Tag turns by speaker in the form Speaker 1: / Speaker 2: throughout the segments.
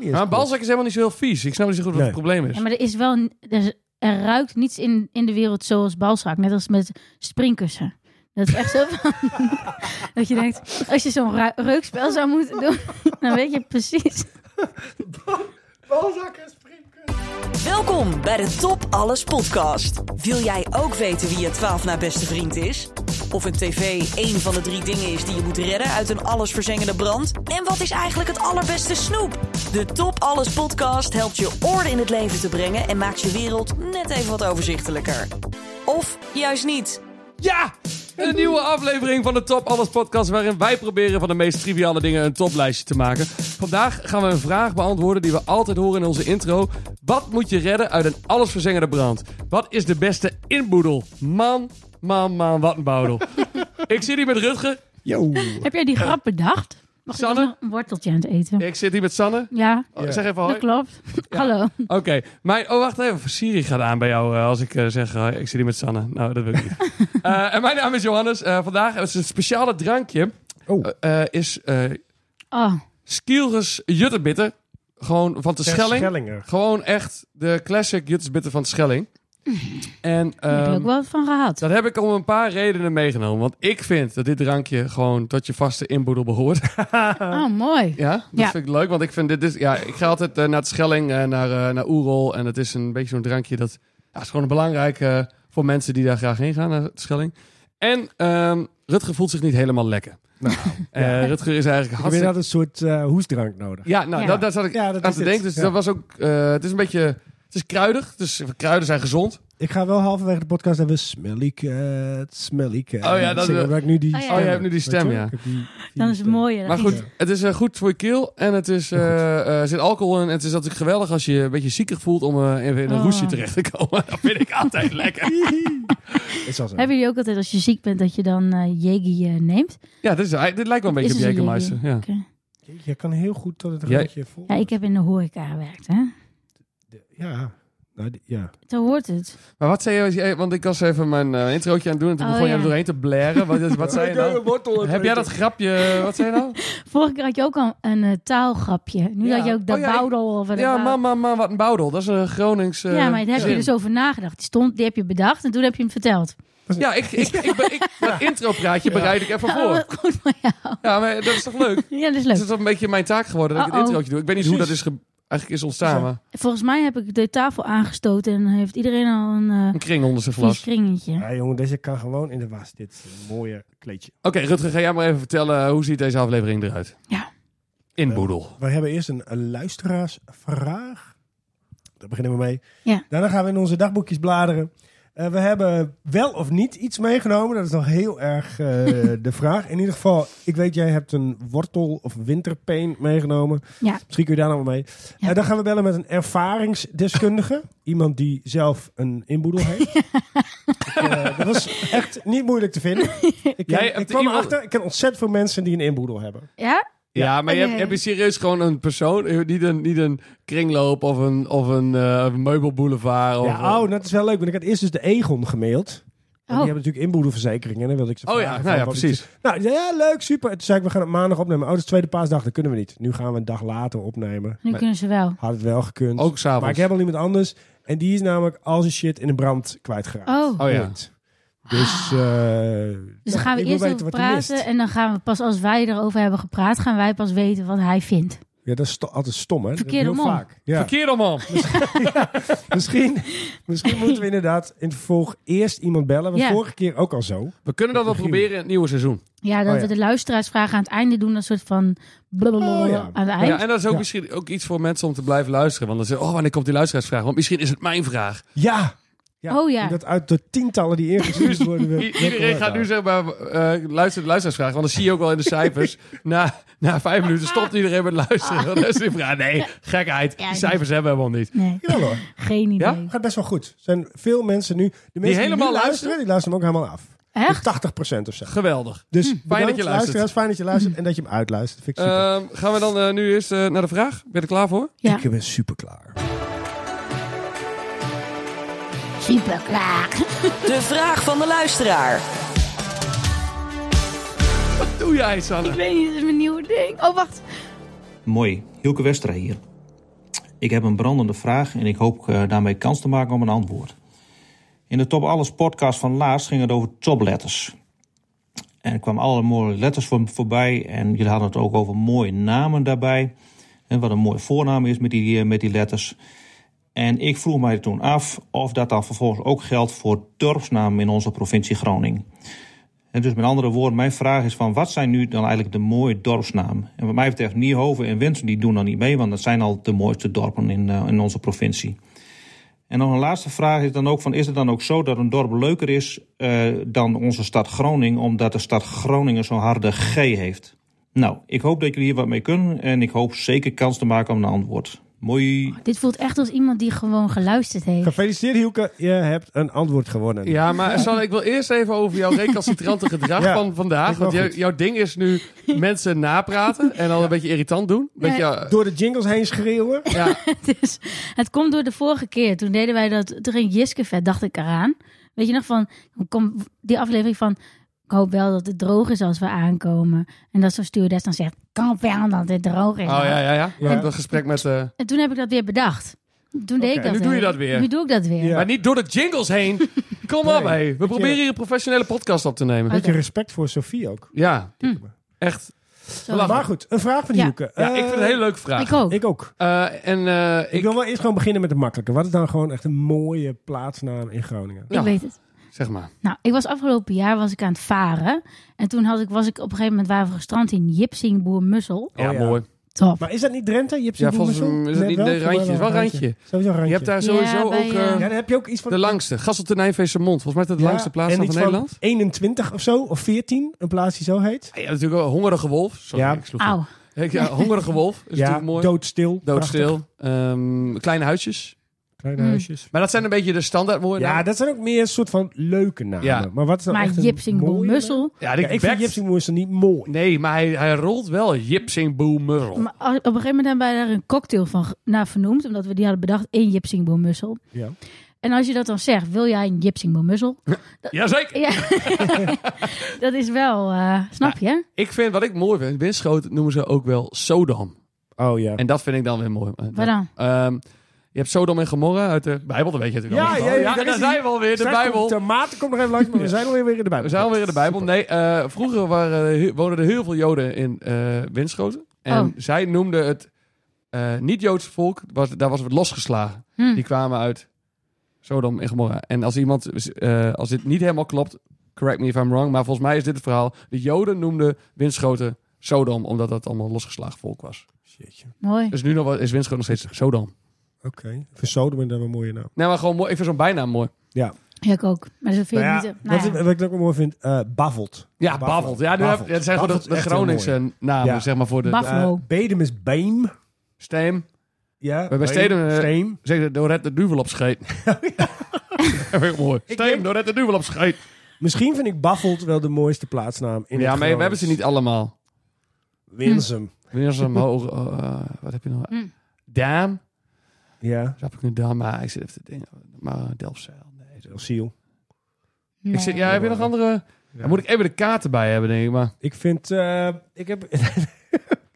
Speaker 1: niet eens
Speaker 2: Maar een
Speaker 1: klopt.
Speaker 2: balzak is helemaal niet zo heel vies. Ik snap niet zo goed wat het
Speaker 1: Nee.
Speaker 2: probleem is.
Speaker 3: Ja, maar er is wel... een- Er, er ruikt niets in, in de wereld zoals balzak. Net als met springkussen. Dat is echt zo van... dat je denkt, als je zo'n ru- reukspel zou moeten doen... dan weet je precies...
Speaker 1: Balzak en springkussen.
Speaker 4: Welkom bij de Top Alles podcast. Wil jij ook weten wie je 12 na beste vriend is? Of een tv één van de drie dingen is die je moet redden uit een allesverzengende brand? En wat is eigenlijk het allerbeste snoep? De Top Alles podcast helpt je orde in het leven te brengen en maakt je wereld net even wat overzichtelijker. Of juist niet.
Speaker 2: Ja! Een nieuwe aflevering van de Top Alles podcast... waarin wij proberen van de meest triviale dingen een toplijstje te maken. Vandaag gaan we een vraag beantwoorden die we altijd horen in onze intro. Wat moet je redden uit een allesverzengende brand? Wat is de beste inboedel? Man, man, man, wat een boudel. Ik zit hier met Rutger.
Speaker 1: Yo.
Speaker 3: Heb jij die grap bedacht? Mag ik
Speaker 2: Sanne?
Speaker 3: nog een worteltje aan het eten?
Speaker 2: Ik zit hier met Sanne.
Speaker 3: Ja,
Speaker 2: Oh,
Speaker 1: Ja.
Speaker 2: Zeg even hoi.
Speaker 3: dat klopt. Hallo.
Speaker 2: Oké, mijn. Oh, wacht even. Siri gaat aan bij jou eh, als ik eh, zeg. eh, ik zit hier met Sanne. Nou, dat wil ik niet. Eh, en mijn naam is Johannes. Eh, vandaag is een speciale drankje.
Speaker 1: Oh.
Speaker 2: Eh, eh, is eh
Speaker 3: Oh,
Speaker 2: Skielges Jutterbitter. Gewoon van de Schelling.
Speaker 1: Schellinger.
Speaker 2: Gewoon echt de classic Juttersbitter van de Schelling. En
Speaker 3: daar heb je
Speaker 2: ehm,
Speaker 3: ook wel wat van gehad.
Speaker 2: dat heb ik om een paar redenen meegenomen. Want ik vind dat dit drankje gewoon tot je vaste inboedel behoort. eh,
Speaker 3: Oh, mooi.
Speaker 2: Ja, dat
Speaker 3: Ja.
Speaker 2: vind ik leuk. Want ik vind dit is. Ja, ik ga altijd eh, naar de Schelling, eh, naar, eh, naar Oerol. En het is een beetje zo'n drankje dat. Ja, is gewoon belangrijk eh, voor mensen die daar graag heen gaan naar de Schelling. En ehm, Rutger voelt zich niet helemaal lekker.
Speaker 1: Nou,
Speaker 2: Eh, Rutger is
Speaker 1: Ik
Speaker 2: eigenlijk
Speaker 1: weet
Speaker 2: hartstikke.
Speaker 1: dat een soort eh, hoestdrank nodig.
Speaker 2: Ja, nou,
Speaker 3: Ja.
Speaker 2: Dat, daar zat ik
Speaker 1: Ja, dat
Speaker 2: aan
Speaker 1: is
Speaker 2: te
Speaker 1: het.
Speaker 2: denken. Dus
Speaker 1: Ja.
Speaker 2: dat was ook. eh, het is een beetje. Het is kruidig. Dus kruiden zijn gezond.
Speaker 1: Ik ga wel halverwege de podcast hebben Smelly Cat, Smelly Cat.
Speaker 2: Oh ja, dat-
Speaker 1: Zingen, omdat ik nu die
Speaker 3: Oh ja.
Speaker 1: stem
Speaker 3: Oh, je
Speaker 2: hebt nu die
Speaker 1: Weet
Speaker 2: stem,
Speaker 1: je?
Speaker 2: ja.
Speaker 1: Ik heb die- die
Speaker 3: Dan is het
Speaker 1: stem.
Speaker 3: mooi. hè,
Speaker 2: Maar
Speaker 3: dat
Speaker 2: goed,
Speaker 3: is het.
Speaker 2: het is eh, goed voor je keel. En het is, eh, eh, er zit alcohol in. En het is natuurlijk geweldig als je je een beetje ziekig voelt om eh, even in een
Speaker 3: Oh.
Speaker 2: roesje terecht te komen. Dat vind ik altijd lekker.
Speaker 1: Is al zo.
Speaker 3: Hebben jullie ook altijd als je ziek bent dat je dan eh Jegi eh, neemt?
Speaker 2: Ja, dit, is, dit lijkt wel een
Speaker 3: Is
Speaker 2: beetje op
Speaker 3: dus
Speaker 2: Jägermeister.
Speaker 3: een Jäger.
Speaker 2: Ja.
Speaker 3: Oké.
Speaker 1: Je- Je kan heel goed tot het
Speaker 2: Jij-
Speaker 1: randje vol.
Speaker 3: Ja, ik heb in de horeca gewerkt, hè?
Speaker 1: Ja. Nou, die- ja.
Speaker 3: Zo hoort het.
Speaker 2: Maar wat zei je? Want ik was even mijn eh, introotje aan het doen en toen
Speaker 3: Oh,
Speaker 2: begon je
Speaker 3: ja.
Speaker 2: er doorheen te blaren. Wat, wat zei je nou? Heb jij dat grapje? Wat zei je nou?
Speaker 3: Vorige keer had je ook al een eh, taalgrapje. Nu
Speaker 2: Ja.
Speaker 3: had je ook de
Speaker 2: Oh, ja, ik-
Speaker 3: boudel over de
Speaker 2: Ja,
Speaker 3: bouw-
Speaker 2: man, man, man, wat een boudel. Dat is een Gronings. eh,
Speaker 3: Ja, maar daar heb je
Speaker 2: zin.
Speaker 3: dus over nagedacht. Die, stond, die heb je bedacht en toen heb je hem verteld.
Speaker 2: Ja, ik, ik, ik, ik, ik- mijn intropraatje bereid ik even
Speaker 3: Oh,
Speaker 2: voor.
Speaker 3: wat goed voor jou.
Speaker 2: Ja, maar dat is toch leuk?
Speaker 3: Ja, dat is
Speaker 2: Het
Speaker 3: leuk.
Speaker 2: is toch een beetje mijn taak geworden dat ik het
Speaker 3: Uh-oh.
Speaker 2: introotje doe. Ik weet niet hoe dat is ge- eigenlijk is ontstaan.
Speaker 1: Zo.
Speaker 2: Maar
Speaker 3: Volgens mij heb ik de tafel aangestoten en heeft iedereen al een eh
Speaker 2: een kring onder zijn
Speaker 3: vies
Speaker 2: vlas.
Speaker 3: kringetje.
Speaker 1: Ja, jongen, deze kan gewoon in de was. Dit is een mooie kleedje.
Speaker 2: Oké, Rutger, ga jij maar even vertellen eh, hoe ziet deze aflevering eruit?
Speaker 3: Ja.
Speaker 2: Inboedel.
Speaker 1: We hebben eerst een, een luisteraarsvraag. Daar beginnen we mee.
Speaker 3: Ja.
Speaker 1: Daarna gaan we in onze dagboekjes bladeren. Eh, we hebben wel of niet iets meegenomen. Dat is nog heel erg eh, de vraag. In ieder geval, ik weet, jij hebt een wortel of winterpeen meegenomen.
Speaker 3: Ja.
Speaker 1: Misschien kun je daar nog wel mee.
Speaker 3: Ja.
Speaker 1: Eh, dan gaan we bellen met een ervaringsdeskundige. Iemand die zelf een inboedel heeft. Ik, eh, dat was echt niet moeilijk te vinden. Ik,
Speaker 2: Jij
Speaker 1: ken, ik
Speaker 2: hebt
Speaker 1: kwam
Speaker 2: iemand-
Speaker 1: erachter, ik ken ontzettend veel mensen die een inboedel hebben.
Speaker 3: Ja?
Speaker 2: Ja, maar je hebt,
Speaker 3: Oké.
Speaker 2: heb je serieus gewoon een persoon, eh, niet een, niet een kringloop of een, of een eh, meubelboulevard. Of,
Speaker 1: Ja, oh, dat is wel leuk. Want ik had eerst dus de Egon gemaild. En
Speaker 3: Oh.
Speaker 1: Die hebben natuurlijk inboedelverzekeringen. En dan wilde ik ze
Speaker 2: Oh ja,
Speaker 1: vragen
Speaker 2: nou
Speaker 1: van
Speaker 2: ja,
Speaker 1: wat
Speaker 2: precies.
Speaker 1: iets- Nou, die zei, ja, leuk, super. En toen zei ik, we gaan het maandag opnemen. Oh, dat is tweede paasdag. Dat kunnen we niet. Nu gaan we een dag later opnemen.
Speaker 3: Nu
Speaker 2: Maar-
Speaker 3: kunnen ze wel.
Speaker 1: Had het wel gekund.
Speaker 2: Ook s'avonds.
Speaker 1: maar ik heb al iemand anders. En die is namelijk al zijn shit in de brand kwijtgeraakt.
Speaker 3: Oh. Ah.
Speaker 2: Oh ja.
Speaker 1: Punt. Dus, eh
Speaker 3: Dus dan gaan we
Speaker 1: ik wil
Speaker 3: eerst
Speaker 1: weten
Speaker 3: over
Speaker 1: wat hij mist.
Speaker 3: praten en dan gaan we pas als wij erover hebben gepraat, gaan wij pas weten wat hij vindt.
Speaker 1: Ja, dat is sto- altijd stom, hè?
Speaker 3: Verkeerde
Speaker 1: Heel
Speaker 3: man.
Speaker 1: vaak. Ja.
Speaker 2: Verkeerd man.
Speaker 1: Misschien, misschien moeten we inderdaad in het vervolg eerst iemand bellen. Was
Speaker 3: Ja.
Speaker 1: vorige keer ook al zo.
Speaker 2: We kunnen dat wel proberen in het nieuwe seizoen.
Speaker 3: Ja, dat
Speaker 1: Oh, ja.
Speaker 3: we de luisteraarsvragen aan het einde doen, een soort van blablabla
Speaker 1: Oh, ja.
Speaker 3: aan het eind.
Speaker 2: Ja, en dat is ook
Speaker 1: Ja.
Speaker 2: misschien ook iets voor mensen om te blijven luisteren. Want dan zeggen oh, wanneer komt die luisteraarsvraag? Want misschien is het mijn vraag.
Speaker 1: Ja.
Speaker 3: Oh ja.
Speaker 1: en Dat uit de tientallen die ingestuurd worden. we-
Speaker 2: I- iedereen gaat nu zeg maar, eh luisteren de luisteraarsvraag. Want dat zie je ook wel in de cijfers. na, na vijf minuten stopt iedereen met
Speaker 1: Ah.
Speaker 2: luisteren. Dan is die vraag, nee, gekheid.
Speaker 3: Ja,
Speaker 2: Die cijfers hebben we helemaal niet.
Speaker 3: Nee,
Speaker 1: Jawel hoor.
Speaker 3: geen idee.
Speaker 2: Ja?
Speaker 1: Gaat best wel goed. Er zijn veel mensen nu. De mensen die,
Speaker 2: helemaal
Speaker 1: nu
Speaker 2: luisteren?
Speaker 1: luisteren, die luisteren hem ook helemaal af.
Speaker 3: Echt?
Speaker 1: Dus 80% of zo.
Speaker 2: Geweldig.
Speaker 1: Dus fijn
Speaker 2: Hm. dat je luistert. Hm.
Speaker 1: luisteraars, Fijn dat je luistert en dat je hem uitluistert. Vind ik, super.
Speaker 2: Ehm, gaan we dan eh, nu eerst eh, naar de vraag? Ben je er klaar voor?
Speaker 3: Ja.
Speaker 1: ik ben super klaar.
Speaker 3: Super klaar.
Speaker 4: De vraag van de luisteraar.
Speaker 2: Doe jij, Sanne?
Speaker 3: Ik weet niet, dat is mijn nieuwe ding. Oh, wacht.
Speaker 5: Mooi, Hilke Westra hier. Ik heb een brandende vraag en ik hoop eh, daarmee kans te maken op een antwoord. In de Top Alles podcast van laatst ging het over topletters. En er kwamen alle mooie letters voor- voorbij. En jullie hadden het ook over mooie namen daarbij. En wat een mooie voornaam is met die, eh, met die letters. En ik vroeg mij toen af of dat dan vervolgens ook geldt voor dorpsnamen in onze provincie Groningen. En dus met andere woorden, mijn vraag is van wat zijn nu dan eigenlijk de mooie dorpsnamen? En wat mij betreft Nierhoven en Winsum die doen dan niet mee, want dat zijn al de mooiste dorpen in, eh, in onze provincie. En nog een laatste vraag is dan ook van is het dan ook zo dat een dorp leuker is eh, dan onze stad Groningen, omdat de stad Groningen zo'n harde G heeft? Nou, ik hoop dat jullie hier wat mee kunnen en ik hoop zeker kans te maken op een antwoord. Mooi.
Speaker 3: Dit voelt echt als iemand die gewoon geluisterd heeft.
Speaker 1: Gefeliciteerd, Hielke. Je hebt een antwoord gewonnen.
Speaker 2: Ja, maar Sanne, ik wil eerst even over jouw recalcitrante gedrag
Speaker 1: Ja,
Speaker 2: van
Speaker 1: is
Speaker 2: vandaag.
Speaker 1: wel
Speaker 2: Want jou-
Speaker 1: goed.
Speaker 2: jouw ding is nu mensen napraten en dan een beetje irritant doen. Beetje,
Speaker 3: Nee.
Speaker 2: ja,
Speaker 1: Door de jingles heen schreeuwen.
Speaker 2: ja,
Speaker 3: Het, is, Dus het komt door de vorige keer. Toen deden wij dat. Toen ging Jiske vet, dacht ik eraan. Weet je nog van. Kom, die aflevering van. Ik hoop wel dat het droog is als we aankomen. En dat zo'n stewardess dan zegt. Kan wel dat het droog is.
Speaker 2: Oh ja, ja, ja.
Speaker 1: Ja.
Speaker 2: Dat gesprek met... eh,
Speaker 3: En toen heb ik dat weer bedacht. Toen deed
Speaker 1: Oké,
Speaker 3: ik dat
Speaker 2: nu doe je
Speaker 3: weer.
Speaker 2: dat weer.
Speaker 3: Nu doe ik dat weer.
Speaker 1: Ja.
Speaker 2: Maar niet door de jingles heen. Kom op,
Speaker 1: Nee.
Speaker 2: hé. We proberen hier een professionele podcast op te nemen.
Speaker 1: Beetje respect voor Sofie ook.
Speaker 2: Ja, echt.
Speaker 3: Zo.
Speaker 2: Lachen.
Speaker 1: Maar goed, een vraag van
Speaker 3: Ja.
Speaker 1: Hielke.
Speaker 2: Ja,
Speaker 1: Eh,
Speaker 2: ik vind het een hele leuke vraag.
Speaker 3: Ik ook.
Speaker 1: Ik ook.
Speaker 2: Eh, en eh,
Speaker 1: Ik,
Speaker 2: ik...
Speaker 1: wil wel eerst gewoon beginnen met de makkelijke. Wat is dan gewoon echt een mooie plaatsnaam in Groningen?
Speaker 2: Ja.
Speaker 3: Ik weet het.
Speaker 2: Zeg maar.
Speaker 3: Nou, ik was afgelopen jaar was ik aan het varen. En toen had ik, was ik op een gegeven moment waren we gestrand in Jipsingboer Mussel.
Speaker 2: Ja,
Speaker 1: Oh, ja.
Speaker 2: mooi.
Speaker 3: Top.
Speaker 1: Maar is dat niet Drenthe? Je hebt
Speaker 2: Ja,
Speaker 1: zo'n
Speaker 2: volgens
Speaker 1: boemenzoen?
Speaker 2: hem is het
Speaker 1: Nee,
Speaker 2: niet de
Speaker 1: volgens mij
Speaker 2: randje. Het is wel een
Speaker 1: Sowieso een randje.
Speaker 2: Je hebt daar sowieso
Speaker 3: Ja, bij,
Speaker 2: ook
Speaker 3: eh,
Speaker 2: eh,
Speaker 1: Ja, dan heb je ook iets van...
Speaker 2: de langste. Gasseltonijnfeest Mond. Volgens mij is dat de
Speaker 1: Ja,
Speaker 2: langste plaats
Speaker 1: en
Speaker 2: van
Speaker 1: iets
Speaker 2: Nederland.
Speaker 1: 21 of zo, of 14, een plaats die zo heet.
Speaker 2: Ja, natuurlijk ook Hongerige Wolf. Sorry,
Speaker 1: Ja.
Speaker 2: ik sloeg
Speaker 3: Auw.
Speaker 2: hem. Ik- ja, Hongerige Wolf is
Speaker 1: ja,
Speaker 2: natuurlijk mooi.
Speaker 1: doodstil. prachtig.
Speaker 2: Doodstil. Ehm, kleine huisjes.
Speaker 1: Kleine
Speaker 3: Mm.
Speaker 1: huisjes.
Speaker 2: Maar dat zijn een beetje de standaard mooie
Speaker 1: Ja,
Speaker 2: namen.
Speaker 1: dat zijn ook meer een soort van leuke namen.
Speaker 2: Oh, nou. Ja.
Speaker 1: Maar wat is dan
Speaker 3: Maar
Speaker 1: echt een
Speaker 3: Jipsingboer
Speaker 1: mooie naam?
Speaker 3: Mussel.
Speaker 2: Ja,
Speaker 1: Ja,
Speaker 2: die
Speaker 1: ik
Speaker 2: backt-
Speaker 1: vind Jipsingboer is niet mooi.
Speaker 2: Nee, maar hij, hij rolt wel Jipsingboe Murrel.
Speaker 3: Maar als- op een gegeven moment hebben wij daar een cocktail van ge- naar vernoemd. Omdat we die hadden bedacht in Jipsingboer Mussel.
Speaker 1: Ja.
Speaker 3: En als je dat dan zegt, wil jij een Jipsingboer Mussel?
Speaker 2: Jazeker!
Speaker 3: ja. dat is wel, eh, snap je?
Speaker 2: Ik vind, wat ik mooi vind, Winschoten noemen ze ook wel Sodom.
Speaker 1: Oh ja.
Speaker 2: En dat vind ik dan weer mooi. Eh,
Speaker 3: Waar dan?
Speaker 2: dat- Ehm, je hebt Sodom en Gomorra uit de Bijbel, dat weet je natuurlijk
Speaker 1: Ja,
Speaker 2: allemaal.
Speaker 1: ja, ja, daar
Speaker 2: daar
Speaker 1: is
Speaker 2: zijn
Speaker 1: die.
Speaker 2: we alweer, de
Speaker 1: Straks
Speaker 2: Bijbel.
Speaker 1: Komt, de maat komt nog even langs, maar we zijn alweer weer in de Bijbel.
Speaker 2: We zijn alweer in de Bijbel. Nee, eh, vroeger waren, he- woonden er heel veel Joden in eh Winschoten. En
Speaker 3: Oh.
Speaker 2: zij noemden het eh, niet-Joods volk, was, daar was het losgeslagen.
Speaker 3: Hm.
Speaker 2: Die kwamen uit Sodom en Gomorra. En als iemand, eh, als dit niet helemaal klopt, correct me if I'm wrong, maar volgens mij is dit het verhaal. De Joden noemden Winschoten Sodom, omdat dat allemaal losgeslagen volk was.
Speaker 1: Shitje.
Speaker 3: Mooi.
Speaker 2: Dus nu nog wel- is Winschoten nog steeds Sodom.
Speaker 1: Oké. Voor Sodom en dan een mooie naam.
Speaker 2: Nee, maar gewoon mooi. Ik vind zo'n bijnaam mooi.
Speaker 1: Ja.
Speaker 3: Ja, ik ook. Maar dat vind
Speaker 1: Nou
Speaker 3: ik
Speaker 1: ja,
Speaker 3: niet... eh,
Speaker 1: wat,
Speaker 3: nou
Speaker 1: ik-
Speaker 3: ja.
Speaker 1: wat ik ook wel mooi vind, eh Bavelt.
Speaker 2: Ja, Bavelt. Ja, nu heb, dat zijn gewoon de, de Groningse namen,
Speaker 1: Ja.
Speaker 2: zeg maar, voor de, de
Speaker 3: Baf-
Speaker 1: Uh,
Speaker 3: Afro.
Speaker 1: Bedem is Beem.
Speaker 2: Steem.
Speaker 1: Ja,
Speaker 2: Bij- bij
Speaker 1: Beem,
Speaker 2: Stedem, eh,
Speaker 1: Steem.
Speaker 2: Zeg dat Dorette de Duvel op scheet. Dat vind Oh, ik mooi. Steem, Dorette de Duvel op scheet.
Speaker 1: Misschien vind ik Baffelt wel de mooiste plaatsnaam in
Speaker 2: Ja,
Speaker 1: het
Speaker 2: maar we hebben ze niet allemaal.
Speaker 1: Winsum.
Speaker 2: Weer zo'n hoog... eh, wat heb je nog?
Speaker 3: Hm.
Speaker 2: Daan.
Speaker 1: Ja,
Speaker 2: Snap ik nu Daan, maar ik zit even te denken. Maar Delfzijl. Nee, zo.
Speaker 1: Elsiel.
Speaker 3: Nee.
Speaker 2: Ik zit, ja, heb je nog andere... Dan moet ik even de kaarten bij hebben, denk ik. Maar...
Speaker 1: Ik vind, eh, ik heb,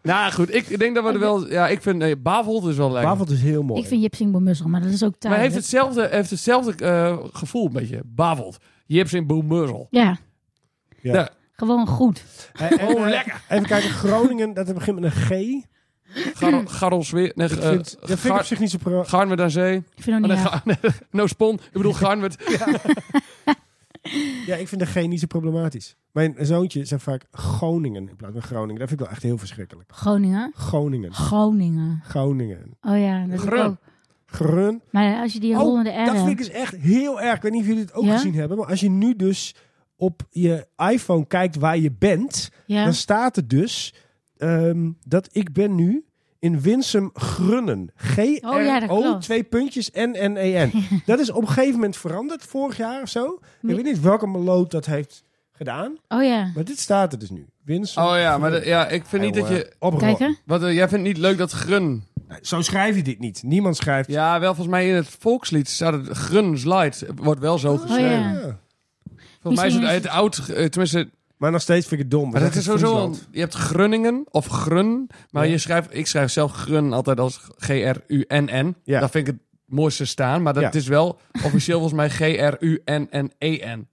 Speaker 2: Nou goed, ik denk dat we er wel... Ja, ik vind... Nee, Bavold is wel lekker.
Speaker 1: Bavelt is heel mooi.
Speaker 3: Ik vind Jipsingboer Mussel, maar dat is ook
Speaker 2: maar
Speaker 3: taal.
Speaker 2: heeft hetzelfde, heeft hetzelfde eh, gevoel een beetje. Bavold. Je hebt zijn boemerzel.
Speaker 3: Ja,
Speaker 1: Ja.
Speaker 2: Nou,
Speaker 3: gewoon goed.
Speaker 1: Eh, en,
Speaker 2: Oh,
Speaker 1: eh,
Speaker 2: lekker.
Speaker 1: Even kijken, Groningen, dat begint met een G. Ik
Speaker 2: Gar- Garrels weer... Nee, eh,
Speaker 1: vind, dat vind ik op
Speaker 2: Gar-
Speaker 1: zich niet zo... pro-
Speaker 2: Garnwerd aan zee.
Speaker 3: Ik vind het
Speaker 2: Oh,
Speaker 3: ook
Speaker 2: nee,
Speaker 3: niet erg.
Speaker 2: Gar- no spon. Ik bedoel Garnwerd.
Speaker 1: Ja, ik vind de G niet zo problematisch. Mijn zoontje zegt vaak Groningen in plaats van Groningen. Dat vind ik wel echt heel verschrikkelijk.
Speaker 3: Groningen.
Speaker 1: Groningen.
Speaker 3: Groningen.
Speaker 1: Groningen.
Speaker 3: Oh ja, dat
Speaker 2: Grun.
Speaker 3: is ook.
Speaker 1: Grun.
Speaker 3: Maar als je die
Speaker 1: Oh,
Speaker 3: rollende R
Speaker 1: Dat vind ik
Speaker 3: hebt.
Speaker 1: dus echt heel erg. Ik weet niet of jullie het ook
Speaker 3: Ja?
Speaker 1: gezien hebben. Maar als je nu dus op je iPhone kijkt waar je bent.
Speaker 3: Ja.
Speaker 1: Dan staat er dus ehm, dat ik ben nu in Winsum Grunnen. G-R-O,
Speaker 3: Oh ja, dat klopt.
Speaker 1: twee puntjes, N-N-E-N. dat is op een gegeven moment veranderd, vorig jaar of zo. Ik
Speaker 3: Nee.
Speaker 1: weet niet welke meloot dat heeft gedaan.
Speaker 3: Oh ja.
Speaker 1: Maar dit staat er dus nu. Winsum
Speaker 2: Oh ja, maar
Speaker 1: Grunnen.
Speaker 2: de- ja, ik vind niet dat
Speaker 1: Jongen,
Speaker 2: je...
Speaker 1: oprol.
Speaker 3: Kijk hè.
Speaker 2: Wat, eh, jij vindt niet leuk dat grun...
Speaker 1: Nee, Zo schrijf je dit niet. Niemand schrijft...
Speaker 2: Ja, wel volgens mij in het volkslied staat het grun slide. Wordt wel zo
Speaker 1: Oh,
Speaker 2: geschreven.
Speaker 3: ja.
Speaker 2: Volgens mij is het
Speaker 3: Misschien
Speaker 2: uit oud... eh, tenminste,
Speaker 1: Maar nog steeds vind ik het dom.
Speaker 2: Maar dat is sowieso al,
Speaker 1: Friesland.
Speaker 2: je hebt Grunningen of Grun, maar
Speaker 1: Ja.
Speaker 2: je schrijft, ik schrijf zelf Grun altijd als G-R-U-N-N.
Speaker 1: Ja.
Speaker 2: Dat vind ik het mooiste staan, maar dat
Speaker 1: Ja.
Speaker 2: het is wel officieel volgens mij G-R-U-N-N-E-N.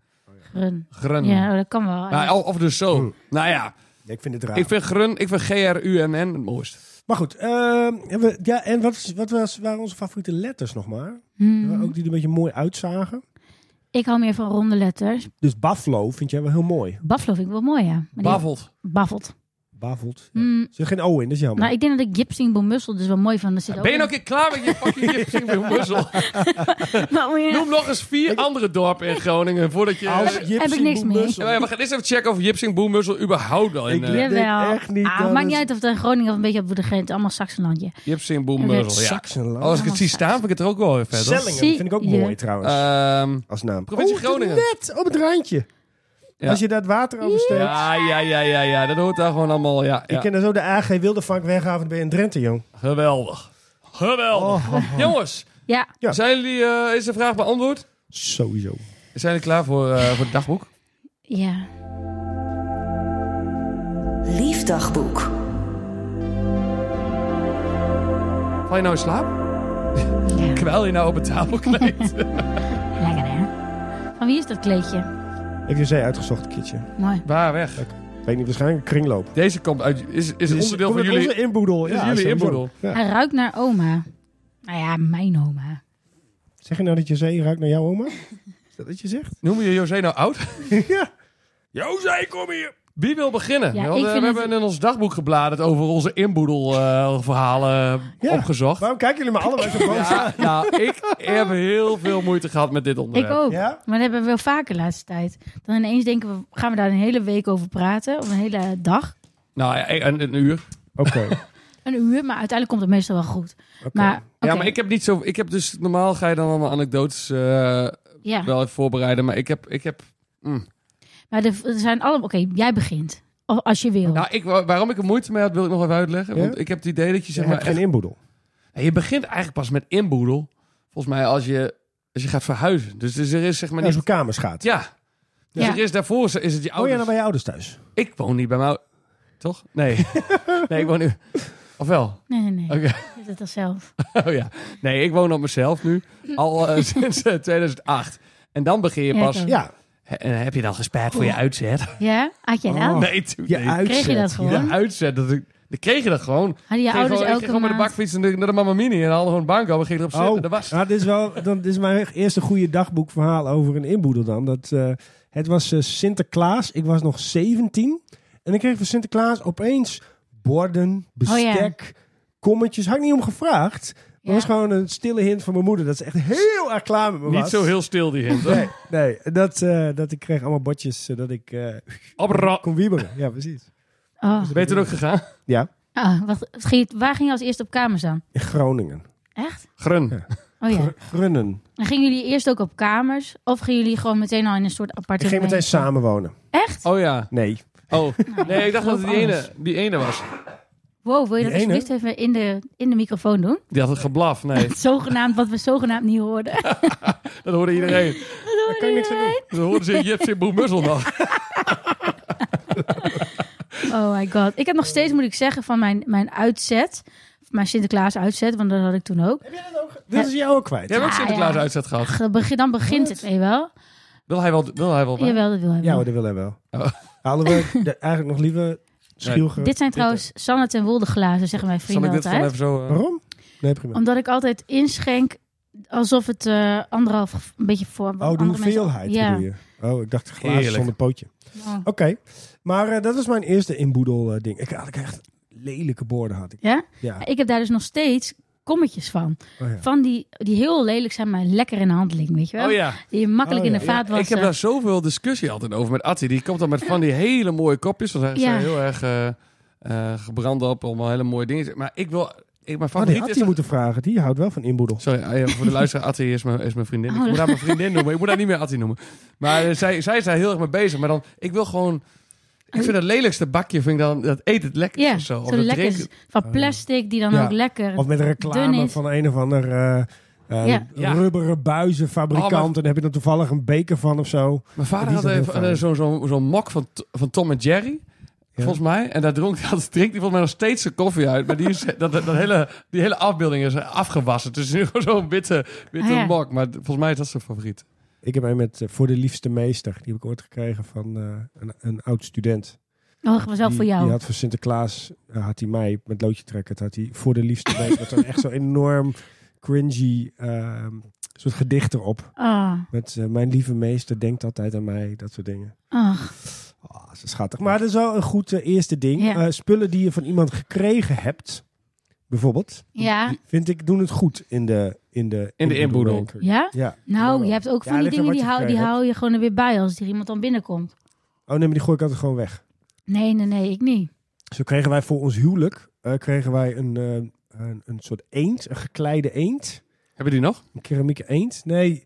Speaker 3: Grun.
Speaker 2: E Grun.
Speaker 3: Ja, oh, dat kan wel.
Speaker 2: Nou, of dus zo.
Speaker 1: Mm.
Speaker 2: Nou ja,
Speaker 1: Ja, ik vind het raar.
Speaker 2: ik vind Grun, ik vind G-R-U-N-N het mooist.
Speaker 1: Maar goed, ehm, hebben we- ja, en wat, is- wat was, waren onze favoriete letters nog maar?
Speaker 3: Hmm.
Speaker 1: Ook die er een beetje mooi uitzagen.
Speaker 3: Ik hou meer van ronde letters.
Speaker 1: Dus Buffalo vind jij wel heel mooi.
Speaker 3: Buffalo vind ik wel mooi, ja. Maar die-
Speaker 2: Bavelt.
Speaker 3: Baffelt.
Speaker 1: Bavelt. Ja. Oh,
Speaker 3: Hmm.
Speaker 1: Er zit geen O in, dat is jammer.
Speaker 3: Nou, ik denk dat ik Gipsing Bomussel dus wel mooi van. Er zit ook
Speaker 2: Ben je
Speaker 3: een-
Speaker 2: nog een keer klaar met je fucking Gipsing bij Moezel?
Speaker 3: Maar moet je-
Speaker 2: Noem nog eens vier andere dorpen in Groningen voordat je...
Speaker 1: Als
Speaker 2: Ja,
Speaker 1: Jipsy
Speaker 3: heb ik niks
Speaker 1: Boem
Speaker 3: meer.
Speaker 1: Bussel.
Speaker 2: maar we gaan eerst even checken of Jipsing Boemussel überhaupt wel in...
Speaker 1: Ik
Speaker 2: eh,
Speaker 1: denk
Speaker 3: Jawel.
Speaker 1: echt niet
Speaker 3: Ah,
Speaker 1: dat
Speaker 3: het maakt
Speaker 1: het-
Speaker 3: niet uit of het in Groningen of een beetje op de grens. Allemaal Saxenlandje.
Speaker 2: Jipsing
Speaker 3: Ik
Speaker 2: Boemussel,
Speaker 3: weet-
Speaker 2: ja.
Speaker 1: Saxenland.
Speaker 2: Als ik het zie staan, vind ik het er ook wel weer vet. hoor.
Speaker 1: Sellingen vind ik ook
Speaker 3: Zie je.
Speaker 1: mooi trouwens.
Speaker 2: Ehm,
Speaker 1: als naam.
Speaker 2: provincie
Speaker 1: Oh, het is
Speaker 2: Groningen.
Speaker 1: Net op het randje.
Speaker 2: Ja.
Speaker 1: Als je daar het water oversteekt.
Speaker 2: ja, ja, ja, ja, ja, dat hoort daar gewoon allemaal. Ja, ja.
Speaker 1: Ik ken daar zo de AG Wildevank wegavond bij in Drenthe, jong.
Speaker 2: Geweldig. Geweldig. Jongens,
Speaker 3: Ja,
Speaker 1: Oh. Ja.
Speaker 2: zijn jullie, eh, is de vraag beantwoord?
Speaker 1: Sowieso.
Speaker 2: Zijn jullie klaar voor, eh, voor het dagboek?
Speaker 3: ja.
Speaker 4: Liefdagboek.
Speaker 2: Val je nou in slaap?
Speaker 3: ja.
Speaker 2: Kwel je nou op een tafel kleedt?
Speaker 3: Lekker hè. Van wie is dat kleedje?
Speaker 1: Heb je zij uitgezocht, Kitje?
Speaker 3: Mooi.
Speaker 2: Waar weg?
Speaker 1: Weet niet, waarschijnlijk een kringloop.
Speaker 2: Deze komt uit, is, is een
Speaker 1: Dus
Speaker 2: onderdeel
Speaker 1: kom
Speaker 2: van
Speaker 1: met
Speaker 2: jullie.
Speaker 1: Onze inboedel.
Speaker 2: is
Speaker 1: ja,
Speaker 2: jullie
Speaker 1: sowieso.
Speaker 2: inboedel.
Speaker 1: Ja.
Speaker 3: Hij ruikt naar oma. Nou ja, mijn oma.
Speaker 1: Zeg je nou dat je zee ruikt naar jouw oma? Is dat wat je zegt?
Speaker 2: Noem je José nou oud?
Speaker 1: ja.
Speaker 2: José, kom hier! Wie wil beginnen?
Speaker 3: Ja,
Speaker 2: Want,
Speaker 3: ik
Speaker 2: eh,
Speaker 3: vind
Speaker 2: we
Speaker 3: het-
Speaker 2: hebben in ons dagboek gebladerd over onze inboedelverhalen
Speaker 1: Ja.
Speaker 2: opgezocht.
Speaker 1: Waarom kijken jullie me allebei zo boos aan?
Speaker 2: Ja, nou, ik heb heel veel moeite gehad met dit
Speaker 3: Ik
Speaker 2: onderwerp.
Speaker 3: ook.
Speaker 1: Ja?
Speaker 3: Maar dat hebben we wel vaker de laatste tijd. Dan ineens denken we, gaan we daar een hele week over praten? Of een hele dag?
Speaker 2: Nou ja, een, een uur.
Speaker 1: Oké.
Speaker 3: Een uur, maar uiteindelijk komt het meestal wel goed. Maar,
Speaker 2: Ja,
Speaker 3: oké,
Speaker 2: maar ik heb niet zo. Ik heb dus normaal ga je dan allemaal anekdotes eh,
Speaker 3: ja.
Speaker 2: wel even voorbereiden, maar ik heb, ik heb. mm.
Speaker 3: Maar er er zijn allemaal... Oké, jij begint. Of Als je wil.
Speaker 2: Nou, ik, wa- waarom ik er moeite mee had, wil ik nog even uitleggen.
Speaker 1: Ja?
Speaker 2: Want ik heb het idee dat je
Speaker 1: Je
Speaker 2: zeg maar.
Speaker 1: hebt geen inboedel.
Speaker 2: echt- je begint eigenlijk pas met inboedel. Volgens mij als je als je gaat verhuizen. Dus, dus er is zeg maar
Speaker 1: Als
Speaker 2: niet.
Speaker 1: je kamers gaat.
Speaker 2: Ja. Dus
Speaker 3: Ja.
Speaker 2: er is daarvoor is- is het je
Speaker 1: Oh ja,
Speaker 2: ouders.
Speaker 1: dan bij je ouders thuis.
Speaker 2: Ik woon niet bij mij. Toch? Nee. nee, ik woon nu. Of wel?
Speaker 3: Nee, nee, nee.
Speaker 2: Oké.
Speaker 3: Je doet het al zelf.
Speaker 2: Oh ja. Nee, ik woon op mezelf nu. Al eh, sinds eh, 2008. En dan begin je
Speaker 3: Ja, ik
Speaker 2: pas.
Speaker 3: ook.
Speaker 1: Ja.
Speaker 2: He- En heb je dan gespaard voor je uitzet?
Speaker 3: Ja? Had jij dat?
Speaker 1: Oh.
Speaker 2: Nee, toen
Speaker 1: Je
Speaker 2: nee.
Speaker 1: uitzet.
Speaker 3: Kreeg je dat gewoon?
Speaker 2: De uitzet, dat ik, dan kreeg je dat gewoon. Ik
Speaker 3: Hadden je
Speaker 2: ging
Speaker 3: ouders
Speaker 2: gewoon, ik ging
Speaker 3: elke
Speaker 2: gewoon met de
Speaker 3: maand...
Speaker 2: bakfiets naar de, naar de Mamma Mini en hadden gewoon een bank over. Ging erop zitten.
Speaker 1: Oh,
Speaker 2: Dat was.
Speaker 1: nou, dit is wel dan, dit is mijn eerste goede dagboekverhaal over een inboedel dan. Dat, eh, het was eh, Sinterklaas, ik was nog 17. En ik kreeg van Sinterklaas opeens
Speaker 3: Oh,
Speaker 1: borden, bestek, kommetjes. Had ik niet om gevraagd. Maar
Speaker 3: Ja.
Speaker 1: het was gewoon een stille hint van mijn moeder. Dat ze echt heel erg klaar met me was.
Speaker 2: Niet zo heel stil die hint. hoor.
Speaker 1: Nee, nee. Dat, eh, dat ik kreeg allemaal bordjes zodat ik eh
Speaker 2: Op ra-
Speaker 1: kon wieberen. Ja, precies.
Speaker 3: Oh.
Speaker 2: Ben je toen ook gegaan?
Speaker 1: Ja,
Speaker 3: Ah, wat, het ging- waar ging je als eerste op kamers dan?
Speaker 1: in Groningen.
Speaker 3: Echt?
Speaker 2: Grun.
Speaker 1: Ja.
Speaker 3: Oh ja.
Speaker 1: Gr- Grunnen.
Speaker 3: En gingen jullie eerst ook op kamers? Of gingen jullie gewoon meteen al in een soort
Speaker 1: Ik
Speaker 3: appartement?
Speaker 1: ging meteen samenwonen.
Speaker 3: Echt?
Speaker 2: Oh ja.
Speaker 1: Nee.
Speaker 2: Oh. Nee, ik dacht dat het die
Speaker 3: alles.
Speaker 2: ene, die ene was.
Speaker 3: Wow, wil je
Speaker 1: Die
Speaker 3: dat
Speaker 1: ene?
Speaker 3: alsjeblieft even in de, in de microfoon doen?
Speaker 2: Die had het geblaf. Nee,
Speaker 3: Zogenaamd, wat we zogenaamd niet hoorden.
Speaker 2: dat hoorde iedereen.
Speaker 1: Daar kan je niks aan doen.
Speaker 2: Ze hoorden ze Jips in Boemussel nog.
Speaker 3: Oh my god. Ik heb nog steeds, moet ik zeggen, van mijn, mijn uitzet. Mijn Sinterklaas uitzet, want dat had ik toen ook.
Speaker 1: Dit is jou ook kwijt.
Speaker 2: Jij hebt ook
Speaker 3: Ah,
Speaker 2: Sinterklaas
Speaker 3: ja.
Speaker 2: uitzet gehad.
Speaker 3: Ach, dan begin- Dan begint het, weet je wel?
Speaker 2: Wil hij wel, wil hij wel bij?
Speaker 3: Jawel, dat wil hij
Speaker 1: Ja,
Speaker 3: wel.
Speaker 1: hoor, dat wil hij wel.
Speaker 2: Oh.
Speaker 1: Halen we de- eigenlijk nog liever Schielger?
Speaker 3: Dit zijn trouwens Sanne en Wolde glazen, zeggen mijn
Speaker 2: Zal
Speaker 3: vrienden
Speaker 2: ik dit
Speaker 3: altijd.
Speaker 2: gewoon even zo... eh,
Speaker 1: Waarom? Nee, prima. Oh,
Speaker 3: Omdat ik altijd inschenk alsof het eh, anderhalf of een beetje voor.
Speaker 1: oh, de
Speaker 3: andere
Speaker 1: hoeveelheid
Speaker 3: mensen- Ja.
Speaker 1: bedoel je? Oh, ik dacht glazen
Speaker 2: Heerlijk.
Speaker 1: zonder pootje.
Speaker 3: Oh.
Speaker 1: Oké, maar eh, dat was mijn eerste inboedel eh, ding. Ik had ik echt lelijke borden had ik.
Speaker 3: Ja?
Speaker 1: Ja.
Speaker 3: Ik heb daar dus nog steeds kommetjes van.
Speaker 1: Oh, ja.
Speaker 3: Van die, die heel lelijk zijn, maar lekker in de handeling, weet je wel?
Speaker 2: Oh ja.
Speaker 3: Die je makkelijk
Speaker 1: Oh
Speaker 3: in
Speaker 1: ja.
Speaker 3: de
Speaker 2: Ja,
Speaker 3: vaat was. eh,
Speaker 2: ik heb daar zoveel discussie altijd over met Atti. Die komt dan met van die hele mooie kopjes. Want hij is
Speaker 3: Ja.
Speaker 2: heel erg eh, eh, gebrand op. Allemaal hele mooie dingen. Maar ik wil... Ik, mijn
Speaker 1: Oh, die
Speaker 2: favoriet
Speaker 1: had
Speaker 2: is...
Speaker 1: je moeten vragen. Die houdt wel van inboedel.
Speaker 2: Sorry, eh, voor de luisteraar. Atti is mijn, is mijn vriendin.
Speaker 3: Oh,
Speaker 2: ik moet
Speaker 3: dat-
Speaker 2: haar mijn vriendin noemen. Ik moet haar niet meer Atti noemen. Maar eh, zij, zij is daar heel erg mee bezig. Maar dan... Ik wil gewoon... Ik vind het lelijkste bakje, vind ik dan, dat eet het lekker
Speaker 3: ja,
Speaker 2: of zo.
Speaker 3: zo
Speaker 2: Of dat
Speaker 3: lekker.
Speaker 2: drinkt-
Speaker 3: Van plastic, die dan
Speaker 1: Oh, Ja.
Speaker 3: ook lekker.
Speaker 1: Of met een reclame
Speaker 3: Dun is.
Speaker 1: van een of ander eh, Eh,
Speaker 3: Ja.
Speaker 2: Ja.
Speaker 1: Rubberen buizen, fabrikant.
Speaker 2: Oh, maar-
Speaker 1: En daar heb je er toevallig een beker van of zo.
Speaker 2: Mijn vader
Speaker 1: Die
Speaker 2: had
Speaker 1: is heel
Speaker 2: even
Speaker 1: fijn.
Speaker 2: eh, zo- zo'n zo'n mok van, T- van Tom en Jerry. Volgens mij. En daar dronk, dat drinkt hij volgens mij nog steeds zijn koffie uit. Maar die, is, dat, dat hele, die hele afbeelding is afgewassen. Het is nu gewoon zo'n witte, witte
Speaker 3: Ah, ja.
Speaker 2: mok. Maar d- volgens mij is dat zijn favoriet.
Speaker 1: Ik heb een met eh, Voor de Liefste Meester. Die heb ik ooit gekregen van eh, een, een oud student.
Speaker 3: Oh, dat was wel
Speaker 1: die,
Speaker 3: voor jou.
Speaker 1: Die had voor Sinterklaas, eh, had hij mij met loodje trekken, had hij voor de liefste week. Met dan echt zo'n enorm cringy ehm, soort gedicht erop.
Speaker 3: Ah,
Speaker 1: Met eh, mijn lieve meester denkt altijd aan mij, dat soort dingen.
Speaker 3: ach.
Speaker 1: Ah, dat is schattig. Maar dat is wel een goed eh, eerste ding.
Speaker 3: Ja.
Speaker 1: Eh, spullen die je van iemand gekregen hebt, bijvoorbeeld,
Speaker 3: Ja.
Speaker 1: vind ik doen het goed in de in de
Speaker 2: In de inboedel.
Speaker 1: inboedelmaker.
Speaker 3: Ja?
Speaker 1: Ja. Oh,
Speaker 3: Nou,
Speaker 1: wel.
Speaker 3: je hebt ook
Speaker 1: Ja,
Speaker 3: van die
Speaker 1: ligt aan
Speaker 3: dingen
Speaker 1: wat je
Speaker 3: die, hou, die
Speaker 1: gekregen
Speaker 3: hou je gewoon er weer bij als er iemand dan binnenkomt.
Speaker 1: Oh nee, maar die gooi ik altijd gewoon weg.
Speaker 3: Nee, nee, nee, ik niet.
Speaker 1: Zo kregen wij voor ons huwelijk eh, kregen wij een, eh, een, een soort eend, een gekleide eend.
Speaker 2: Hebben die nog?
Speaker 1: Een keramieke eend? Nee,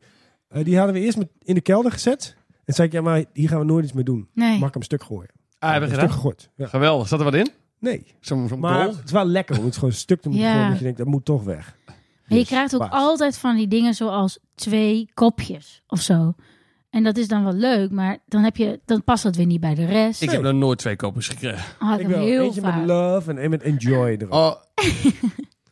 Speaker 1: eh, die hadden we eerst met, in de kelder gezet. En zei ik, ja, maar hier gaan we nooit iets mee doen.
Speaker 3: Nee.
Speaker 1: Mag ik hem stuk gooien?
Speaker 2: Ah, hebben we
Speaker 1: Stuk
Speaker 2: gedaan.
Speaker 1: gegooid. Ja.
Speaker 2: Geweldig. Zat er wat in?
Speaker 1: Nee,
Speaker 2: Zo'n zo'n
Speaker 1: maar
Speaker 2: goal?
Speaker 1: het is wel lekker om het gewoon stuk te moeten
Speaker 3: Ja.
Speaker 1: gooien. Dat je denkt, dat moet toch weg.
Speaker 3: Maar je
Speaker 1: Dus,
Speaker 3: krijgt ook
Speaker 1: paas.
Speaker 3: altijd van die dingen zoals twee kopjes of zo. En dat is dan wel leuk, maar dan, heb je, dan past dat weer niet bij de rest.
Speaker 2: Ik heb nog nooit twee kopers gekregen.
Speaker 3: Had
Speaker 1: Ik
Speaker 3: hem
Speaker 1: wil
Speaker 3: heel
Speaker 1: eentje
Speaker 3: vaak.
Speaker 1: met love en één met enjoy erop.
Speaker 2: Oh.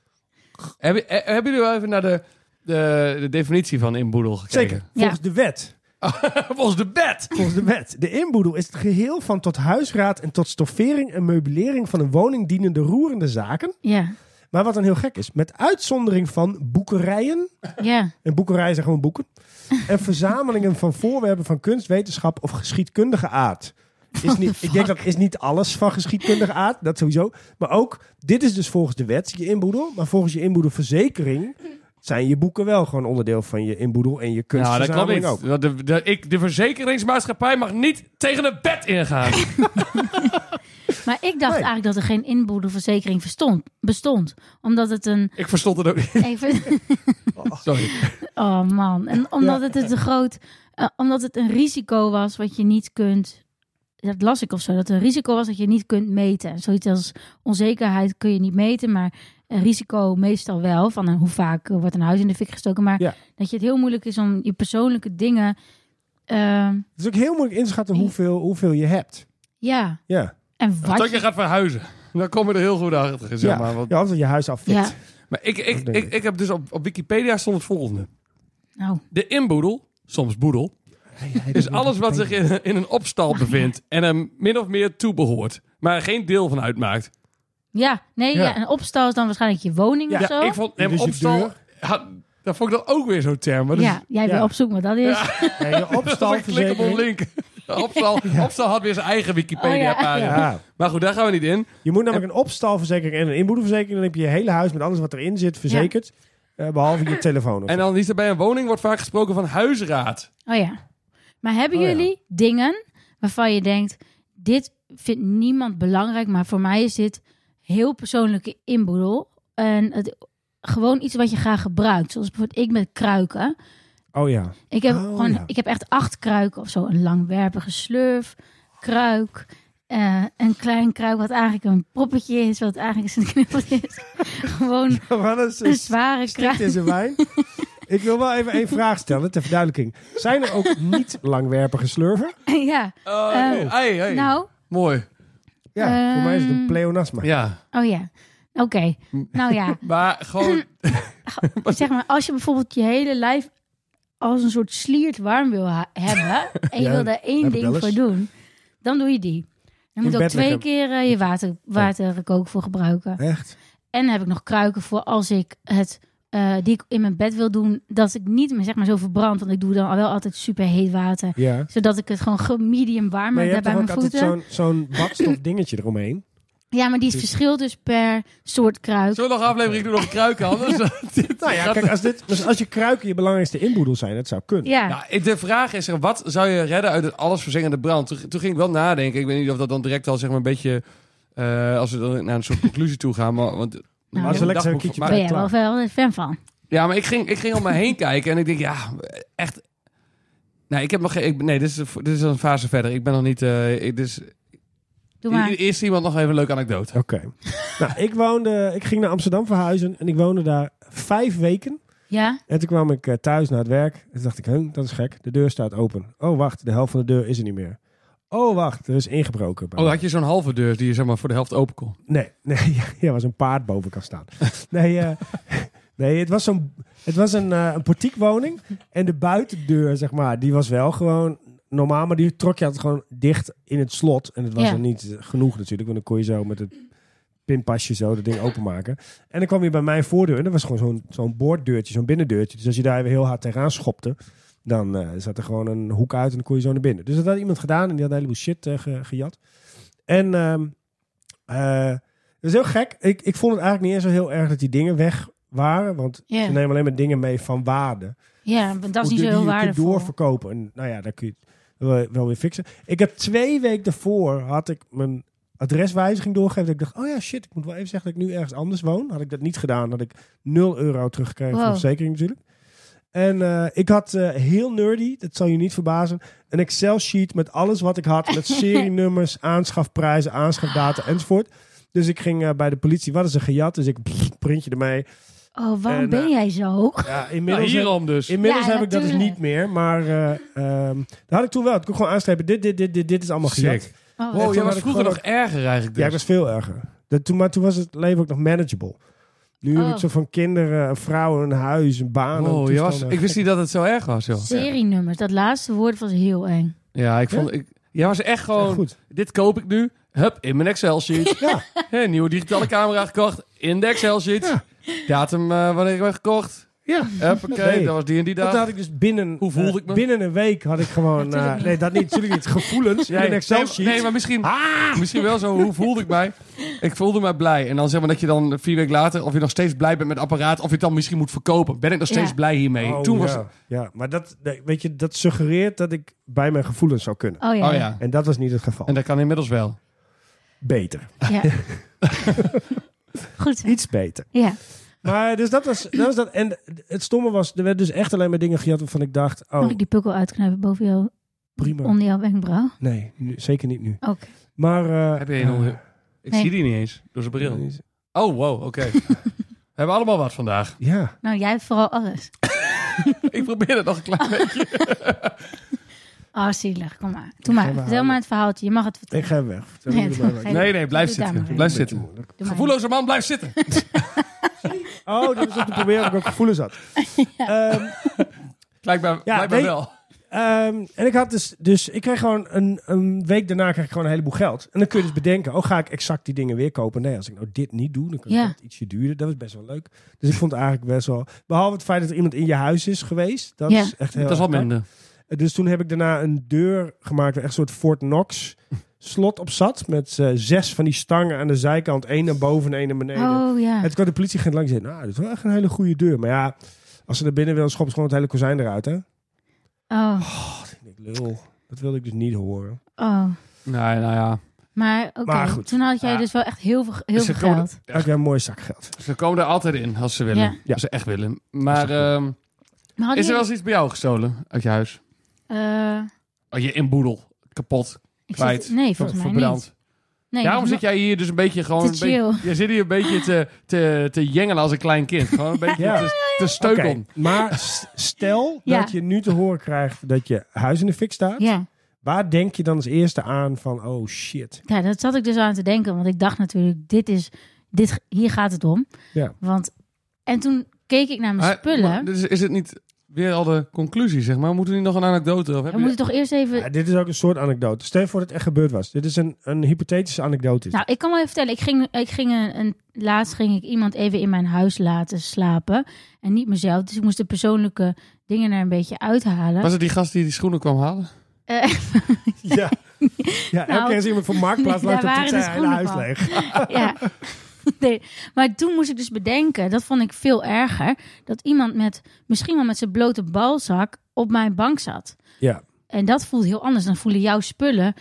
Speaker 2: Hebben eh, hebben jullie wel even naar de, de, de definitie van inboedel gekeken?
Speaker 1: Zeker, volgens de wet.
Speaker 2: Volgens de bed.
Speaker 1: Volgens de wet. De inboedel is het geheel van tot huisraad en tot stoffering en meubilering van een woning dienende roerende zaken.
Speaker 3: Ja,
Speaker 1: Maar wat dan heel gek is, met uitzondering van boekerijen,
Speaker 3: ja.
Speaker 1: En boekerijen zijn gewoon boeken. En verzamelingen van voorwerpen van kunst, wetenschap of geschiedkundige aard. Is niet, ik denk dat is niet alles van geschiedkundige aard, dat sowieso. Maar ook, dit is dus volgens de wet je inboedel. Maar volgens je inboedelverzekering zijn je boeken wel gewoon onderdeel van je inboedel en je
Speaker 2: Nou, dat klopt
Speaker 1: kunstverzameling
Speaker 2: niet.
Speaker 1: ook.
Speaker 2: Want De, de, ik, de verzekeringsmaatschappij mag niet tegen het bed ingaan.
Speaker 3: Maar ik dacht
Speaker 1: Nee.
Speaker 3: eigenlijk dat er geen inboedelverzekering verstond, bestond. Omdat het een...
Speaker 2: ik verstond het ook niet.
Speaker 3: Even,
Speaker 2: Sorry.
Speaker 3: oh man. En omdat het een te groot... eh, omdat het een risico was wat je niet kunt... Dat las ik of zo. Dat er een risico was dat je niet kunt meten. Zoiets als onzekerheid kun je niet meten. Maar een risico meestal wel. Van eh, hoe vaak eh, wordt een huis in de fik gestoken. Maar
Speaker 1: Ja.
Speaker 3: dat je het heel moeilijk is om je persoonlijke dingen... eh,
Speaker 1: Het is ook heel moeilijk in te schatten hoeveel, hoeveel je hebt.
Speaker 3: ja.
Speaker 1: Ja,
Speaker 3: En wat
Speaker 2: Tot je
Speaker 3: je-
Speaker 2: gaat verhuizen. Dan kom je er heel goed achter, zeg
Speaker 1: ja.
Speaker 2: maar. Want,
Speaker 1: ja als je huis afvikt.
Speaker 3: Ja.
Speaker 2: maar ik, ik,
Speaker 1: Dat denk
Speaker 2: ik, ik heb dus op, op Wikipedia stond het volgende.
Speaker 3: Nou,
Speaker 2: De inboedel, soms boedel,
Speaker 1: dus,
Speaker 2: is alles wat zich in, in een opstal bevindt en hem min of meer toebehoort. Maar er geen deel van uitmaakt.
Speaker 3: ja. Nee,
Speaker 1: Ja.
Speaker 3: ja. een opstal is dan waarschijnlijk je woning
Speaker 1: Ja,
Speaker 3: of zo.
Speaker 2: Ik vond hem
Speaker 1: Dus je
Speaker 2: opstal...
Speaker 1: deur.
Speaker 2: Ja, dat vond ik dan ook weer zo'n term. Maar dat is-
Speaker 3: ja, jij
Speaker 1: ja.
Speaker 3: wil opzoeken wat dat is.
Speaker 1: Ja, je
Speaker 2: dat is een clickable
Speaker 1: opstalverzekering.
Speaker 2: link. Opstal, opstal had weer zijn
Speaker 3: Oh,
Speaker 2: eigen Wikipedia-pagina.
Speaker 1: Ja.
Speaker 2: Maar goed, daar gaan we niet in.
Speaker 1: Je moet namelijk een opstalverzekering en een inboedelverzekering. Dan heb je je hele huis met alles wat erin zit verzekerd. Eh, behalve je telefoon. of
Speaker 2: En dan is er bij een woning wordt vaak gesproken van huisraad.
Speaker 3: Oh ja. Maar hebben
Speaker 1: Oh ja.
Speaker 3: jullie dingen waarvan je denkt: dit vindt niemand belangrijk, maar voor mij is dit heel persoonlijke inboedel. En het, gewoon iets wat je graag gebruikt. Zoals bijvoorbeeld ik met kruiken.
Speaker 1: Oh ja.
Speaker 3: Ik heb,
Speaker 1: Oh
Speaker 3: gewoon,
Speaker 1: ja.
Speaker 3: ik heb echt acht kruiken of zo. Een langwerpige slurf, kruik, eh, een klein kruik wat eigenlijk een proppetje is, wat eigenlijk een knippeltje is. gewoon
Speaker 1: We gaan eens
Speaker 3: een zware
Speaker 1: strikt
Speaker 3: kruik.
Speaker 1: in zijn wijn. Ik wil wel even één vraag stellen ter verduidelijking. Zijn er ook niet langwerpige slurven?
Speaker 3: ja,
Speaker 2: Eh,
Speaker 3: Eh,
Speaker 2: ei, ei.
Speaker 3: nou,
Speaker 2: Mooi.
Speaker 1: Ja, voor mij is het een
Speaker 3: Ehm,
Speaker 1: pleonasma.
Speaker 2: Ja.
Speaker 3: oh ja. Oké, nou ja.
Speaker 2: Maar gewoon,
Speaker 3: zeg maar, als je bijvoorbeeld je hele lijf als een soort sliert warm wil ha- hebben en je
Speaker 1: Ja,
Speaker 3: wil daar
Speaker 1: heb
Speaker 3: één
Speaker 1: ik
Speaker 3: ding
Speaker 1: wel
Speaker 3: voor
Speaker 1: eens.
Speaker 3: doen, dan doe je die. Dan
Speaker 1: In
Speaker 3: moet je ook
Speaker 1: bed
Speaker 3: twee
Speaker 1: liggen.
Speaker 3: keer eh, je water, waterkook voor gebruiken.
Speaker 1: Echt?
Speaker 3: En dan heb ik nog kruiken voor als ik het eh, die ik in mijn bed wil doen, dat ik niet meer zeg maar zo verbrand, want ik doe dan wel altijd super heet water,
Speaker 1: Ja.
Speaker 3: zodat ik het gewoon ge- medium warm
Speaker 1: Maar je
Speaker 3: heb
Speaker 1: hebt
Speaker 3: bij
Speaker 1: toch
Speaker 3: mijn
Speaker 1: ook altijd
Speaker 3: voeten.
Speaker 1: zo'n zo'n badstof dingetje eromheen?
Speaker 3: Ja, maar die is verschil dus per soort kruik.
Speaker 2: zullen we nog een aflevering doen over kruiken? Anders, dit
Speaker 1: Nou ja,
Speaker 2: gaat-
Speaker 1: kijk, als, dit, dus als je kruiken je belangrijkste inboedel zijn, dat zou kunnen.
Speaker 3: Ja.
Speaker 2: Ja, de vraag is, wat zou je redden uit het allesverzengende brand? Toen, toen ging ik wel nadenken. Ik weet niet of dat dan direct al zeg maar, een beetje... eh, als we dan naar een soort conclusie toe gaan. Maar, want,
Speaker 3: Nou,
Speaker 1: als we lekker zo'n
Speaker 2: dagboek-
Speaker 1: keertje
Speaker 2: maar-
Speaker 3: ben jij
Speaker 1: klaar.
Speaker 3: wel wel een fan van?
Speaker 2: Ja, maar ik ging, ik ging om me heen kijken en ik denk, ja, echt. Nee, ik heb nog geen. ik- nee, dit is, dit is een fase verder. Ik ben nog niet. eh ik, dus,
Speaker 3: Doe maar.
Speaker 2: Eerst iemand nog even een leuke anekdote.
Speaker 1: Oké. nou, ik, woonde, ik ging naar Amsterdam verhuizen en ik woonde daar vijf weken.
Speaker 3: Ja?
Speaker 1: En toen kwam ik eh, thuis naar het werk. En toen dacht ik, huh, dat is gek. De deur staat open. Oh, wacht, de helft van de deur is er niet meer. Oh, wacht, er is ingebroken. bij
Speaker 2: Oh,
Speaker 1: mij.
Speaker 2: had je zo'n halve deur die je zeg maar voor de helft open kon?
Speaker 1: Nee, nee, ja, was een paard boven kan staan. Nee, eh, nee het was, zo'n, het was een, eh, een portiekwoning. En de buitendeur, zeg maar, die was wel gewoon normaal. Maar die trok je altijd gewoon dicht in het slot. En het was
Speaker 3: Ja.
Speaker 1: er niet genoeg natuurlijk. Want dan kon je zo met het pinpasje zo dat ding openmaken. En dan kwam je bij mijn voordeur. En dat was gewoon zo'n, zo'n boorddeurtje, zo'n binnendeurtje. Dus als je daar weer heel hard tegenaan schopte... Dan eh, zat er gewoon een hoek uit en dan kon je zo naar binnen. Dus dat had iemand gedaan en die had een heleboel shit eh, ge- gejat. En ehm, eh, dat is heel gek. Ik, ik vond het eigenlijk niet eens zo heel erg dat die dingen weg waren. Want
Speaker 3: Ja.
Speaker 1: ze nemen alleen maar dingen mee van waarde.
Speaker 3: Ja, want dat is
Speaker 1: Hoe
Speaker 3: niet zo
Speaker 1: die
Speaker 3: heel
Speaker 1: je kunt
Speaker 3: waardevol.
Speaker 1: doorverkopen. En, nou ja, daar kun je het wel- wel weer fixen. Ik heb twee weken daarvoor had ik mijn adreswijziging doorgegeven. Dat ik dacht, oh ja, shit, ik moet wel even zeggen dat ik nu ergens anders woon. Had ik dat niet gedaan, had ik 0 euro teruggekregen van
Speaker 3: Wow.
Speaker 1: de verzekering natuurlijk. En eh, ik had eh, heel nerdy, dat zal je niet verbazen, een Excel-sheet met alles wat ik had. Met serienummers, aanschafprijzen, aanschafdata enzovoort. Dus ik ging eh, bij de politie, wat is er gejat? Dus ik pff, printje ermee.
Speaker 3: Oh, waarom
Speaker 1: En,
Speaker 3: ben
Speaker 1: eh,
Speaker 3: jij zo?
Speaker 1: Ja,
Speaker 2: Nou,
Speaker 1: inmiddels heb-
Speaker 2: hierom dus.
Speaker 1: Inmiddels
Speaker 3: Ja,
Speaker 1: heb ik dat dus
Speaker 3: natuurlijk.
Speaker 1: niet meer, maar eh, ehm, dat had ik toen wel. Ik kon gewoon aanstrepen, dit, dit, dit, dit, dit is allemaal gejat.
Speaker 2: Sick.
Speaker 3: Oh,
Speaker 1: Echt,
Speaker 2: Wow, jij
Speaker 1: toen
Speaker 2: was
Speaker 1: had ik
Speaker 2: vroeger nog
Speaker 1: gewoon
Speaker 2: erger eigenlijk dus.
Speaker 1: Ja, ik was veel erger. Dat, toen, maar toen was het leven ook nog manageable. Nu heb
Speaker 3: Oh.
Speaker 1: ik zo van kinderen, een vrouw, een huis, een baan.
Speaker 2: Wow,
Speaker 1: een
Speaker 2: je Oh, was,
Speaker 1: toestand.
Speaker 2: ik wist niet dat het zo erg was, joh.
Speaker 3: Serienummers, dat laatste woord was heel eng.
Speaker 2: Ja, ik vond... Ik, jij was echt
Speaker 1: Ja,
Speaker 2: gewoon...
Speaker 1: goed.
Speaker 2: Dit koop ik nu. Hup, in mijn Excel-sheet.
Speaker 1: Ja.
Speaker 2: Hé, nieuwe digitale camera gekocht. In de Excel-sheet.
Speaker 1: Ja.
Speaker 2: Datum eh, wanneer ik ben gekocht.
Speaker 1: Ja.
Speaker 2: Huppakee,
Speaker 1: Nee.
Speaker 2: dat was die en die
Speaker 1: Dat
Speaker 2: dag.
Speaker 1: had ik dus binnen,
Speaker 2: Hoe voelde
Speaker 1: eh,
Speaker 2: ik me?
Speaker 1: binnen een week had ik gewoon...
Speaker 3: Natuurlijk
Speaker 1: eh,
Speaker 3: niet.
Speaker 1: nee, dat niet. Natuurlijk niet. Gevoelens in een
Speaker 2: nee,
Speaker 1: Excel-sheet.
Speaker 2: nee, maar misschien, misschien wel zo. Hoe voelde ik mij? Ik voelde mij blij. En dan zeg maar dat je dan vier weken later... of je nog steeds blij bent met het apparaat... of je het dan misschien moet verkopen. Ben ik nog steeds
Speaker 3: Ja.
Speaker 2: blij hiermee?
Speaker 1: Oh,
Speaker 2: Toen
Speaker 1: ja.
Speaker 2: was het...
Speaker 1: Ja, maar dat, nee, weet je, dat suggereert dat ik bij mijn gevoelens zou kunnen.
Speaker 3: Oh ja.
Speaker 2: Oh ja.
Speaker 1: En dat was niet het geval.
Speaker 2: En dat kan inmiddels wel.
Speaker 1: Beter.
Speaker 3: Ja. Goed. zo.
Speaker 1: Iets beter.
Speaker 3: Ja.
Speaker 1: Maar dus dat was, dat was dat. En het stomme was, er werd dus echt alleen maar dingen gejat waarvan ik dacht, oh,
Speaker 3: Mag ik die pukkel uitknijpen boven jou,
Speaker 1: prima.
Speaker 3: onder jouw wenkbrauw?
Speaker 1: Nee, nu- zeker niet nu.
Speaker 3: Oké.
Speaker 1: Maar... eh,
Speaker 2: Heb je een
Speaker 1: eh,
Speaker 2: nog- Ik
Speaker 3: Nee.
Speaker 2: zie die niet eens. Door zijn bril. Oh, wow, oké. We hebben allemaal wat vandaag.
Speaker 1: Ja.
Speaker 3: Nou, jij hebt vooral alles.
Speaker 2: Ik probeer het nog een
Speaker 3: Oh,
Speaker 2: klein beetje.
Speaker 3: Ah, zielig. Kom maar. Doe maar.
Speaker 1: maar
Speaker 3: Vertel
Speaker 1: houden.
Speaker 3: maar het verhaaltje. Je mag het
Speaker 1: Ik
Speaker 3: vertellen.
Speaker 1: ga weg. Vertel
Speaker 3: Nee,
Speaker 1: jullie maar
Speaker 3: dat
Speaker 1: wat.
Speaker 3: ga
Speaker 2: Nee, nee, blijf
Speaker 3: Doe daar maar
Speaker 2: zitten.
Speaker 3: in.
Speaker 2: Blijf
Speaker 1: Beetje
Speaker 2: zitten.
Speaker 1: moeilijk.
Speaker 3: Doe maar.
Speaker 2: Gevoelloze man, blijf zitten.
Speaker 1: Oh, dat is om te proberen of ik ook gevoelens had. Ehm,
Speaker 2: Blijkbaar, blijkbaar
Speaker 1: nee.
Speaker 2: wel.
Speaker 1: ehm, en ik had dus, dus ik kreeg gewoon een, een week daarna kreeg ik gewoon een heleboel geld. En dan kun je dus bedenken, oh, ga ik exact die dingen weer kopen? Nee, als ik nou dit niet doe, dan kan ik
Speaker 3: Ja.
Speaker 1: dat ietsje duurder. Dat was best wel leuk. Dus ik vond het eigenlijk best wel, behalve het feit dat er iemand in je huis is geweest, dat
Speaker 3: Ja.
Speaker 1: is echt heel
Speaker 2: Dat is wat
Speaker 1: erg knap.
Speaker 2: minder.
Speaker 1: Uh, Dus toen heb ik daarna een deur gemaakt, waar echt een soort Fort Knox slot op zat. Met eh, zes van die stangen aan de zijkant, één naar boven en één naar beneden.
Speaker 3: Oh ja.
Speaker 1: En toen kwam de politieagent langs en zei, nou, dit is wel echt een hele goede deur. Maar ja, als ze naar binnen willen, schoppen ze gewoon het hele kozijn eruit, hè?
Speaker 3: Oh.
Speaker 1: Ik denk, lul, dat wilde ik dus niet horen.
Speaker 3: Oh.
Speaker 2: Nee, nou ja.
Speaker 3: Maar oké,
Speaker 1: Maar goed.
Speaker 3: toen had jij
Speaker 1: Ja.
Speaker 3: dus wel echt heel veel, heel
Speaker 2: Is
Speaker 3: veel
Speaker 2: het gewoon-
Speaker 3: geld.
Speaker 1: Daar heb jij een mooi zak geld.
Speaker 2: Ze komen er altijd in als ze willen.
Speaker 3: Ja.
Speaker 1: Ja.
Speaker 2: Als ze echt willen. Maar ehm,
Speaker 3: Maar had
Speaker 2: is er
Speaker 3: jij-
Speaker 2: wel eens iets bij jou gestolen uit je huis?
Speaker 3: Eh,
Speaker 2: Oh, je inboedel. Kapot.
Speaker 3: ik
Speaker 2: Kwijt.
Speaker 3: zit- nee, volgens mij
Speaker 2: Verbrand.
Speaker 3: niet. Nee,
Speaker 2: Daarom
Speaker 3: nog-
Speaker 2: zit jij hier dus een beetje gewoon...
Speaker 3: Te
Speaker 2: een beetje-
Speaker 3: chill.
Speaker 2: jij zit hier een beetje te, te, te jengelen als een klein kind. Gewoon een beetje
Speaker 1: Ja.
Speaker 2: te, te steuken.
Speaker 1: Oké, maar s- stel
Speaker 3: Ja.
Speaker 1: dat je nu te horen krijgt dat je huis in de fik staat.
Speaker 3: Ja.
Speaker 1: Waar denk je dan als eerste aan van, oh shit.
Speaker 3: ja, dat zat ik dus aan te denken. Want ik dacht natuurlijk, dit is, dit, hier gaat het om.
Speaker 1: Ja.
Speaker 3: Want, en toen keek ik naar mijn
Speaker 2: Maar-
Speaker 3: spullen.
Speaker 2: maar dus is het niet weer al de conclusie, zeg maar? Moeten we niet nog een anekdote? Of heb
Speaker 3: we
Speaker 2: je-
Speaker 3: moeten toch eerst even...
Speaker 1: Ja, dit is ook een soort anekdote. Stel je voor dat het echt gebeurd was. Dit is een, een hypothetische anekdote.
Speaker 3: Nou, ik kan wel even vertellen. Ik ging, ik ging een, een, laatst ging ik iemand even in mijn huis laten slapen. En niet mezelf. Dus ik moest de persoonlijke dingen er een beetje uithalen.
Speaker 2: Was het die gast die die schoenen kwam halen?
Speaker 3: Eh,
Speaker 1: Ja. ja elke
Speaker 3: Nou,
Speaker 1: keer als iemand van Marktplaats
Speaker 3: daar
Speaker 1: laat, dan
Speaker 3: waren dus
Speaker 1: trekt zijn
Speaker 3: de
Speaker 1: hele huis
Speaker 3: schoenen
Speaker 1: leeg.
Speaker 3: ja. Nee, maar toen moest ik dus bedenken, dat vond ik veel erger, dat iemand met misschien wel met zijn blote balzak op mijn bank zat.
Speaker 1: Ja.
Speaker 3: En dat voelt heel anders dan voelen jouw spullen,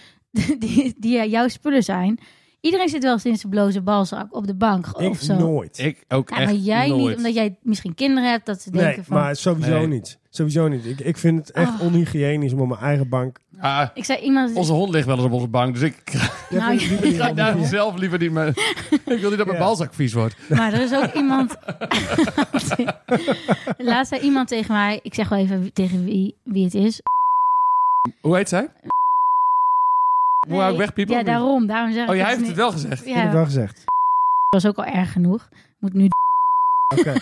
Speaker 3: die, die jouw spullen zijn, Iedereen zit wel sinds de bloze balzak op de bank of
Speaker 1: Ik
Speaker 3: zo.
Speaker 1: nooit.
Speaker 2: Ik ook
Speaker 3: Ja,
Speaker 2: echt
Speaker 3: maar jij
Speaker 2: nooit.
Speaker 3: niet, omdat jij misschien kinderen hebt, dat ze denken
Speaker 1: Nee,
Speaker 3: van...
Speaker 1: maar sowieso
Speaker 2: Nee.
Speaker 1: niet. Sowieso niet. Ik, ik vind het echt
Speaker 3: Ah.
Speaker 1: onhygiënisch om op mijn eigen bank...
Speaker 2: Ah,
Speaker 3: Ik zei iemand...
Speaker 2: onze hond ligt wel eens op onze bank, dus ik
Speaker 3: Nou,
Speaker 1: Die manier
Speaker 2: ga
Speaker 1: om-
Speaker 2: daar zelf liever niet mee. ik wil niet dat mijn
Speaker 1: Ja.
Speaker 2: balzak vies wordt.
Speaker 3: Maar er is ook iemand. Laatst zei iemand tegen mij. Ik zeg wel even wie- tegen wie, wie het is.
Speaker 2: Hoe heet zij? Moet hij ook wegpiepen,
Speaker 3: Ja,
Speaker 2: of niet?
Speaker 3: daarom. Daarom zeg ik
Speaker 2: Oh, jij
Speaker 3: het
Speaker 2: heeft
Speaker 3: nu-
Speaker 2: het wel gezegd.
Speaker 1: Ik heb het
Speaker 3: Ja,
Speaker 1: wel gezegd.
Speaker 3: dat was ook al erg genoeg. Moet nu.
Speaker 1: Oké.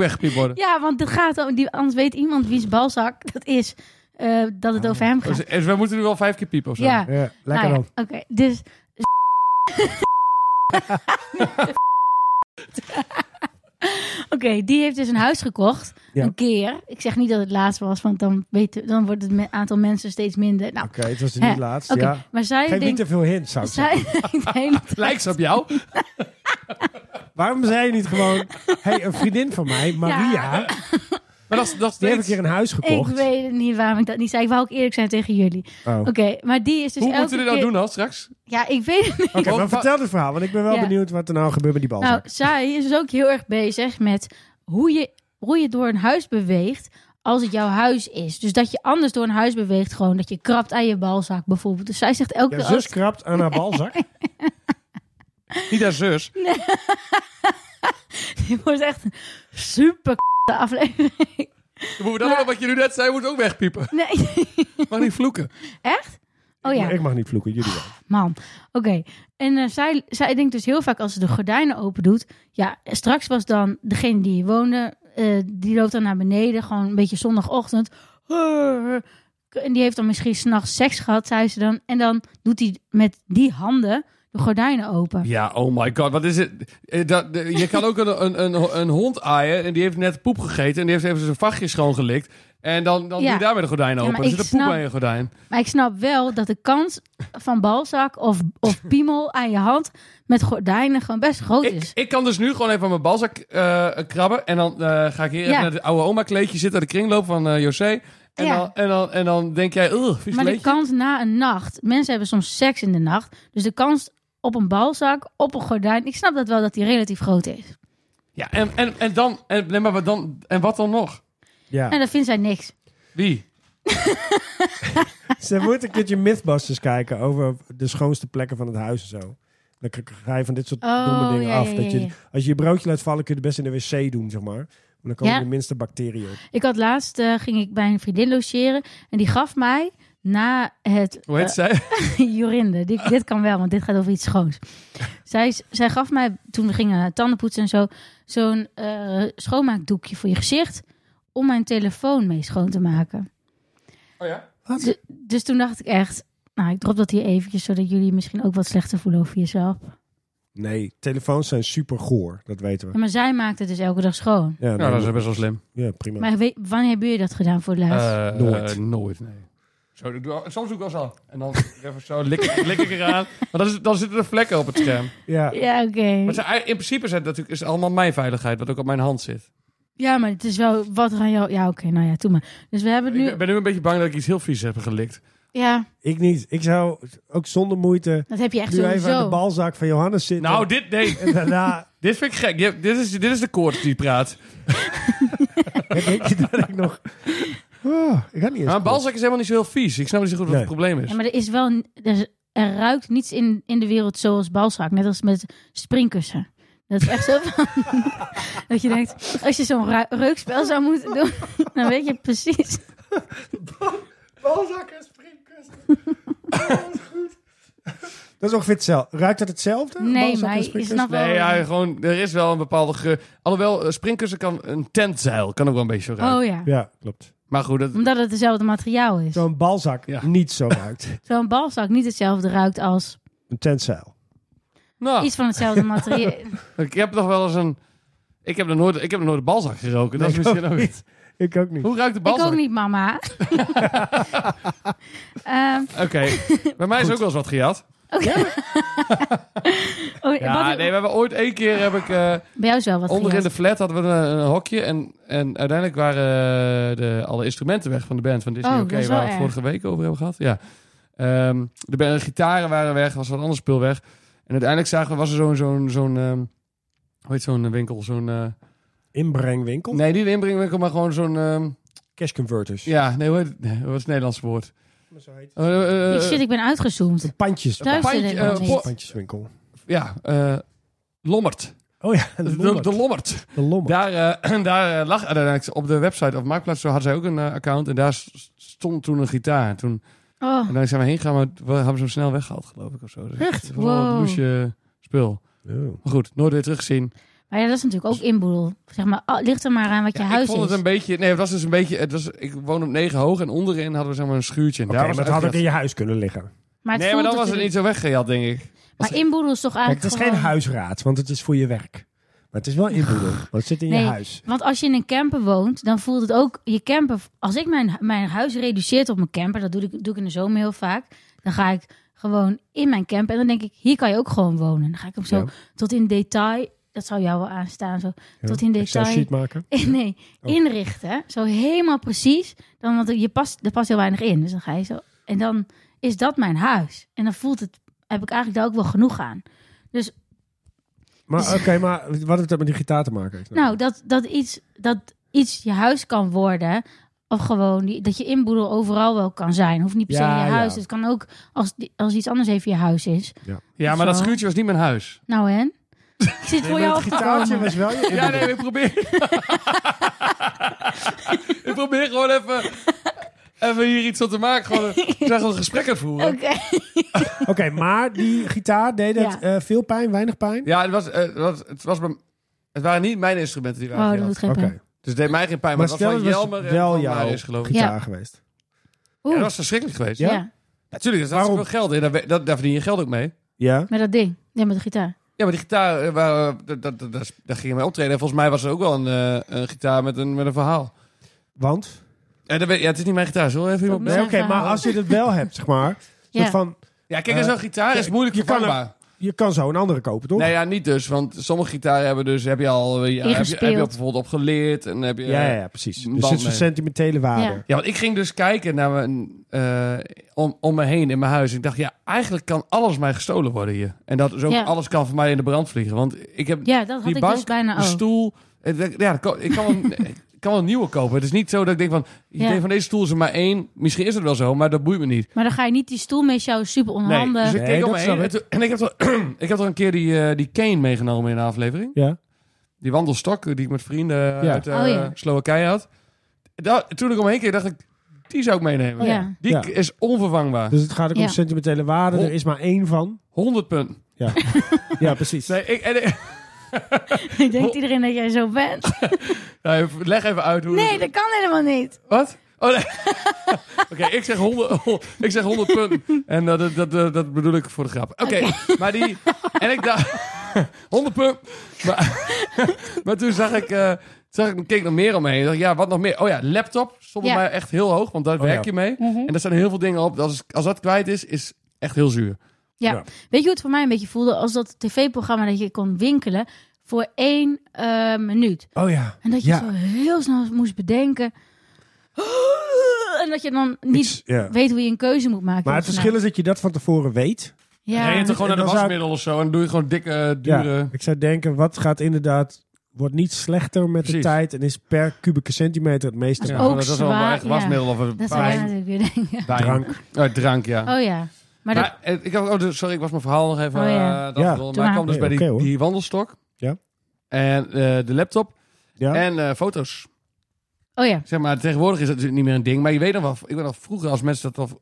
Speaker 2: Weggepiep worden.
Speaker 3: Ja, want dat gaat. om- Die, anders weet iemand wie's balzak dat is. eh, dat het over hem gaat.
Speaker 2: Dus, dus we moeten nu wel vijf keer piepen of zo.
Speaker 3: Ja,
Speaker 1: Ja, Ah, oh, lekker
Speaker 3: nou ja,
Speaker 1: dan.
Speaker 3: Oké, dus. Oké, die heeft dus een huis gekocht.
Speaker 1: Ja.
Speaker 3: Een keer. Ik zeg niet dat het laatst was, want dan, weten, dan wordt het me- aantal mensen steeds minder. Nou,
Speaker 1: Oké, het was
Speaker 3: Hè,
Speaker 1: niet laatst.
Speaker 3: oké,
Speaker 1: Ja.
Speaker 3: maar zij
Speaker 1: Geef niet
Speaker 3: denkt...
Speaker 1: te veel hints, zou ik zeggen.
Speaker 3: Zij denkt de hele tijd-
Speaker 2: Lijkt ze op jou?
Speaker 1: Waarom zei je niet gewoon... hey, een vriendin van mij, Maria,
Speaker 2: Maar dat is, dat is
Speaker 1: die heeft
Speaker 2: steeds-
Speaker 1: een keer een huis
Speaker 3: Ik
Speaker 1: gekocht.
Speaker 3: weet het niet waarom ik dat niet zei. Ik wou ook eerlijk zijn tegen jullie.
Speaker 1: Oh.
Speaker 3: Oké, maar die is dus
Speaker 2: Hoe
Speaker 3: elke
Speaker 2: moeten we dit nou
Speaker 3: keer-
Speaker 2: doen dan straks?
Speaker 3: Ja, ik weet het niet.
Speaker 1: Oké, maar
Speaker 2: Wat-
Speaker 1: vertel het verhaal, want ik ben wel
Speaker 3: Ja.
Speaker 1: benieuwd wat er nou gebeurt met die balzak.
Speaker 3: Nou, zij is dus ook heel erg bezig met hoe je, hoe je door een huis beweegt als het jouw huis is. Dus dat je anders door een huis beweegt gewoon. Dat je krabt aan je balzak bijvoorbeeld. Dus zij zegt elke
Speaker 1: Jouw
Speaker 3: keer...
Speaker 1: zus krabt aan
Speaker 3: Oh
Speaker 1: haar balzak.
Speaker 2: Niet haar zus.
Speaker 3: Dit wordt echt een super aflevering.
Speaker 2: Dan moeten we dat ook nog wat je nu net zei, moet ook wegpiepen.
Speaker 3: Nee,
Speaker 2: Mag niet vloeken.
Speaker 3: echt? Oh ja.
Speaker 1: Maar Ik mag niet vloeken, jullie wel.
Speaker 3: Man, oké. En eh, zij, zij denkt dus heel vaak als ze de gordijnen open doet. Ja, straks was dan degene die hier woonde, eh, die loopt dan naar beneden, gewoon een beetje zondagochtend. En die heeft dan misschien s'nachts seks gehad, zei ze dan. En dan doet hij met die handen de gordijnen open.
Speaker 2: Ja, oh my god, wat is het? Eh, dat- de- Je kan ook een, een, een, een hond aaien en die heeft net poep gegeten en die heeft even zijn vachtje schoongelikt. En dan, dan
Speaker 3: Ja.
Speaker 2: doe je daarmee de gordijn
Speaker 3: Ja,
Speaker 2: open.
Speaker 3: maar
Speaker 2: er
Speaker 3: ik
Speaker 2: zit een poep
Speaker 3: snap-
Speaker 2: aan je gordijn.
Speaker 3: Maar ik snap wel dat de kans van balzak of, of piemel aan je hand met gordijnen gewoon best groot
Speaker 2: Ik,
Speaker 3: is.
Speaker 2: ik kan dus nu gewoon even aan mijn balzak eh, krabben. En dan eh, ga ik hier
Speaker 3: Ja.
Speaker 2: even naar het oude oma kleedje zitten, de kringloop van eh, José. En,
Speaker 3: Ja.
Speaker 2: dan, en, dan, en dan denk jij, ugh, vies
Speaker 3: Maar de
Speaker 2: kleedje."
Speaker 3: kans na een nacht. Mensen hebben soms seks in de nacht. Dus de kans op een balzak, op een gordijn. Ik snap dat wel dat die relatief groot is.
Speaker 2: Ja, en, en, en dan, en, nee, maar wat dan, en wat dan nog?
Speaker 1: Ja.
Speaker 3: En dat vindt zij niks.
Speaker 2: Wie?
Speaker 1: Ze moet een keertje Mythbusters kijken over de schoonste plekken van het huis en zo. Dan k- ga je van dit soort
Speaker 3: Oh,
Speaker 1: domme dingen
Speaker 3: ja,
Speaker 1: af.
Speaker 3: ja,
Speaker 1: dat
Speaker 3: ja,
Speaker 1: je,
Speaker 3: ja.
Speaker 1: als je je broodje laat vallen, kun je het best in de wc doen, zeg maar. Maar dan komen
Speaker 3: Ja.
Speaker 1: de minste bacteriën op.
Speaker 3: Ik had laatst, eh, ging ik bij een vriendin logeren. En die gaf mij na het...
Speaker 2: Hoe heet zij?
Speaker 3: eh, Jorinde. Dit, dit kan wel, want dit gaat over iets schoons. Zij, zij gaf mij, toen we gingen tandenpoetsen en zo... Zo'n eh, schoonmaakdoekje voor je gezicht. Om mijn telefoon mee schoon te maken.
Speaker 2: Oh ja?
Speaker 3: Du- dus toen dacht ik echt, nou, ik drop dat hier eventjes, zodat jullie misschien ook wat slechter voelen over jezelf.
Speaker 1: Nee, telefoons zijn super goor, dat weten we.
Speaker 3: Ja, maar zij maakt het dus elke dag schoon.
Speaker 1: Ja,
Speaker 2: Nou,
Speaker 1: nee,
Speaker 2: dat is best wel slim.
Speaker 1: ja prima.
Speaker 3: Maar weet, wanneer hebben jullie dat gedaan voor het laatst?
Speaker 2: Eh,
Speaker 1: Nooit.
Speaker 2: eh, nooit, nee. Zo, doe- doe- soms doe ik wel zo. En dan even zo lik, ik- lik ik eraan. Maar dan, is, dan zitten er vlekken op het scherm.
Speaker 1: ja.
Speaker 3: ja, oké.
Speaker 2: Maar het zijn- in principe is het natuurlijk is het allemaal mijn veiligheid, wat ook op mijn hand zit.
Speaker 3: Ja, maar het is wel wat er aan jou... Ja, oké, nou ja, doe maar. Dus we hebben het nu...
Speaker 2: Ik ben nu een beetje bang dat ik iets heel vies heb gelikt.
Speaker 3: Ja,
Speaker 1: Ik niet. Ik zou ook zonder moeite
Speaker 3: dat heb je echt
Speaker 1: nu even aan
Speaker 3: sowieso.
Speaker 1: de balzak van Johannes zitten.
Speaker 2: Nou, dit, nee,
Speaker 1: En daarna
Speaker 2: dit vind ik gek. Je- dit, is, dit is de koorts die praat.
Speaker 1: denk je dat ik nog... Oh, ik had niet eens...
Speaker 2: Maar een balzak is helemaal niet zo heel vies. Ik snap niet zo goed wat
Speaker 1: Nee.
Speaker 2: het probleem is.
Speaker 3: Ja, maar er is wel... een- Er, is- er ruikt niets in, in de wereld zoals balzak. Net als met springkussen. Dat is echt zo van... dat je denkt, als je zo'n ru- reukspel zou moeten doen... dan weet je precies...
Speaker 1: Balzak en springkussen. Dat is ongeveer hetzelfde. Ruikt het hetzelfde?
Speaker 3: Nee,
Speaker 1: Balzak en
Speaker 3: maar je
Speaker 1: springkussen?
Speaker 3: snapt-
Speaker 2: Nee, ja, gewoon, er is wel een bepaalde geur. Alhoewel, eh, springkussen kan een tentzeil. Kan ook wel een beetje zo ruiken.
Speaker 3: Oh ja.
Speaker 1: Ja, klopt.
Speaker 2: Maar goed, dat,
Speaker 3: Omdat het hetzelfde materiaal is.
Speaker 1: Zo'n balzak
Speaker 2: Ja.
Speaker 1: niet zo ruikt.
Speaker 3: Zo'n balzak niet hetzelfde ruikt als
Speaker 1: Een tentzeil.
Speaker 2: nou,
Speaker 3: iets van hetzelfde materiaal.
Speaker 2: ik heb nog wel eens een... Ik heb nog nooit, ik heb nog nooit een balzak geroken. Dat is
Speaker 1: Nee, ik
Speaker 2: misschien ook
Speaker 1: ook
Speaker 2: iets.
Speaker 1: Ik ook niet.
Speaker 2: Hoe ruikt de
Speaker 3: Ik
Speaker 2: balzak?
Speaker 3: ook niet, mama. Ehm,
Speaker 2: Oké, bij mij is ook wel eens wat gejat.
Speaker 3: oh,
Speaker 2: Ja,
Speaker 3: wat-
Speaker 2: nee, we hebben ooit één keer heb ik... eh,
Speaker 3: Bij jou is wel wat
Speaker 2: Onder in
Speaker 3: gejat.
Speaker 2: de flat hadden we een, een hokje. En, en uiteindelijk waren eh, de, alle instrumenten weg van de band van Disney.
Speaker 3: Oh,
Speaker 2: Oké,
Speaker 3: dat is
Speaker 2: waar
Speaker 3: wel
Speaker 2: we het
Speaker 3: erg.
Speaker 2: vorige week over hebben gehad. Ja. Ehm, de, ba- de gitaren waren weg, was wat ander spul weg. En uiteindelijk zagen we, was er zo'n, zo'n, zo'n ehm, hoe heet zo'n winkel? Zo'n, eh,
Speaker 1: Inbrengwinkel?
Speaker 2: nee, niet een inbrengwinkel, maar gewoon zo'n, ehm,
Speaker 1: Cash converters.
Speaker 2: ja, nee, hoe heet het? Nee, wat is het Nederlandse woord? Eh, eh, eh,
Speaker 3: Shit, ik ben uitgezoomd.
Speaker 1: Pandjes.
Speaker 3: Thuis
Speaker 2: pandje,
Speaker 3: zit ik nog
Speaker 2: eh,
Speaker 3: niet.
Speaker 2: po-
Speaker 1: Pandjeswinkel.
Speaker 2: ja, eh, Lommert.
Speaker 1: Oh ja, de
Speaker 2: De,
Speaker 1: lommer.
Speaker 2: de Lommert.
Speaker 1: De lommer.
Speaker 2: Daar, eh, daar eh, lag uiteindelijk op de website of Marktplaats, zo had zij ook een eh, account. En daar s- stond toen een gitaar. En toen,
Speaker 3: Oh,
Speaker 2: en toen zijn we heen gegaan, maar we hebben ze hem snel weggehaald, geloof ik. Of zo. Dus
Speaker 3: Echt?
Speaker 2: Het was wel een
Speaker 3: Wow.
Speaker 2: loesje spul.
Speaker 1: Oh.
Speaker 2: Maar goed, nooit weer teruggezien.
Speaker 3: maar ja, dat is natuurlijk ook inboedel. Zeg maar, ah, ligt er maar aan wat je
Speaker 2: Ja, ik
Speaker 3: huis
Speaker 2: vond het
Speaker 3: is.
Speaker 2: een beetje... Nee, het was dus een beetje... Het was, ik woon op negen hoog en onderin hadden we zeg maar een schuurtje. En
Speaker 1: Oké,
Speaker 2: daar
Speaker 1: maar
Speaker 2: was
Speaker 1: dat
Speaker 2: het
Speaker 1: had ook in
Speaker 2: uitgehaald.
Speaker 1: je huis kunnen liggen.
Speaker 3: Maar het dus
Speaker 2: Nee, maar dan
Speaker 3: voelt
Speaker 2: was het
Speaker 3: natuurlijk-
Speaker 2: niet zo weggehaald, denk ik.
Speaker 3: Maar inboedel is toch
Speaker 1: Kijk,
Speaker 3: eigenlijk
Speaker 1: het is geen
Speaker 3: gewoon-
Speaker 1: huisraad, want het is voor je werk. Maar het is wel inboedel, want het zit in je
Speaker 3: Ah. Nee.
Speaker 1: huis.
Speaker 3: Want als je in een camper woont, dan voelt het ook je camper. Als ik mijn, mijn huis reduceert op mijn camper, dat doe ik, doe ik in de zomer heel vaak. Dan ga ik gewoon in mijn camper en dan denk ik, hier kan je ook gewoon wonen. Dan ga ik hem zo
Speaker 1: Ja.
Speaker 3: tot in detail. Dat zou jou wel aanstaan, zo tot in
Speaker 1: Excel
Speaker 3: detail.
Speaker 1: sheet maken.
Speaker 3: Nee,
Speaker 1: Oh.
Speaker 3: inrichten. Zo helemaal precies. Dan, want je past, er past heel weinig in. Dus dan ga je zo. En dan is dat mijn huis. En dan voelt het, heb ik eigenlijk daar ook wel genoeg aan.
Speaker 1: Maar oké, maar wat heeft dat met die gitaar te maken?
Speaker 3: Nou, dat, dat, iets, dat iets je huis kan worden. Of gewoon die, dat je inboedel overal wel kan zijn. Hoeft niet per se
Speaker 1: Ja,
Speaker 3: in je
Speaker 1: ja.
Speaker 3: huis. Het kan ook als, die- als iets anders even je huis is.
Speaker 2: Ja, maar
Speaker 3: Zo.
Speaker 2: dat schuurtje was niet mijn huis.
Speaker 3: Nou en? Ik zit voor jou
Speaker 1: het gitaartje
Speaker 3: opgekomen.
Speaker 1: was wel je
Speaker 2: Ja, nee, ik probeer... ik probeer gewoon even... Even hier iets van te maken. Gewoon, ik zag wel gesprekken voeren.
Speaker 3: Oké.
Speaker 1: Oké, maar die gitaar deed het
Speaker 3: Ja.
Speaker 1: eh, veel pijn, weinig pijn?
Speaker 2: Ja, het, was, eh, het, was, het, was mijn- het waren niet mijn instrumenten die waren
Speaker 3: Oh, dat
Speaker 2: gehaald.
Speaker 3: doet geen
Speaker 1: Oké,
Speaker 3: pijn.
Speaker 2: Dus het deed mij geen pijn.
Speaker 1: maar
Speaker 2: Maar, het was
Speaker 1: stel het
Speaker 2: van
Speaker 1: was
Speaker 2: Jelmer en
Speaker 1: wel
Speaker 2: van
Speaker 1: jouw
Speaker 2: Marius, geloof ik.
Speaker 1: gitaar
Speaker 3: Ja.
Speaker 1: geweest.
Speaker 2: Ja,
Speaker 3: Oeh.
Speaker 2: dat was verschrikkelijk geweest.
Speaker 1: Ja?
Speaker 3: Ja?
Speaker 2: Natuurlijk, dat
Speaker 1: Waarom?
Speaker 2: was veel geld in. Daar, daar verdien je geld ook mee.
Speaker 1: Ja?
Speaker 3: met dat ding. Ja, met de gitaar.
Speaker 2: Ja, maar die gitaar, eh, waar, eh, dat, dat, dat, dat- daar ging je mee optreden. En volgens mij was er ook wel een, eh, een gitaar met een, met een verhaal.
Speaker 1: Want?
Speaker 2: Eh, dat weet- ja, het is niet mijn gitaar. Zullen we even iemand...
Speaker 3: Met
Speaker 1: Nee,
Speaker 3: zijn
Speaker 1: oké, maar
Speaker 3: verhaal.
Speaker 1: als je het wel hebt, zeg maar.
Speaker 3: Ja.
Speaker 1: soort Van,
Speaker 2: Ja, kijk,
Speaker 1: Eh,
Speaker 2: zo'n gitaar is
Speaker 1: ja,
Speaker 2: moeilijk
Speaker 1: je kan hem-
Speaker 2: vervangbaar.
Speaker 1: je kan zo een andere kopen, toch?
Speaker 2: Nee, ja, niet dus. Want sommige gitaren hebben dus, heb je al... eh, Ja, heb, je, heb je
Speaker 3: Ingespeeld.
Speaker 2: bijvoorbeeld op geleerd. En heb je,
Speaker 1: ja, ja, ja, precies.
Speaker 2: eh, een
Speaker 1: Dus
Speaker 2: band
Speaker 1: het is een
Speaker 2: mee.
Speaker 1: sentimentele waarde.
Speaker 3: Ja.
Speaker 2: Ja, want ik ging dus kijken naar mijn, eh, om, om me heen in mijn huis. Ik dacht, ja, eigenlijk kan alles mij gestolen worden hier. En dat is ook
Speaker 3: Ja.
Speaker 2: alles kan voor mij in de brand vliegen. Want ik heb
Speaker 3: Ja, dat had
Speaker 2: die
Speaker 3: ik
Speaker 2: bank,
Speaker 3: dus bijna
Speaker 2: de
Speaker 3: ook.
Speaker 2: stoel. eh, dat- Ja, dat kan- ik kan, wel, ik kan wel een nieuwe kopen. Het is niet zo dat ik denk van, ik
Speaker 3: Ja.
Speaker 2: denk van deze stoel is er maar één. Misschien is het wel zo, maar dat boeit me niet.
Speaker 3: Maar dan ga je niet die stoel mee sjouwen, super
Speaker 2: Nee,
Speaker 3: onhandig.
Speaker 2: dus ik
Speaker 1: Nee,
Speaker 2: keek om
Speaker 1: dat
Speaker 2: me
Speaker 1: snap
Speaker 2: heen.
Speaker 1: ik.
Speaker 2: En, toen- en ik, heb toch, ik heb toch een keer die, eh, die cane meegenomen in de aflevering.
Speaker 1: Ja.
Speaker 2: Die wandelstok die ik met vrienden
Speaker 1: Ja.
Speaker 2: uit eh,
Speaker 3: Oh, ja.
Speaker 2: Slowakije had. Da- toen ik omheen keek, dacht ik, die zou ik meenemen.
Speaker 3: ja.
Speaker 2: Die
Speaker 1: Ja.
Speaker 2: k- is onvervangbaar.
Speaker 1: Dus het gaat ook om
Speaker 3: Ja.
Speaker 1: sentimentele waarde.
Speaker 2: Hol-
Speaker 1: Er is maar één van.
Speaker 2: 100 punten.
Speaker 1: Ja, precies.
Speaker 2: Nee, ik, en, eh,
Speaker 3: ik
Speaker 2: Oh.
Speaker 3: denk iedereen dat jij zo bent.
Speaker 2: nou, leg even uit hoe...
Speaker 3: Nee, dat kan helemaal niet.
Speaker 2: Wat? Oh, nee. Oké, ik zeg 100, oh, ik zeg 100 punten. En eh, dat, dat, dat, dat bedoel ik voor de grap. Oké, maar die... En ik dacht... 100 punten. Maar, maar toen zag ik... eh zag ik keek nog meer omheen. Ik dacht, ja, wat nog meer? Oh ja, laptop stond bij
Speaker 3: Ja. Mhm.
Speaker 2: mij echt heel hoog. Want daar
Speaker 1: Oh,
Speaker 2: werk
Speaker 1: ja.
Speaker 2: je mee. En daar staan heel veel dingen op. Als, als dat kwijt is, is echt heel zuur.
Speaker 3: Ja.
Speaker 1: Ja.
Speaker 3: Weet je hoe het voor mij een beetje voelde? Als dat tv-programma dat je kon winkelen voor één eh, minuut.
Speaker 1: Oh ja.
Speaker 3: En dat je
Speaker 1: Ja.
Speaker 3: zo heel snel moest bedenken. En dat je dan niet
Speaker 1: Iets, ja.
Speaker 3: weet nou. hoe je een keuze moet maken. nou-
Speaker 1: Maar het verschil is dat je dat van tevoren weet.
Speaker 3: Ja,
Speaker 2: Ren je toch gewoon naar
Speaker 1: En
Speaker 2: de
Speaker 1: dan zou ik-
Speaker 2: wasmiddel of zo. En doe je gewoon dikke, dure...
Speaker 1: Ja. Ik zou denken, wat gaat inderdaad... Wordt niet slechter met
Speaker 2: Precies.
Speaker 1: de tijd en is per kubieke centimeter het meeste.
Speaker 3: Ja. Oh.
Speaker 1: waard.
Speaker 3: ook
Speaker 2: dat was wel
Speaker 3: zwaar,
Speaker 2: mijn eigen
Speaker 3: ja.
Speaker 2: wasmiddel of een
Speaker 3: dat zou jij
Speaker 2: wijn.
Speaker 3: natuurlijk weer denken.
Speaker 2: wijn.
Speaker 1: Drank.
Speaker 2: Oh, drank, ja.
Speaker 3: Oh ja. Maar, dat,
Speaker 2: Maar, eh, ik had, oh, dus- sorry, ik was mijn verhaal nog even.
Speaker 3: Oh, ja.
Speaker 2: eh, dat
Speaker 1: Ja,
Speaker 2: bedoel-
Speaker 3: doe
Speaker 2: maar ik
Speaker 3: maar.
Speaker 2: kwam dus
Speaker 1: Nee,
Speaker 2: bij die,
Speaker 1: oké, hoor.
Speaker 2: die wandelstok.
Speaker 1: Ja.
Speaker 2: En eh, de laptop.
Speaker 1: Ja.
Speaker 2: En eh, foto's.
Speaker 3: oh ja.
Speaker 2: Zeg maar, tegenwoordig is dat natuurlijk niet meer een ding. Maar je weet nog wel, ik weet nog vroeger als mensen dat al,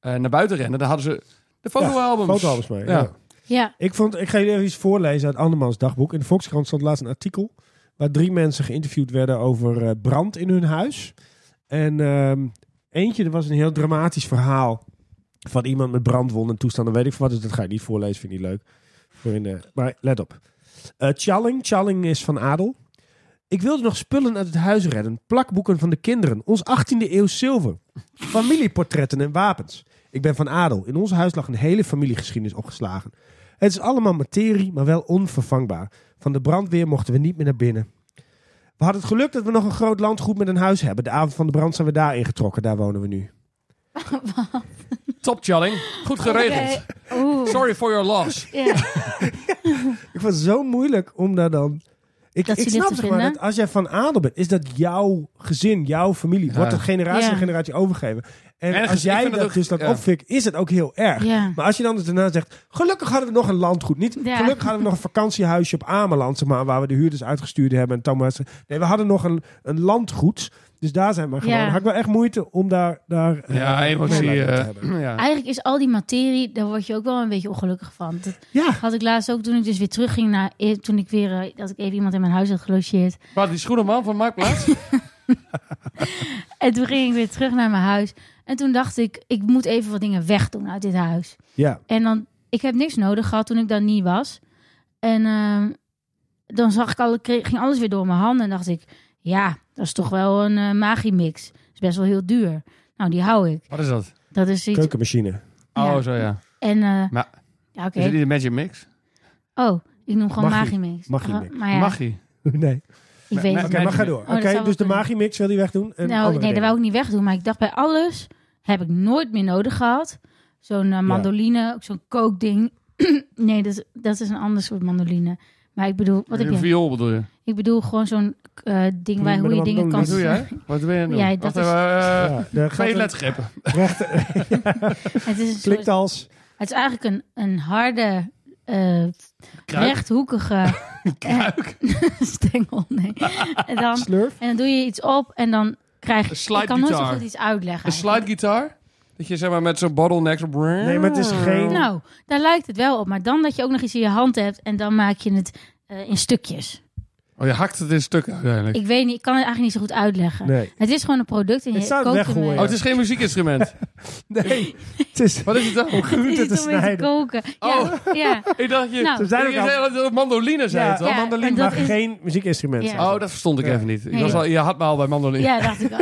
Speaker 2: eh, naar buiten rennen, dan hadden ze de fotoalbums.
Speaker 1: Fotoalbums mee.
Speaker 2: Ja.
Speaker 1: ja.
Speaker 3: Ja.
Speaker 1: Ik, vond, ik ga jullie even iets voorlezen uit Andermans dagboek. In de Volkskrant stond laatst een artikel waar drie mensen geïnterviewd werden over eh, brand in hun huis. En ehm, eentje, er was een heel dramatisch verhaal van iemand met brandwonden en toestanden, weet ik veel wat. Dus dat ga ik niet voorlezen, vind ik niet leuk. Voor in de, maar let op. Eh Challing, Challing is van adel. Ik wilde nog spullen uit het huis redden. Plakboeken van de kinderen. Ons 18e eeuw zilver. Familieportretten en wapens. Ik ben van adel. In ons huis lag een hele familiegeschiedenis opgeslagen. Het is allemaal materie, maar wel onvervangbaar. Van de brandweer mochten we niet meer naar binnen. We hadden het geluk dat we nog een groot landgoed met een huis hebben. De avond van de brand zijn we daar ingetrokken. Daar wonen we nu.
Speaker 2: Top, Challing. Goed geregeld.
Speaker 3: Oké. Oeh.
Speaker 2: Sorry for your loss.
Speaker 3: Ja.
Speaker 1: Ik vond het zo moeilijk om daar dan... Ik,
Speaker 3: Dat
Speaker 1: ik
Speaker 3: ze dit
Speaker 1: snap
Speaker 3: te
Speaker 1: zeg maar
Speaker 3: vinden.
Speaker 1: dat als jij van adel bent, is dat jouw gezin, jouw familie. Wordt
Speaker 2: Ja.
Speaker 1: dat generatie
Speaker 3: Ja.
Speaker 1: en generatie overgegeven. En
Speaker 2: Ergens,
Speaker 1: als
Speaker 2: ik
Speaker 1: jij
Speaker 2: vind
Speaker 1: dat,
Speaker 2: dat ook-
Speaker 1: dus dat
Speaker 2: ja.
Speaker 1: opfikt, is het ook heel erg.
Speaker 3: Ja.
Speaker 1: Maar als je dan dus daarna zegt, gelukkig hadden we nog een landgoed. Niet,
Speaker 3: Ja.
Speaker 1: gelukkig hadden we nog een vakantiehuisje op Ameland, zeg maar, waar we de huurders uitgestuurd hebben. En Thomas, nee, we hadden nog een, een landgoed. Dus daar zijn we gewoon.
Speaker 3: Ja.
Speaker 1: Had ik wel echt moeite om daar... daar eh,
Speaker 2: Ja, emotie.
Speaker 1: meeleiding te
Speaker 2: eh,
Speaker 1: hebben.
Speaker 2: ja.
Speaker 3: Eigenlijk is al die materie, daar word je ook wel een beetje ongelukkig van. Dat
Speaker 1: Ja,
Speaker 3: had ik laatst ook toen ik dus weer terugging naar... eh, Toen ik weer, eh, dat ik even iemand in mijn huis had gelogeerd.
Speaker 2: Wat, die schoenenman van Marktplaats?
Speaker 3: En toen ging ik weer terug naar mijn huis. En toen dacht ik, ik moet even wat dingen wegdoen uit dit huis.
Speaker 1: ja.
Speaker 3: En dan, ik heb niks nodig gehad toen ik daar niet was. En ehm, dan zag ik alle, kreeg- ging alles weer door mijn handen. En dacht ik, ja, dat is toch wel een eh, magiemix. Dat is best wel heel duur. Nou, die hou ik.
Speaker 2: Wat is dat?
Speaker 3: Dat is iets.
Speaker 1: keukenmachine.
Speaker 3: Ja.
Speaker 2: Oh, zo ja.
Speaker 3: En, eh,
Speaker 2: Maar-
Speaker 3: ja, oké.
Speaker 2: Is dit niet de Magic Mix?
Speaker 3: Oh, ik noem gewoon
Speaker 1: Magie.
Speaker 3: magiemix.
Speaker 1: Magiemix.
Speaker 3: Maar ja,
Speaker 2: Mag hij?
Speaker 1: nee.
Speaker 3: ik weet
Speaker 1: Oké,
Speaker 2: Ma-
Speaker 3: het
Speaker 2: ma-
Speaker 1: maar ga door. Oké,
Speaker 3: Oh, dat zou wel
Speaker 1: dus de
Speaker 3: kunnen.
Speaker 1: magiemix wil hij wegdoen. En
Speaker 3: niet. Nou,
Speaker 1: andere
Speaker 3: nee, dat
Speaker 1: dingen.
Speaker 3: wou ik niet wegdoen. Maar ik dacht, bij alles heb ik nooit meer nodig gehad. Zo'n eh, mandoline, ook zo'n kookding. nee, dat, is- dat is een ander soort mandoline. Maar ik bedoel, wat heb
Speaker 2: Een
Speaker 3: je?
Speaker 2: viool bedoel je?
Speaker 3: Ik bedoel gewoon zo'n eh, ding waar
Speaker 1: Met
Speaker 3: hoe je
Speaker 1: een
Speaker 3: dingen kan...
Speaker 2: Wat doe jij? Wat ben je aan het doen?
Speaker 3: Ja, dat
Speaker 2: Wacht even, eh,
Speaker 1: Ja, daar gaat
Speaker 2: Twee
Speaker 1: een
Speaker 2: lettergrepen.
Speaker 1: rechter-
Speaker 3: Het is, een
Speaker 1: Klikt
Speaker 3: soort,
Speaker 1: als.
Speaker 3: het is eigenlijk een, een harde, eh,
Speaker 2: Kruik.
Speaker 3: rechthoekige eh, stengel. Nee. En, dan,
Speaker 1: Slurf.
Speaker 3: en dan doe je iets op en dan krijg
Speaker 2: Een
Speaker 3: je...
Speaker 2: slide
Speaker 3: Ik kan nooit zo
Speaker 2: guitar.
Speaker 3: goed iets uitleggen.
Speaker 2: Een slide guitar? Dat je zeg maar met zo'n bottleneck... zo-
Speaker 1: Nee, maar het is geen-
Speaker 3: eigenlijk. Nou, daar lijkt het wel op. Maar dan dat je ook nog iets in je hand hebt en dan maak je het eh, in stukjes.
Speaker 2: Oh, je hakt het in stukken uiteindelijk.
Speaker 3: Ik weet niet, ik kan het eigenlijk niet zo goed uitleggen.
Speaker 1: Nee.
Speaker 3: Het is gewoon een product en
Speaker 1: Het
Speaker 3: je
Speaker 1: staat
Speaker 3: kookt
Speaker 1: weggooien.
Speaker 3: ermee.
Speaker 2: Oh, het is geen muziekinstrument.
Speaker 1: Nee, het is
Speaker 2: Wat is het dan?
Speaker 3: Het
Speaker 1: groente
Speaker 3: is
Speaker 1: te
Speaker 3: om mee te
Speaker 1: snijden. Oh.
Speaker 3: koken. Ja, ja.
Speaker 2: Ik dacht je...
Speaker 3: Nou.
Speaker 2: Ze zijn ook al... dat het mandoline zijn
Speaker 1: Ja,
Speaker 2: toch?
Speaker 3: Ja,
Speaker 1: mandoline,
Speaker 3: en dat
Speaker 1: maar
Speaker 3: is-
Speaker 1: geen muziekinstrument.
Speaker 3: Ja.
Speaker 1: zijn.
Speaker 2: Oh, dat verstond ik
Speaker 1: Ja.
Speaker 2: even niet. Ik
Speaker 3: Nee.
Speaker 2: was al, je had me al bij mandoline.
Speaker 3: ja, dacht ik al.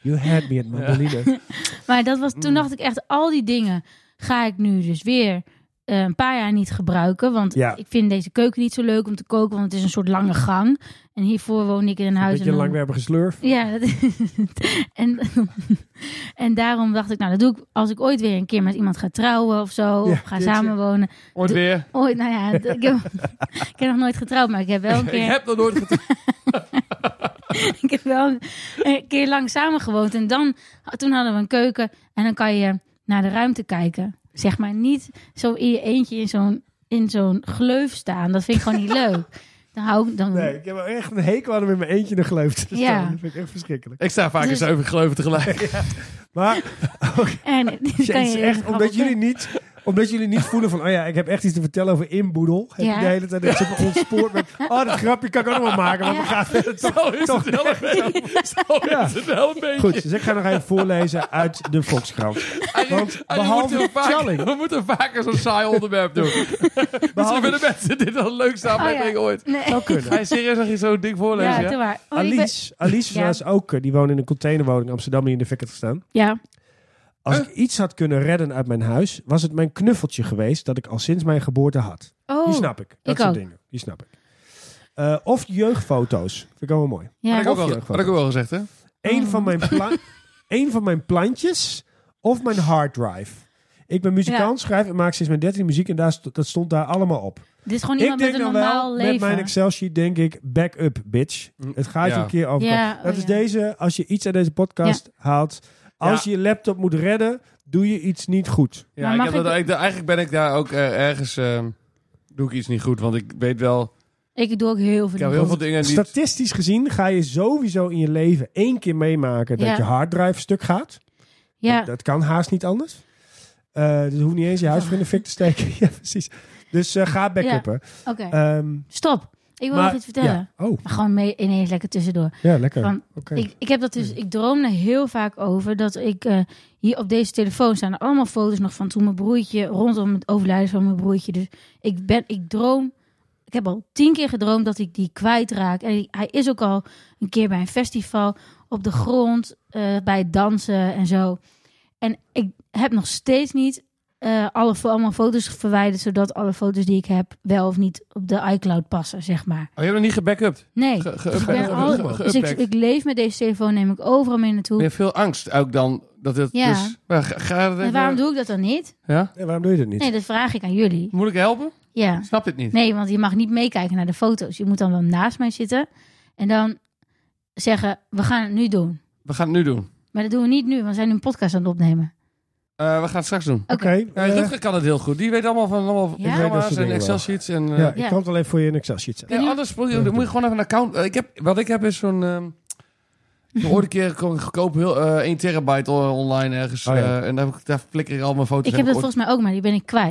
Speaker 1: You had me at mandoline.
Speaker 3: Maar dat was,
Speaker 1: Mm.
Speaker 3: toen dacht ik echt, al die dingen ga ik nu dus weer eh, een paar jaar niet gebruiken. Want
Speaker 1: Ja.
Speaker 3: ik vind deze keuken niet zo leuk om te koken, want het is een soort lange gang. En hiervoor woon ik in een
Speaker 1: Een
Speaker 3: huis.
Speaker 1: beetje
Speaker 3: en dan-
Speaker 1: langwerpige slurf.
Speaker 3: Ja, dat is het. En, en daarom dacht ik, nou dat doe ik als ik ooit weer een keer met iemand ga trouwen of zo.
Speaker 1: Ja,
Speaker 3: of ga
Speaker 1: dit, ja.
Speaker 3: samenwonen.
Speaker 2: Ooit weer.
Speaker 3: Ooit, nou ja, d- ik heb, ik heb nog nooit getrouwd, maar ik heb wel een
Speaker 2: Ik
Speaker 3: keer...
Speaker 2: heb dat nooit getrouwd.
Speaker 3: ik heb wel een- een keer lang samengewoond. En dan, toen hadden we een keuken. En dan kan je naar de ruimte kijken. Zeg maar niet zo in je eentje in zo'n, in zo'n gleuf staan. Dat vind ik gewoon niet leuk. Dan hou ik dan.
Speaker 1: Nee, ik heb wel echt een hekel aan om in mijn eentje in de gleuf te staan.
Speaker 3: Ja.
Speaker 1: Dat vind ik echt verschrikkelijk.
Speaker 2: Ik sta vaak in
Speaker 3: Dus-
Speaker 2: zeven geleuven tegelijk.
Speaker 1: Maar
Speaker 3: En, dan kan
Speaker 1: het is
Speaker 3: je
Speaker 1: echt,
Speaker 3: gewoon
Speaker 1: omdat
Speaker 3: wel-
Speaker 1: jullie niet omdat jullie niet voelen van, oh ja, ik heb echt iets te vertellen over inboedel. Heb
Speaker 3: Ja.
Speaker 1: je de hele tijd dat je ontspoord bent. Oh, dat grapje kan ik ook nog wel maken, want we
Speaker 3: Ja.
Speaker 1: gaan verder toch
Speaker 2: Zo is het wel een beetje. Zo
Speaker 1: Ja.
Speaker 2: is het wel een beetje.
Speaker 1: Goed, dus ik ga nog even voorlezen uit de Volkskrant. Want
Speaker 2: Arie, Arie, we
Speaker 1: behalve
Speaker 2: moeten we vaak-
Speaker 1: Tjalling.
Speaker 2: we moeten vaker zo'n saai onderwerp doen. Misschien vinden mensen dit wel leuk staan
Speaker 3: Oh, ja.
Speaker 2: aflevering ooit.
Speaker 3: Nee.
Speaker 1: Zou
Speaker 2: Ga
Speaker 1: kunnen.
Speaker 2: je serieus nog eens zo'n ding
Speaker 3: Ja,
Speaker 2: voorlezen? Ja,
Speaker 3: te waar. Oh, ik ben-
Speaker 1: Alice, Alice
Speaker 3: Ja.
Speaker 1: was ook, eh, die woonde in een containerwoning in Amsterdam, die in de fik had gestaan.
Speaker 3: ja.
Speaker 1: Als
Speaker 3: Eh.
Speaker 1: ik iets had kunnen redden uit mijn huis, was het mijn knuffeltje geweest dat ik al sinds mijn geboorte had.
Speaker 3: Oh,
Speaker 1: Die snap ik. Dat
Speaker 3: ik
Speaker 1: soort
Speaker 3: ook.
Speaker 1: dingen. Die snap ik. Eh, of jeugdfoto's. Vind ik allemaal mooi.
Speaker 3: ja.
Speaker 2: Had ik ook
Speaker 1: Of
Speaker 2: al,
Speaker 1: je
Speaker 2: had
Speaker 1: gewoon.
Speaker 2: ik ook wel gezegd, hè?
Speaker 1: Eén
Speaker 3: Oh.
Speaker 1: van mijn, pla- één van mijn plantjes of mijn harddrive. Ik ben muzikant, schrijf en maak sinds mijn 13 muziek en daar st- dat stond daar allemaal op.
Speaker 3: Dit is gewoon
Speaker 1: Ik
Speaker 3: iemand
Speaker 1: denk
Speaker 3: met een
Speaker 1: dan
Speaker 3: normaal
Speaker 1: wel, met
Speaker 3: leven.
Speaker 1: mijn Excel-sheet denk ik, back up, bitch. Het gaat
Speaker 2: Mm. Ja.
Speaker 1: je een keer overkomen.
Speaker 3: Ja,
Speaker 1: dat
Speaker 3: oh
Speaker 1: is
Speaker 3: ja.
Speaker 1: deze, als je iets uit deze podcast haalt. Als
Speaker 2: Ja.
Speaker 1: je je laptop moet redden, doe je iets niet goed.
Speaker 2: Ja,
Speaker 3: Maar
Speaker 2: ik
Speaker 3: mag
Speaker 2: heb
Speaker 3: ik-
Speaker 2: dat, ik- eigenlijk ben ik daar ook eh, ergens... ehm, doe ik iets niet goed, want ik weet wel...
Speaker 3: Ik doe ook heel veel
Speaker 2: Ik heb
Speaker 3: dingen.
Speaker 2: heel veel dingen die...
Speaker 1: Statistisch gezien ga je sowieso in je leven één keer meemaken dat
Speaker 3: Ja.
Speaker 1: je harddrive stuk gaat.
Speaker 3: Ja,
Speaker 1: Dat, dat kan haast niet anders. Eh, dus hoef niet eens je huis voor in de fik te steken. ja, precies. Dus eh, ga back
Speaker 3: Ja.
Speaker 1: uppen.
Speaker 3: oké.
Speaker 1: Ehm,
Speaker 3: Stop. Ik wil
Speaker 1: maar-
Speaker 3: nog iets vertellen.
Speaker 1: Ja. Oh,
Speaker 3: Maar gewoon mee, ineens lekker tussendoor.
Speaker 1: ja, lekker.
Speaker 3: Van,
Speaker 1: Oké.
Speaker 3: Ik, ik heb dat dus, ik droom er heel vaak over dat ik eh, hier op deze telefoon staan er allemaal foto's nog van toen mijn broertje rondom het overlijden van mijn broertje. Dus ik ben, ik droom, ik heb al tien keer gedroomd dat ik die kwijtraak. En hij is ook al een keer bij een festival op de grond, eh, bij het dansen en zo. En ik heb nog steeds niet eh, alle, fo- allemaal foto's verwijderd, zodat alle foto's die ik heb wel of niet op de iCloud passen, zeg maar.
Speaker 2: Oh, je hebt nog niet gebackupt.
Speaker 3: Nee.
Speaker 2: Ge-
Speaker 3: Dus ik, ben
Speaker 2: geüpdatet.
Speaker 3: al-
Speaker 2: Ge-
Speaker 3: dus ik,
Speaker 2: geüpdatet.
Speaker 3: ik leef met deze telefoon, neem ik overal mee naartoe.
Speaker 2: Je hebt veel angst ook dan Dat, dat,
Speaker 3: Ja.
Speaker 2: Dus, maar ga, ga-
Speaker 3: En waarom doe ik dat dan niet?
Speaker 2: ja?
Speaker 1: Nee, waarom doe je dat niet?
Speaker 3: Nee, dat vraag ik aan jullie.
Speaker 2: Moet ik helpen?
Speaker 3: Ja.
Speaker 2: Ik Snap dit niet?
Speaker 3: Nee, want je mag niet meekijken naar de foto's. Je moet dan wel naast mij zitten. En dan zeggen, we gaan het nu doen.
Speaker 2: We gaan het nu doen.
Speaker 3: Maar dat doen we niet nu, want we zijn nu een podcast aan het opnemen.
Speaker 2: Eh, we gaan het straks doen.
Speaker 3: Oké.
Speaker 2: Ja,
Speaker 1: eh,
Speaker 2: Rutger kan het heel goed. Die weet allemaal van allemaal
Speaker 3: Ja?
Speaker 1: Ik weet dat
Speaker 2: programma's
Speaker 1: soort
Speaker 2: en
Speaker 1: dingen
Speaker 2: Excel
Speaker 1: wel.
Speaker 2: sheets. En, eh,
Speaker 1: ja, ik
Speaker 3: Ja.
Speaker 1: kan het alleen voor je in Excel sheet zetten.
Speaker 2: nee, anders moet je, dan moet je gewoon even een account. eh, ik heb, wat ik heb is zo'n. ehm, ik ooit een keer kon ik goedkoop heel, eh 1 terabyte on- online ergens.
Speaker 1: Oh, ja.
Speaker 2: eh, en daar, heb ik- daar flikker ik al mijn foto's.
Speaker 3: Ik heb dat
Speaker 2: ik
Speaker 3: volgens mij ook, maar die ben ik kwijt.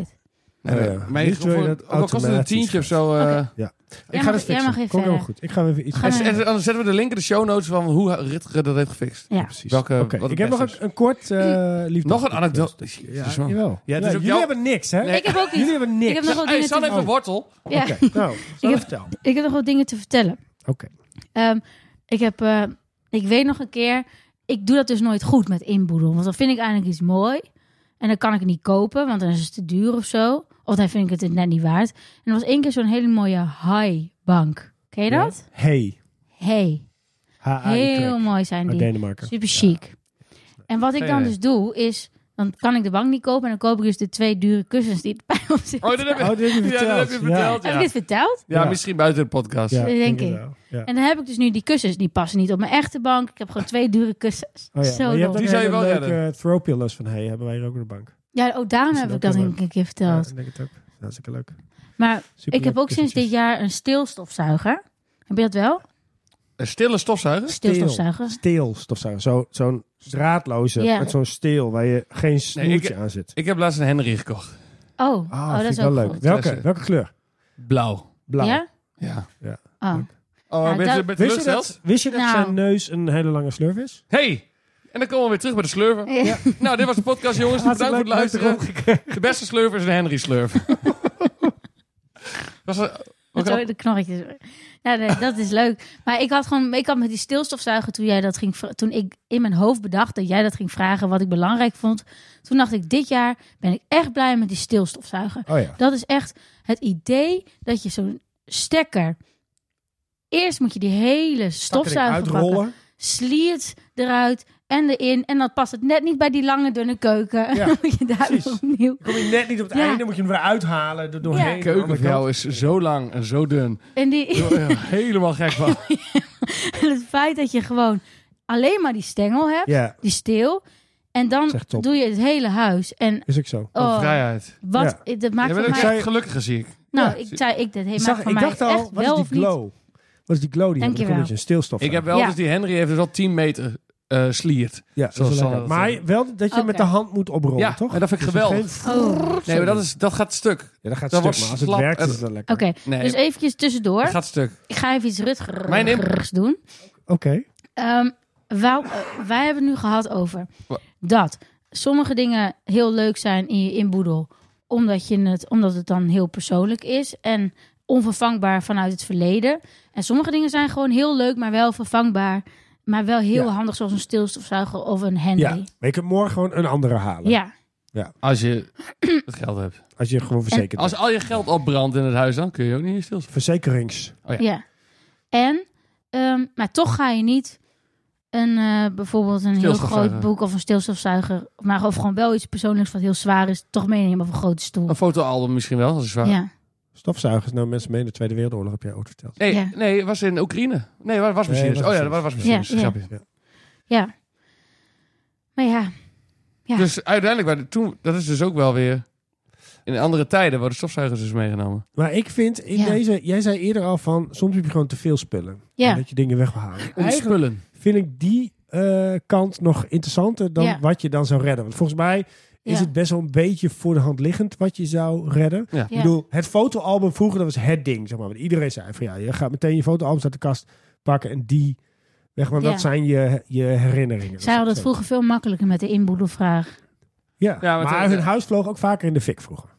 Speaker 2: ooit- Nee,
Speaker 1: Oh, ja.
Speaker 2: Mijn
Speaker 1: Niet zo je
Speaker 2: gevoel-
Speaker 1: dat
Speaker 2: ook al kost het een
Speaker 1: automatisch
Speaker 2: tientje of zo. eh,
Speaker 3: Oké.
Speaker 1: Ik
Speaker 3: mag-
Speaker 1: ga dat fixen.
Speaker 3: jij mag even
Speaker 1: Komt
Speaker 3: verder.
Speaker 1: heel goed. Ik ga even iets
Speaker 3: Gaan
Speaker 2: en,
Speaker 3: we-
Speaker 2: en dan zetten we de link in de show notes van hoe Rutger dat heeft gefixt.
Speaker 3: Ja.
Speaker 1: Precies.
Speaker 2: Welke-
Speaker 1: Oké,
Speaker 2: wat het
Speaker 1: Ik heb nog
Speaker 2: beste
Speaker 1: een, een kort
Speaker 3: Mm.
Speaker 1: eh liefde.
Speaker 2: Nog een anekdote.
Speaker 1: Ja,
Speaker 2: Jezus, man.
Speaker 1: jawel.
Speaker 2: Ja,
Speaker 1: Ja,
Speaker 2: het is ook
Speaker 1: jullie
Speaker 2: jouw-
Speaker 1: hebben niks, hè?
Speaker 2: Nee.
Speaker 3: Ik heb ook iets.
Speaker 1: Jullie hebben niks.
Speaker 3: Ik heb nog wel
Speaker 2: hey,
Speaker 3: dingen te
Speaker 2: San heeft een
Speaker 3: vertellen.
Speaker 2: wortel. Oh,
Speaker 3: Ja,
Speaker 1: Oké, nou, zal
Speaker 3: heb-
Speaker 1: ik vertellen.
Speaker 3: ik heb nog wat dingen te vertellen.
Speaker 1: Oké.
Speaker 3: Ehm, ik, heb, eh, ik weet nog een keer, ik doe dat dus nooit goed met inboedel. Want dan vind ik eigenlijk iets mooi. En dan kan ik het niet kopen, want dan is het te duur of zo. Of dan vind ik het net niet waard. En er was één keer zo'n hele mooie high-bank. Ken je dat?
Speaker 1: Hey.
Speaker 3: Hey,
Speaker 1: H.A.
Speaker 3: heel
Speaker 1: Utrecht.
Speaker 3: mooi zijn
Speaker 1: Uit
Speaker 3: die.
Speaker 1: Denemarken.
Speaker 3: Super chic. En wat ik
Speaker 2: Geen
Speaker 3: dan
Speaker 2: idee.
Speaker 3: dus doe, is... Dan kan ik de bank niet kopen en dan koop ik dus de twee dure kussens die erbij op zitten.
Speaker 2: Oh, dat heb
Speaker 1: Oh,
Speaker 2: je,
Speaker 1: dat heb je
Speaker 2: ja, dat
Speaker 1: verteld.
Speaker 2: heb je verteld.
Speaker 3: Heb
Speaker 2: Ja.
Speaker 3: ik dit verteld?
Speaker 2: Ja,
Speaker 1: Ja.
Speaker 2: misschien buiten de podcast.
Speaker 1: Ja,
Speaker 3: denk
Speaker 1: het
Speaker 3: ik.
Speaker 1: wel. Ja.
Speaker 3: En dan heb ik dus nu die kussens. Die passen niet op mijn echte bank. Ik heb gewoon twee dure kussens.
Speaker 1: Oh, ja.
Speaker 3: Zo
Speaker 1: maar je hebt
Speaker 3: dom.
Speaker 1: ook
Speaker 2: Die zou je
Speaker 1: een
Speaker 2: wel
Speaker 1: leuke
Speaker 2: redden.
Speaker 1: eh, throw pillows van hey, hebben wij hier ook op de bank.
Speaker 3: Ja, oh, daarom
Speaker 1: Is
Speaker 3: heb
Speaker 1: dat
Speaker 3: ik dat
Speaker 1: ook wel
Speaker 3: denk ik een keer
Speaker 1: Ja,
Speaker 3: verteld.
Speaker 1: ik denk het ook. Dat is ook leuk.
Speaker 3: Maar
Speaker 1: Super
Speaker 3: ik heb ook sinds dit jaar een stilstofzuiger. Heb je dat wel?
Speaker 2: Een Eh, stille stofzuiger?
Speaker 3: Stilstofzuiger.
Speaker 1: Steel stofzuiger. Zo- Zo'n draadloze
Speaker 3: Ja.
Speaker 1: met zo'n steel waar je geen snoertje aan zit.
Speaker 2: Ik heb laatst een Henry gekocht.
Speaker 1: Ah,
Speaker 3: Oh, oh dat
Speaker 1: vind
Speaker 3: is
Speaker 1: ik wel
Speaker 3: ook
Speaker 1: leuk.
Speaker 3: goed.
Speaker 1: Welke,
Speaker 2: Klasse.
Speaker 1: welke kleur?
Speaker 2: Blauw.
Speaker 1: Blauw.
Speaker 3: Ja?
Speaker 2: Ja.
Speaker 3: Oh.
Speaker 2: Oh,
Speaker 3: Ja,
Speaker 2: ben je
Speaker 3: dat-
Speaker 2: met
Speaker 1: Wist je
Speaker 2: lust
Speaker 1: dat, wist je dat
Speaker 3: Nou.
Speaker 1: zijn neus een hele lange slurf is?
Speaker 2: Hey! En dan komen we weer terug bij de slurven.
Speaker 3: Ja.
Speaker 2: Nou, dit was de podcast, jongens. Bedankt voor het
Speaker 1: Hartstikke leuk,
Speaker 2: luisteren. De beste slurver is een Henry slurver. was er,
Speaker 3: Met zo de knorretjes. Nou, nee, dat is leuk. Maar ik had gewoon, ik had met die stilstofzuiger toen jij dat ging, vra- toen ik in mijn hoofd bedacht dat jij dat ging vragen wat ik belangrijk vond. Toen dacht ik, dit jaar ben ik echt blij met die stilstofzuiger.
Speaker 1: Oh ja.
Speaker 3: Dat is echt het idee dat je zo'n stekker, eerst moet je die hele stofzuiger pakken.
Speaker 1: Uitrollen.
Speaker 3: sliert eruit en erin. En dan past het net niet bij die lange, dunne keuken.
Speaker 1: Ja,
Speaker 3: Dan moet je daar
Speaker 1: precies.
Speaker 3: weer opnieuw.
Speaker 1: Kom je net niet op het
Speaker 3: Ja.
Speaker 1: einde, moet je hem weer uithalen. Er
Speaker 3: Ja.
Speaker 1: doorheen.
Speaker 3: De
Speaker 2: keuken van jou is zo lang en zo dun.
Speaker 3: En die,
Speaker 2: Helemaal gek van.
Speaker 3: het feit dat je gewoon alleen maar die stengel hebt,
Speaker 1: Ja,
Speaker 3: die steel. En dan
Speaker 1: Zegt top.
Speaker 3: doe je het hele huis. En
Speaker 1: is ook zo.
Speaker 2: Van
Speaker 3: oh,
Speaker 2: vrijheid.
Speaker 3: wat, dat
Speaker 2: Je
Speaker 3: maakt
Speaker 2: bent
Speaker 3: van
Speaker 2: ook
Speaker 3: mij...
Speaker 1: zei-
Speaker 2: echt gelukkiger, zie ik.
Speaker 3: nou,
Speaker 1: Ja.
Speaker 3: ik zei, ik, dat
Speaker 1: Ik,
Speaker 3: maakt
Speaker 1: zag,
Speaker 3: van
Speaker 1: ik
Speaker 3: mij
Speaker 1: dacht al,
Speaker 3: echt
Speaker 1: wat
Speaker 3: wel
Speaker 1: is
Speaker 3: of
Speaker 1: die
Speaker 3: niet.
Speaker 1: glow? Wat is die glow die je hebt? Dan
Speaker 3: Dankjewel.
Speaker 1: komt er een stilstof
Speaker 2: Ik
Speaker 1: aan.
Speaker 2: heb wel
Speaker 3: Ja.
Speaker 2: dus die Henry heeft dus al 10 meter eh sliert.
Speaker 1: Ja, dat
Speaker 2: Zoals
Speaker 1: is wel
Speaker 2: Sanne
Speaker 1: lekker.
Speaker 2: dat
Speaker 1: Maar wel dat je
Speaker 3: Oké.
Speaker 1: met de hand moet oprollen,
Speaker 2: Ja,
Speaker 1: toch?
Speaker 2: en dat vind ik
Speaker 1: Dus het
Speaker 2: geweldig.
Speaker 1: geeft-
Speaker 3: Oh.
Speaker 2: Nee, maar dat, is, dat gaat stuk.
Speaker 1: Ja, dat gaat
Speaker 2: Dat
Speaker 1: stuk,
Speaker 2: wordt
Speaker 1: maar als het
Speaker 2: slap.
Speaker 1: werkt is
Speaker 2: Het-
Speaker 1: het wel lekker.
Speaker 3: Oké,
Speaker 2: Nee.
Speaker 3: dus eventjes tussendoor.
Speaker 2: Dat gaat stuk.
Speaker 3: Ik ga even iets rutgerigs
Speaker 2: Mijn in-
Speaker 3: doen.
Speaker 1: Oké.
Speaker 3: Ehm, wou- eh, wij hebben het nu gehad over
Speaker 2: Wa-
Speaker 3: dat sommige dingen heel leuk zijn in je inboedel, omdat, je het, omdat het dan heel persoonlijk is en onvervangbaar vanuit het verleden. En sommige dingen zijn gewoon heel leuk, maar wel vervangbaar, maar wel heel
Speaker 1: Ja.
Speaker 3: handig, zoals een stilstofzuiger of een handy.
Speaker 1: Ja,
Speaker 3: Ja,
Speaker 1: maar je kunt morgen gewoon een andere halen.
Speaker 2: Als je het geld hebt.
Speaker 1: Als je gewoon verzekerd
Speaker 2: Als
Speaker 1: bent.
Speaker 2: al je geld opbrandt in het huis, dan kun je ook niet hier stilstaan.
Speaker 1: Verzekerings.
Speaker 2: Ja.
Speaker 3: ja. En, ehm, maar toch ga je niet een, eh, bijvoorbeeld een heel groot
Speaker 2: Stilstofzuiger.
Speaker 3: boek of een stilstofzuiger, maar of gewoon wel iets persoonlijks wat heel zwaar is, toch meenemen op een grote stoel.
Speaker 2: Een fotoalbum misschien wel, dat is waar.
Speaker 3: ja.
Speaker 1: Stofzuigers, nou mensen mee in de Tweede Wereldoorlog heb jij ook verteld.
Speaker 2: Nee,
Speaker 3: Ja.
Speaker 2: nee, was in Oekraïne. Nee, waar was
Speaker 1: Nee,
Speaker 2: machines.
Speaker 1: was
Speaker 2: oh ja, dat
Speaker 1: machines.
Speaker 2: was
Speaker 3: Ja,
Speaker 2: machines.
Speaker 3: ja.
Speaker 2: Grapje.
Speaker 3: Ja. Maar ja, Ja.
Speaker 2: Dus uiteindelijk, waren toen, dat is dus ook wel weer... In andere tijden worden stofzuigers dus meegenomen.
Speaker 1: Maar ik vind, in
Speaker 3: Ja.
Speaker 1: deze, jij zei eerder al van, soms heb je gewoon te veel spullen.
Speaker 3: Ja.
Speaker 1: En Dat je dingen weg wil halen. Eigenlijk
Speaker 2: Ontspullen.
Speaker 1: vind ik die eh, kant nog interessanter dan
Speaker 3: Ja.
Speaker 1: wat je dan zou redden. Want volgens mij is
Speaker 3: Ja.
Speaker 1: het best wel een beetje voor de hand liggend wat je zou redden.
Speaker 2: Ja.
Speaker 1: Ik bedoel, het fotoalbum vroeger, dat was het ding. Zeg maar. Want iedereen zei van ja, je gaat meteen je fotoalbums uit de kast pakken en die weg. Maar
Speaker 3: Ja.
Speaker 1: dat zijn je, je herinneringen.
Speaker 3: zij hadden het
Speaker 1: Zo.
Speaker 3: vroeger veel makkelijker met de inboedelvraag.
Speaker 1: Ja,
Speaker 2: Ja, maar
Speaker 1: maar,
Speaker 2: het-
Speaker 1: hun huis vloog ook vaker in de fik vroeger.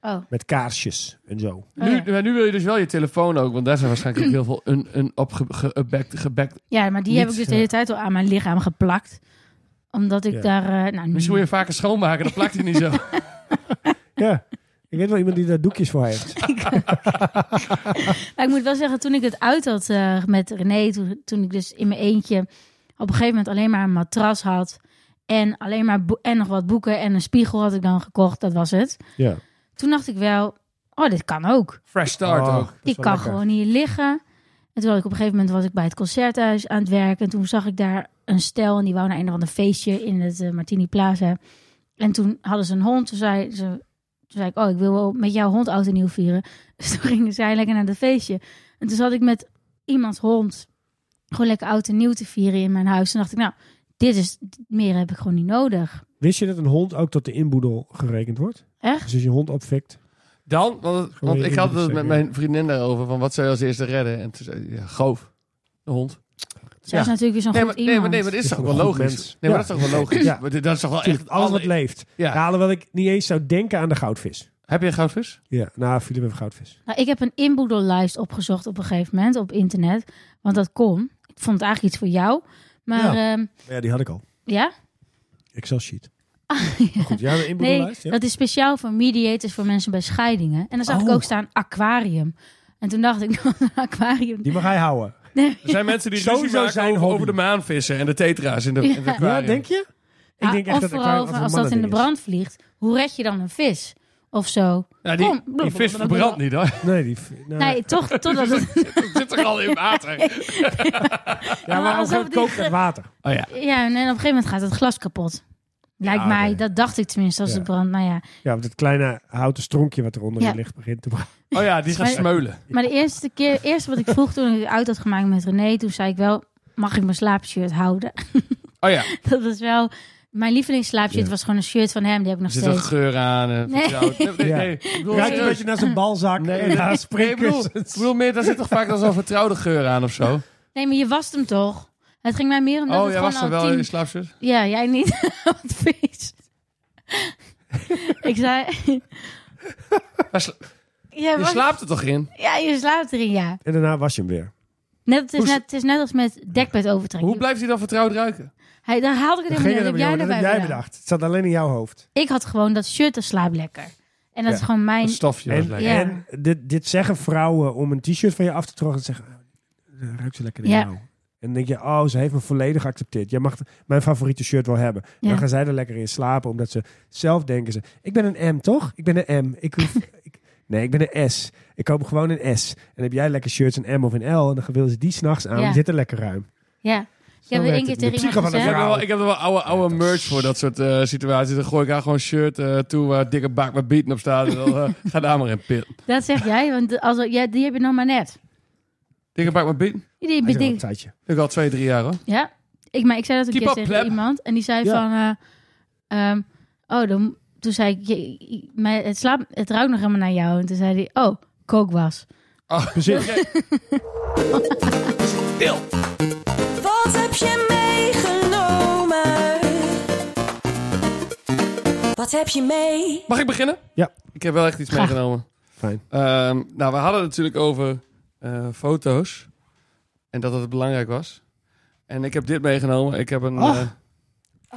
Speaker 3: Oh,
Speaker 1: Met kaarsjes en zo.
Speaker 2: Nu,
Speaker 3: Oh ja.
Speaker 2: maar nu wil je dus wel je telefoon ook, want daar zijn waarschijnlijk ook heel veel een, een op ge- ge- gebackt- gebackt.
Speaker 3: ja, maar die heb ik
Speaker 1: Niet,
Speaker 3: dus de
Speaker 1: ja.
Speaker 3: hele tijd al aan mijn lichaam geplakt. Omdat ik
Speaker 1: Ja.
Speaker 3: daar... eh, nou,
Speaker 2: Misschien moet
Speaker 3: niet-
Speaker 2: je vaker schoonmaken, dat plakt hij niet zo.
Speaker 1: Ja, ik weet wel iemand die daar doekjes voor heeft.
Speaker 3: Maar ik moet wel zeggen, toen ik het uit had eh, met René, toen, toen ik dus in mijn eentje op een gegeven moment alleen maar een matras had En alleen maar boe- en nog wat boeken en een spiegel had ik dan gekocht. Dat was het.
Speaker 1: Ja.
Speaker 3: Toen dacht ik wel, oh, dit kan ook.
Speaker 2: Fresh start
Speaker 1: Oh,
Speaker 2: ook.
Speaker 1: dat is
Speaker 3: Ik
Speaker 1: wel
Speaker 3: kan
Speaker 1: lekker.
Speaker 3: gewoon hier liggen. En toen had ik op een gegeven moment was ik bij het concerthuis aan het werk. En toen zag ik daar een stel en die wou naar een of ander feestje in het eh, Martini Plaza. En toen hadden ze een hond. Toen zei, ze, toen zei ik, oh, ik wil wel met jouw hond oud en nieuw vieren. Dus toen gingen zij lekker naar dat feestje. En toen zat ik met iemands hond gewoon lekker oud en nieuw te vieren in mijn huis. Toen dacht ik, nou, dit is, meer heb ik gewoon niet nodig.
Speaker 1: Wist je dat een hond ook tot de inboedel gerekend wordt?
Speaker 3: Echt?
Speaker 1: Dus als je hond opfikt.
Speaker 2: Dan, want, want ik had het
Speaker 1: Goeie
Speaker 2: met mijn vriendin daarover, van wat zou je als eerste redden? En toen zei ja, goof, de hond.
Speaker 3: Zij is
Speaker 2: Ja.
Speaker 3: natuurlijk weer zo'n
Speaker 2: Nee maar, nee,
Speaker 3: goed
Speaker 2: maar,
Speaker 3: iemand.
Speaker 2: nee, maar dit is
Speaker 1: Het
Speaker 2: toch
Speaker 1: is
Speaker 2: wel
Speaker 1: een goed
Speaker 2: logisch?
Speaker 1: mens.
Speaker 2: Nee, maar
Speaker 1: Ja.
Speaker 2: dat is toch wel logisch?
Speaker 1: Ja.
Speaker 2: Maar dit- Dat is toch wel echt...
Speaker 1: Alles
Speaker 2: alle-
Speaker 1: wat leeft.
Speaker 2: Ja.
Speaker 1: Ja, alhoewel ik niet eens zou denken aan de goudvis.
Speaker 2: Heb je een goudvis?
Speaker 1: Ja, nou, Philip heeft goudvis.
Speaker 3: Nou, ik heb een inboedellijst opgezocht op een gegeven moment op internet. Want dat kon. Ik vond het eigenlijk iets voor jou. Maar
Speaker 1: Ja.
Speaker 3: ja?
Speaker 1: Ja, die had ik al.
Speaker 3: ja?
Speaker 1: Excel sheet. Maar Goed, ja, de
Speaker 3: Nee,
Speaker 1: inboedellijst. ja.
Speaker 3: dat is speciaal voor mediators voor mensen bij scheidingen. En dan zag ik
Speaker 1: Oh.
Speaker 3: ook staan aquarium. En toen dacht ik, nou, een aquarium.
Speaker 1: Die mag hij houden.
Speaker 2: Er zijn mensen die
Speaker 1: Sowieso
Speaker 2: ruzie maken
Speaker 1: zijn
Speaker 2: over,
Speaker 1: hobby.
Speaker 2: over de maanvissen en de tetra's in de, in de
Speaker 1: Ja,
Speaker 2: aquarium.
Speaker 1: denk je?
Speaker 3: Ja, Ah, of
Speaker 1: dat
Speaker 3: vooral
Speaker 1: aquarium
Speaker 3: van,
Speaker 1: een
Speaker 3: als dat in de
Speaker 1: mannending
Speaker 3: brand vliegt. Hoe red je dan een vis? Of zo.
Speaker 2: Ja, die,
Speaker 3: Kom,
Speaker 2: die vis verbrandt niet hoor.
Speaker 1: is. Nee, die... v- nou,
Speaker 3: Nee, toch, totdat het...
Speaker 2: Het zit er al in water.
Speaker 1: Ja, maar
Speaker 3: alsof
Speaker 1: ook
Speaker 3: die
Speaker 1: kookt met
Speaker 3: ge-
Speaker 1: water.
Speaker 2: Oh ja.
Speaker 3: Ja, en op een gegeven moment gaat het glas kapot. Lijkt
Speaker 1: Ja,
Speaker 3: mij,
Speaker 1: nee.
Speaker 3: dat dacht ik tenminste als
Speaker 1: Ja.
Speaker 3: het brandt. Nou ja,
Speaker 1: Ja, want het kleine houten stronkje wat eronder
Speaker 3: Ja.
Speaker 1: in ligt begint te branden.
Speaker 2: Oh ja, die gaat
Speaker 3: Maar-
Speaker 2: smeulen.
Speaker 3: Maar de eerste keer, eerste wat ik vroeg toen ik het uit had gemaakt met René, toen zei ik wel, mag ik mijn slaapshirt houden?
Speaker 2: Oh ja,
Speaker 3: Dat is wel, mijn lievelingsslaapshirt
Speaker 1: Ja.
Speaker 3: was gewoon een shirt van hem, die heb ik nog
Speaker 2: er zit een
Speaker 3: steeds.
Speaker 2: geur aan. eh,
Speaker 3: Nee.
Speaker 2: vertrouwd. Nee, nee,
Speaker 1: Ja.
Speaker 2: nee. Ik bedoel,
Speaker 1: Ruikt een
Speaker 2: serieus.
Speaker 1: beetje naar zijn balzak
Speaker 2: Nee,
Speaker 1: en naar
Speaker 2: Nee, ik bedoel, ik
Speaker 1: springkussens.
Speaker 2: bedoel meer, daar zit toch vaak al zo'n vertrouwde geur aan of zo?
Speaker 3: Nee, maar je wast hem toch? Het ging mij meer om dat
Speaker 2: oh,
Speaker 3: het
Speaker 2: jij
Speaker 3: gewoon
Speaker 2: was
Speaker 3: al
Speaker 2: er wel
Speaker 3: tien...
Speaker 2: in slaapzit?
Speaker 3: Ja, jij niet. Wat vies. ik zei...
Speaker 2: Maar sla-
Speaker 3: Ja,
Speaker 2: Je
Speaker 3: was-
Speaker 2: slaapt er toch in?
Speaker 3: ja, je slaapt erin, ja.
Speaker 1: En daarna was je hem weer.
Speaker 3: Net, het, is
Speaker 2: Hoe-
Speaker 3: net, het is net als met dekbed overtrekken.
Speaker 2: Hoe blijft hij dan vertrouwd ruiken?
Speaker 3: Hij, daar haalde ik
Speaker 1: Dat
Speaker 3: het
Speaker 1: ging er
Speaker 3: in. Dat heb
Speaker 1: helemaal
Speaker 3: jij
Speaker 1: niet om, dat
Speaker 3: erbij
Speaker 1: heb jij
Speaker 3: gedaan.
Speaker 1: bedacht. Het zat alleen in jouw hoofd.
Speaker 3: Ik had gewoon dat shirt en slaap lekker. En dat
Speaker 1: Ja.
Speaker 3: is gewoon mijn...
Speaker 2: Een stofje. was
Speaker 1: En,
Speaker 2: lekker.
Speaker 3: Ja.
Speaker 1: en dit, dit zeggen vrouwen om een t-shirt van je af te trokken. Ze zeggen, "Ah, ruikt ze lekker in
Speaker 3: Ja.
Speaker 1: jou. En dan denk je, oh, ze heeft me volledig geaccepteerd. Jij mag mijn favoriete shirt wel hebben.
Speaker 3: Ja.
Speaker 1: Dan gaan zij er lekker in slapen, omdat ze zelf denken ze... Ik ben een M, toch? Ik ben een M. Ik hoef, ik, nee, ik ben een S. Ik koop gewoon een S. En heb jij lekker shirts een M of een L. En dan willen ze die s'nachts aan.
Speaker 3: Ja.
Speaker 1: Die zitten lekker ruim.
Speaker 3: Ja.
Speaker 1: Zo
Speaker 3: heb er
Speaker 1: werkt
Speaker 3: één keer
Speaker 1: het. De
Speaker 3: tegen
Speaker 1: psyche
Speaker 3: iemand
Speaker 1: van een
Speaker 2: Ik heb,
Speaker 3: gezegd.
Speaker 2: er
Speaker 1: vrouw.
Speaker 2: wel, ik heb er wel oude, oude merch voor dat soort eh, situaties. Dan gooi ik haar gewoon een shirt eh, toe waar dikke bak met bieten op staat. En dan, eh, ga daar maar in pit.
Speaker 3: Dat zeg jij, want als, ja, die heb je nog maar net.
Speaker 2: Dikke bak met bieten?
Speaker 3: Die
Speaker 1: Hij is wel een
Speaker 3: beding,
Speaker 1: tijdje.
Speaker 2: Ik al twee, drie jaar hoor.
Speaker 3: ja, ik, maar ik zei dat een
Speaker 2: Keep
Speaker 3: keer
Speaker 2: up,
Speaker 3: tegen
Speaker 2: pleb.
Speaker 3: iemand en die zei
Speaker 1: Ja.
Speaker 3: van, eh, ehm, oh, dan, toen zei ik, je- je- maar het, slaap, het ruikt nog helemaal naar jou. En toen zei hij, oh, kookwas.
Speaker 2: Oh,
Speaker 1: Precies.
Speaker 2: Stil.
Speaker 4: Wat heb je meegenomen? Wat heb je mee?
Speaker 2: Mag ik beginnen?
Speaker 1: Ja.
Speaker 2: Ik heb wel echt iets
Speaker 3: Graag.
Speaker 2: meegenomen.
Speaker 1: Fijn.
Speaker 2: Ehm, nou, we hadden het natuurlijk over eh, foto's. En dat het belangrijk was. En ik heb dit meegenomen. Ik heb een...
Speaker 3: Ah.
Speaker 1: Ach.
Speaker 2: eh,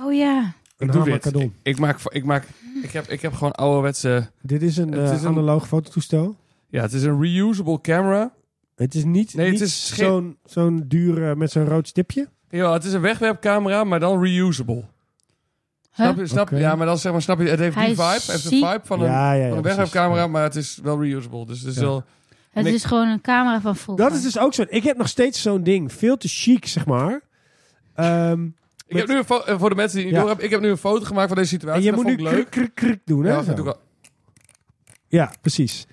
Speaker 3: Oh ja,
Speaker 1: Een
Speaker 2: ik doe dit.
Speaker 1: hamerkadon.
Speaker 2: Ik, ik maak... Ik, maak ik, heb, ik heb gewoon ouderwetse...
Speaker 1: Dit is een,
Speaker 2: Het
Speaker 1: eh,
Speaker 2: is een-
Speaker 1: analoog fototoestel.
Speaker 2: Ja, het is een reusable camera.
Speaker 1: Het is niet,
Speaker 2: Nee, het
Speaker 1: niet
Speaker 2: is geen-
Speaker 1: zo'n zo'n dure eh, met zo'n rood stipje.
Speaker 2: Ja, het is een wegwerpcamera, maar dan reusable. Snap je? Snap,
Speaker 1: Oké.
Speaker 2: Ja, maar dan zeg maar, snap je, het heeft
Speaker 3: Hij
Speaker 2: die
Speaker 3: is
Speaker 2: vibe, het heeft de
Speaker 3: ziek.
Speaker 2: vibe van een,
Speaker 1: ja, ja, ja,
Speaker 2: van een
Speaker 1: precies.
Speaker 2: wegwerpcamera, maar het is wel reusable. Dus het is
Speaker 1: Ja.
Speaker 2: wel...
Speaker 3: het
Speaker 2: Nee.
Speaker 3: is gewoon een camera van
Speaker 1: Ja.
Speaker 3: vroeger.
Speaker 1: Dat is dus ook zo. Ik heb nog steeds zo'n ding. Veel te chic, zeg maar. Ehm,
Speaker 2: Ik heb nu een fo- eh, voor de mensen die het niet
Speaker 1: Ja.
Speaker 2: door hebben, ik heb nu een foto gemaakt van deze situatie.
Speaker 1: en je
Speaker 2: dat
Speaker 1: moet nu
Speaker 2: vond ik leuk.
Speaker 1: krik, krik, krik doen, hè?
Speaker 2: Ja,
Speaker 1: zo.
Speaker 2: dat doe ik al.
Speaker 1: Ja, precies.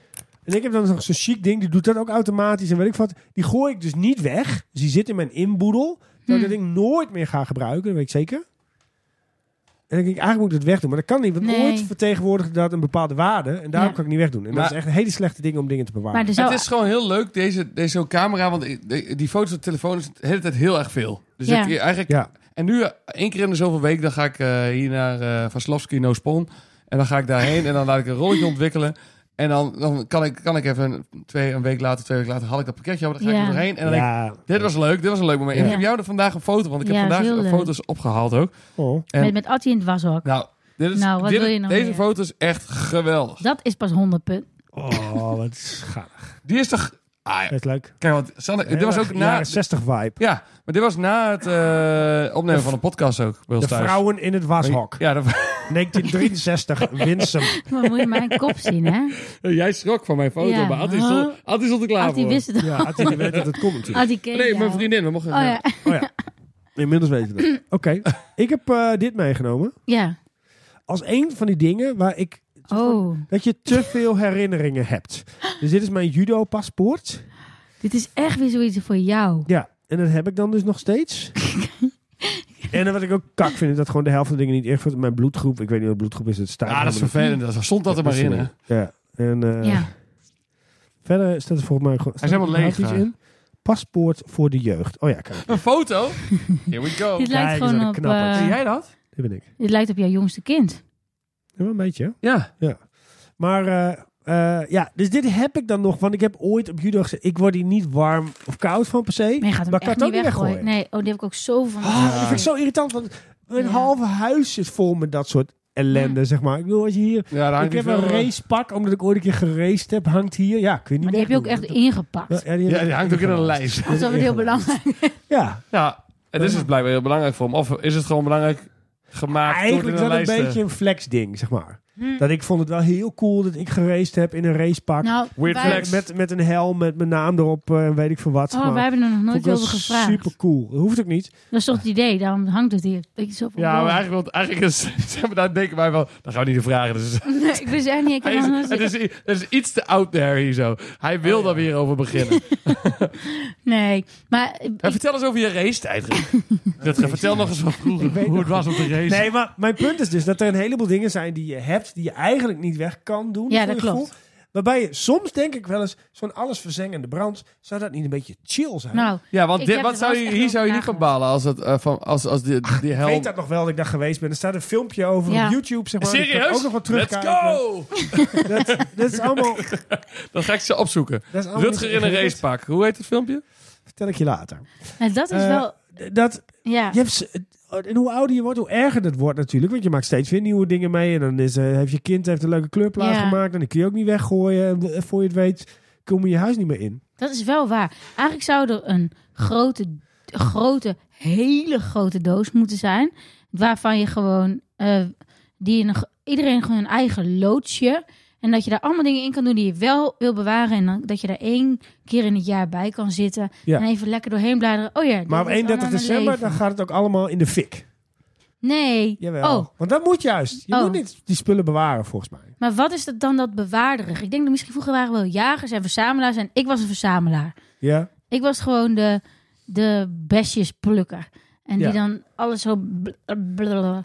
Speaker 1: En ik heb dan nog zo'n chic ding, die doet dat ook automatisch en weet ik wat. Die gooi ik dus niet weg. Dus die zit in mijn inboedel. Dat ik dat
Speaker 3: Hmm.
Speaker 1: ding nooit meer ga gebruiken, dat weet ik zeker. En ik denk, eigenlijk moet ik dat wegdoen. Maar dat kan niet, want
Speaker 3: Nee.
Speaker 1: ooit vertegenwoordigt dat een bepaalde waarde. En daarom
Speaker 3: Ja.
Speaker 1: kan ik niet wegdoen. En
Speaker 2: Maar-
Speaker 1: dat is echt een hele slechte ding om dingen te bewaren.
Speaker 3: Maar dus- er zou,
Speaker 2: Het is gewoon heel leuk, deze, deze camera, want ik- de- die foto's op de telefoon is de hele tijd heel erg veel. Dus
Speaker 3: Ja.
Speaker 2: ik, eigenlijk,
Speaker 1: Ja,
Speaker 2: en nu eh, één keer in de zoveel week, dan ga ik eh, hier naar eh Vaslovski No Spon. En dan ga ik daarheen en dan laat ik een rolletje ontwikkelen. En dan, dan kan, ik, kan ik even twee, een week later, twee weken later, had ik dat pakketje al, dan ga ik
Speaker 3: Ja.
Speaker 2: er doorheen. En dan denk ik,
Speaker 1: ja.
Speaker 2: dit was leuk, dit was een leuk moment. En
Speaker 3: Ja.
Speaker 2: ik heb jou er vandaag een foto, want ik heb
Speaker 3: Ja,
Speaker 2: vandaag
Speaker 3: heel leuk.
Speaker 2: foto's opgehaald ook.
Speaker 1: Oh.
Speaker 2: en-
Speaker 3: met, met Attie in het washok.
Speaker 2: Nou, dit is,
Speaker 3: Nou, wat
Speaker 2: dit-
Speaker 3: wil je nog
Speaker 2: deze
Speaker 3: meer?
Speaker 2: foto is echt geweldig.
Speaker 3: Dat is pas 100 punt.
Speaker 1: Oh, wat schattig.
Speaker 2: Die is toch Ah, ja.
Speaker 1: Dat is leuk.
Speaker 2: Kijk, want Sanne, dit was ook na...
Speaker 1: jaren 60 vibe.
Speaker 2: Ja, maar dit was na het eh, opnemen van de podcast ook bij ons
Speaker 1: De
Speaker 2: thuis.
Speaker 1: vrouwen in het washok.
Speaker 2: Ja, dat-
Speaker 1: 1963, Winsum.
Speaker 3: Maar moet je mijn kop zien, hè?
Speaker 2: jij schrok van mijn foto,
Speaker 3: Ja,
Speaker 2: maar Adi
Speaker 3: huh?
Speaker 2: stond, Adi stond er klaar
Speaker 3: Had hij
Speaker 2: voor.
Speaker 3: wist het al.
Speaker 1: Ja, had hij niet weten dat het komt natuurlijk.
Speaker 3: Had hij keken,
Speaker 2: Nee, mijn
Speaker 3: ja.
Speaker 2: vriendin, we mochten...
Speaker 3: Oh ja.
Speaker 1: Oh ja. Inmiddels weten we dat. Oké, ik heb eh, dit meegenomen.
Speaker 3: Ja.
Speaker 1: Als een van die dingen waar ik...
Speaker 3: Oh,
Speaker 1: Dat je te veel herinneringen hebt. Dus dit is mijn judo-paspoort.
Speaker 3: dit is echt weer zoiets voor jou.
Speaker 1: Ja, en dat heb ik dan dus nog steeds. en wat ik ook kak vind, is dat gewoon de helft van de dingen niet echt wordt. Mijn bloedgroep, ik weet niet wat bloedgroep is, het staat.
Speaker 2: Ah, dat is
Speaker 1: helemaal
Speaker 2: vervelend. Dat stond dat er maar
Speaker 1: niet.
Speaker 2: in, hè.
Speaker 1: Ja, en eh,
Speaker 3: Ja.
Speaker 1: verder staat er volgens mij gewoon...
Speaker 2: Hij is helemaal
Speaker 1: staat er
Speaker 2: leeg,
Speaker 1: überhaupt
Speaker 2: hè?
Speaker 1: iets in. Paspoort voor de jeugd. Oh ja, kijk,
Speaker 2: Een foto? Here we go.
Speaker 3: Dit
Speaker 1: Kijk
Speaker 3: lijkt
Speaker 1: eens
Speaker 3: gewoon
Speaker 1: naar
Speaker 3: op...
Speaker 1: de knappert.
Speaker 3: eh,
Speaker 2: Zie jij dat?
Speaker 1: dit ben ik.
Speaker 3: dit lijkt op jouw jongste kind.
Speaker 1: Ja, wel een beetje, hè?
Speaker 2: Ja.
Speaker 1: Maar eh, eh, ja, dus dit heb ik dan nog. Want ik heb ooit op judo gezegd, ik word hier niet warm of koud van per se.
Speaker 3: Maar je gaat hem
Speaker 1: maar ik
Speaker 3: echt
Speaker 1: kan
Speaker 3: niet
Speaker 1: het ook niet
Speaker 3: weggooien.
Speaker 1: weggooien.
Speaker 3: Nee, oh, die heb ik ook zoveel van.
Speaker 1: Oh, Dat vind ik zo irritant, want mijn
Speaker 3: Ja.
Speaker 1: halve huis is vol met dat soort ellende, zeg maar. Ik bedoel, als je hier...
Speaker 2: Ja, daar
Speaker 1: Ik
Speaker 2: hangt
Speaker 1: heb
Speaker 2: die
Speaker 1: een
Speaker 2: veel- eh,
Speaker 1: racepak, omdat ik ooit een keer geraced heb, hangt hier. Ja, kun je niet
Speaker 3: Maar die heb je ook echt
Speaker 1: wegdoen.
Speaker 3: ingepakt.
Speaker 1: Ja, die,
Speaker 2: Ja, die hangt ook in een lijst.
Speaker 3: Alsof het heel belangrijk is.
Speaker 1: Ja,
Speaker 2: Ja, het is dus blijkbaar heel belangrijk voor hem. Of is het gewoon belangrijk gemaakt door
Speaker 1: eigenlijk
Speaker 2: in
Speaker 1: wel
Speaker 2: een
Speaker 1: een
Speaker 2: lijst eh? te-
Speaker 1: beetje een flex ding, zeg maar. Dat ik vond het wel heel cool dat ik geraced heb in een racepak.
Speaker 3: Hm. Nou,
Speaker 2: Weird
Speaker 3: wij,
Speaker 2: flex.
Speaker 1: met, met een helm, met mijn naam erop, eh, weet ik veel wat. zeg
Speaker 3: Oh,
Speaker 1: maar.
Speaker 3: wij hebben er nog nooit
Speaker 1: Vond ik wel
Speaker 3: over gevraagd.
Speaker 1: Super cool. Dat hoeft ook niet.
Speaker 3: Dat is toch het idee, daarom hangt het hier. Ik zo van, Oh.
Speaker 2: Ja,
Speaker 3: wow.
Speaker 2: maar eigenlijk, want eigenlijk is, zeg maar, daar denken wij wel, daar gaan we niet de vragen. Dus,
Speaker 3: Nee, ik wist echt niet. Ik heb
Speaker 2: hij
Speaker 3: nog
Speaker 2: is,
Speaker 3: nooit-
Speaker 2: het, is, het is iets te out there hier zo. Hij wil daar weer over beginnen.
Speaker 3: Nee, maar ik-
Speaker 2: En vertel eens over je race tijd. vertel nog eens van
Speaker 1: Ik
Speaker 2: vroeger
Speaker 1: weet
Speaker 2: hoe
Speaker 1: nog
Speaker 2: het was op de race.
Speaker 1: Nee, maar mijn punt is dus dat er een heleboel dingen zijn die je hebt, die je eigenlijk niet weg kan doen.
Speaker 3: Ja,
Speaker 1: voor
Speaker 3: dat
Speaker 1: je
Speaker 3: klopt.
Speaker 1: gevoel. Waarbij je soms denk ik wel eens, zo'n allesverzengende brand, zou dat niet een beetje chill zijn?
Speaker 3: nou,
Speaker 2: ja, want
Speaker 3: Ik
Speaker 2: dit,
Speaker 3: heb
Speaker 2: wat
Speaker 3: er
Speaker 2: zou
Speaker 3: wel
Speaker 2: je,
Speaker 3: eens
Speaker 2: hier
Speaker 3: echt
Speaker 2: zou je niet
Speaker 3: over
Speaker 2: van balen als, het, eh, van, als, als die, die
Speaker 1: Ik
Speaker 2: helm...
Speaker 1: weet dat nog wel dat ik daar geweest ben. Er staat een filmpje over
Speaker 3: Ja.
Speaker 1: op YouTube, zeg maar. Ik kan
Speaker 2: Serieus?
Speaker 1: ook nog wat
Speaker 2: Let's
Speaker 1: terugkijken.
Speaker 2: go!
Speaker 1: Dat, dat is allemaal... Dat
Speaker 2: Dat ga ik ze opzoeken.
Speaker 1: is allemaal
Speaker 2: Rutger in een racepak. Hoe heet het filmpje?
Speaker 1: Vertel ik je later.
Speaker 3: nou, dat is
Speaker 1: Eh,
Speaker 3: wel...
Speaker 1: Dat,
Speaker 3: Ja,
Speaker 1: je hebt, z- en hoe ouder je wordt, hoe erger dat wordt natuurlijk. Want je maakt steeds weer nieuwe dingen mee. En dan is, eh, heeft je kind heeft een leuke kleurplaat
Speaker 3: Ja.
Speaker 1: gemaakt. En die kun je ook niet weggooien. En eh, voor je het weet, kom je je huis niet meer in.
Speaker 3: dat is wel waar. Eigenlijk zou er een grote, grote, hele grote doos moeten zijn. Waarvan je gewoon... eh, die in een ge- iedereen gewoon een eigen loodsje. En dat je daar allemaal dingen in kan doen die je wel wil bewaren. En dan, dat je daar één keer in het jaar bij kan zitten.
Speaker 1: Ja.
Speaker 3: En even lekker doorheen bladeren. Oh ja,
Speaker 1: Maar op
Speaker 3: dat is
Speaker 1: 31
Speaker 3: allemaal mijn
Speaker 1: december,
Speaker 3: leven.
Speaker 1: dan gaat het ook allemaal in de fik.
Speaker 3: Nee.
Speaker 1: Jawel.
Speaker 3: Oh,
Speaker 1: Want dat moet juist. Je
Speaker 3: Oh.
Speaker 1: moet niet die spullen bewaren, volgens mij.
Speaker 3: Maar wat is dat dan dat bewaarderig? Ik denk dat misschien vroeger waren we wel jagers en verzamelaars en ik was een verzamelaar.
Speaker 1: Ja?
Speaker 3: Ik was gewoon de, de bestjesplukker. En die
Speaker 1: Ja.
Speaker 3: dan alles zo... bl- blablabla.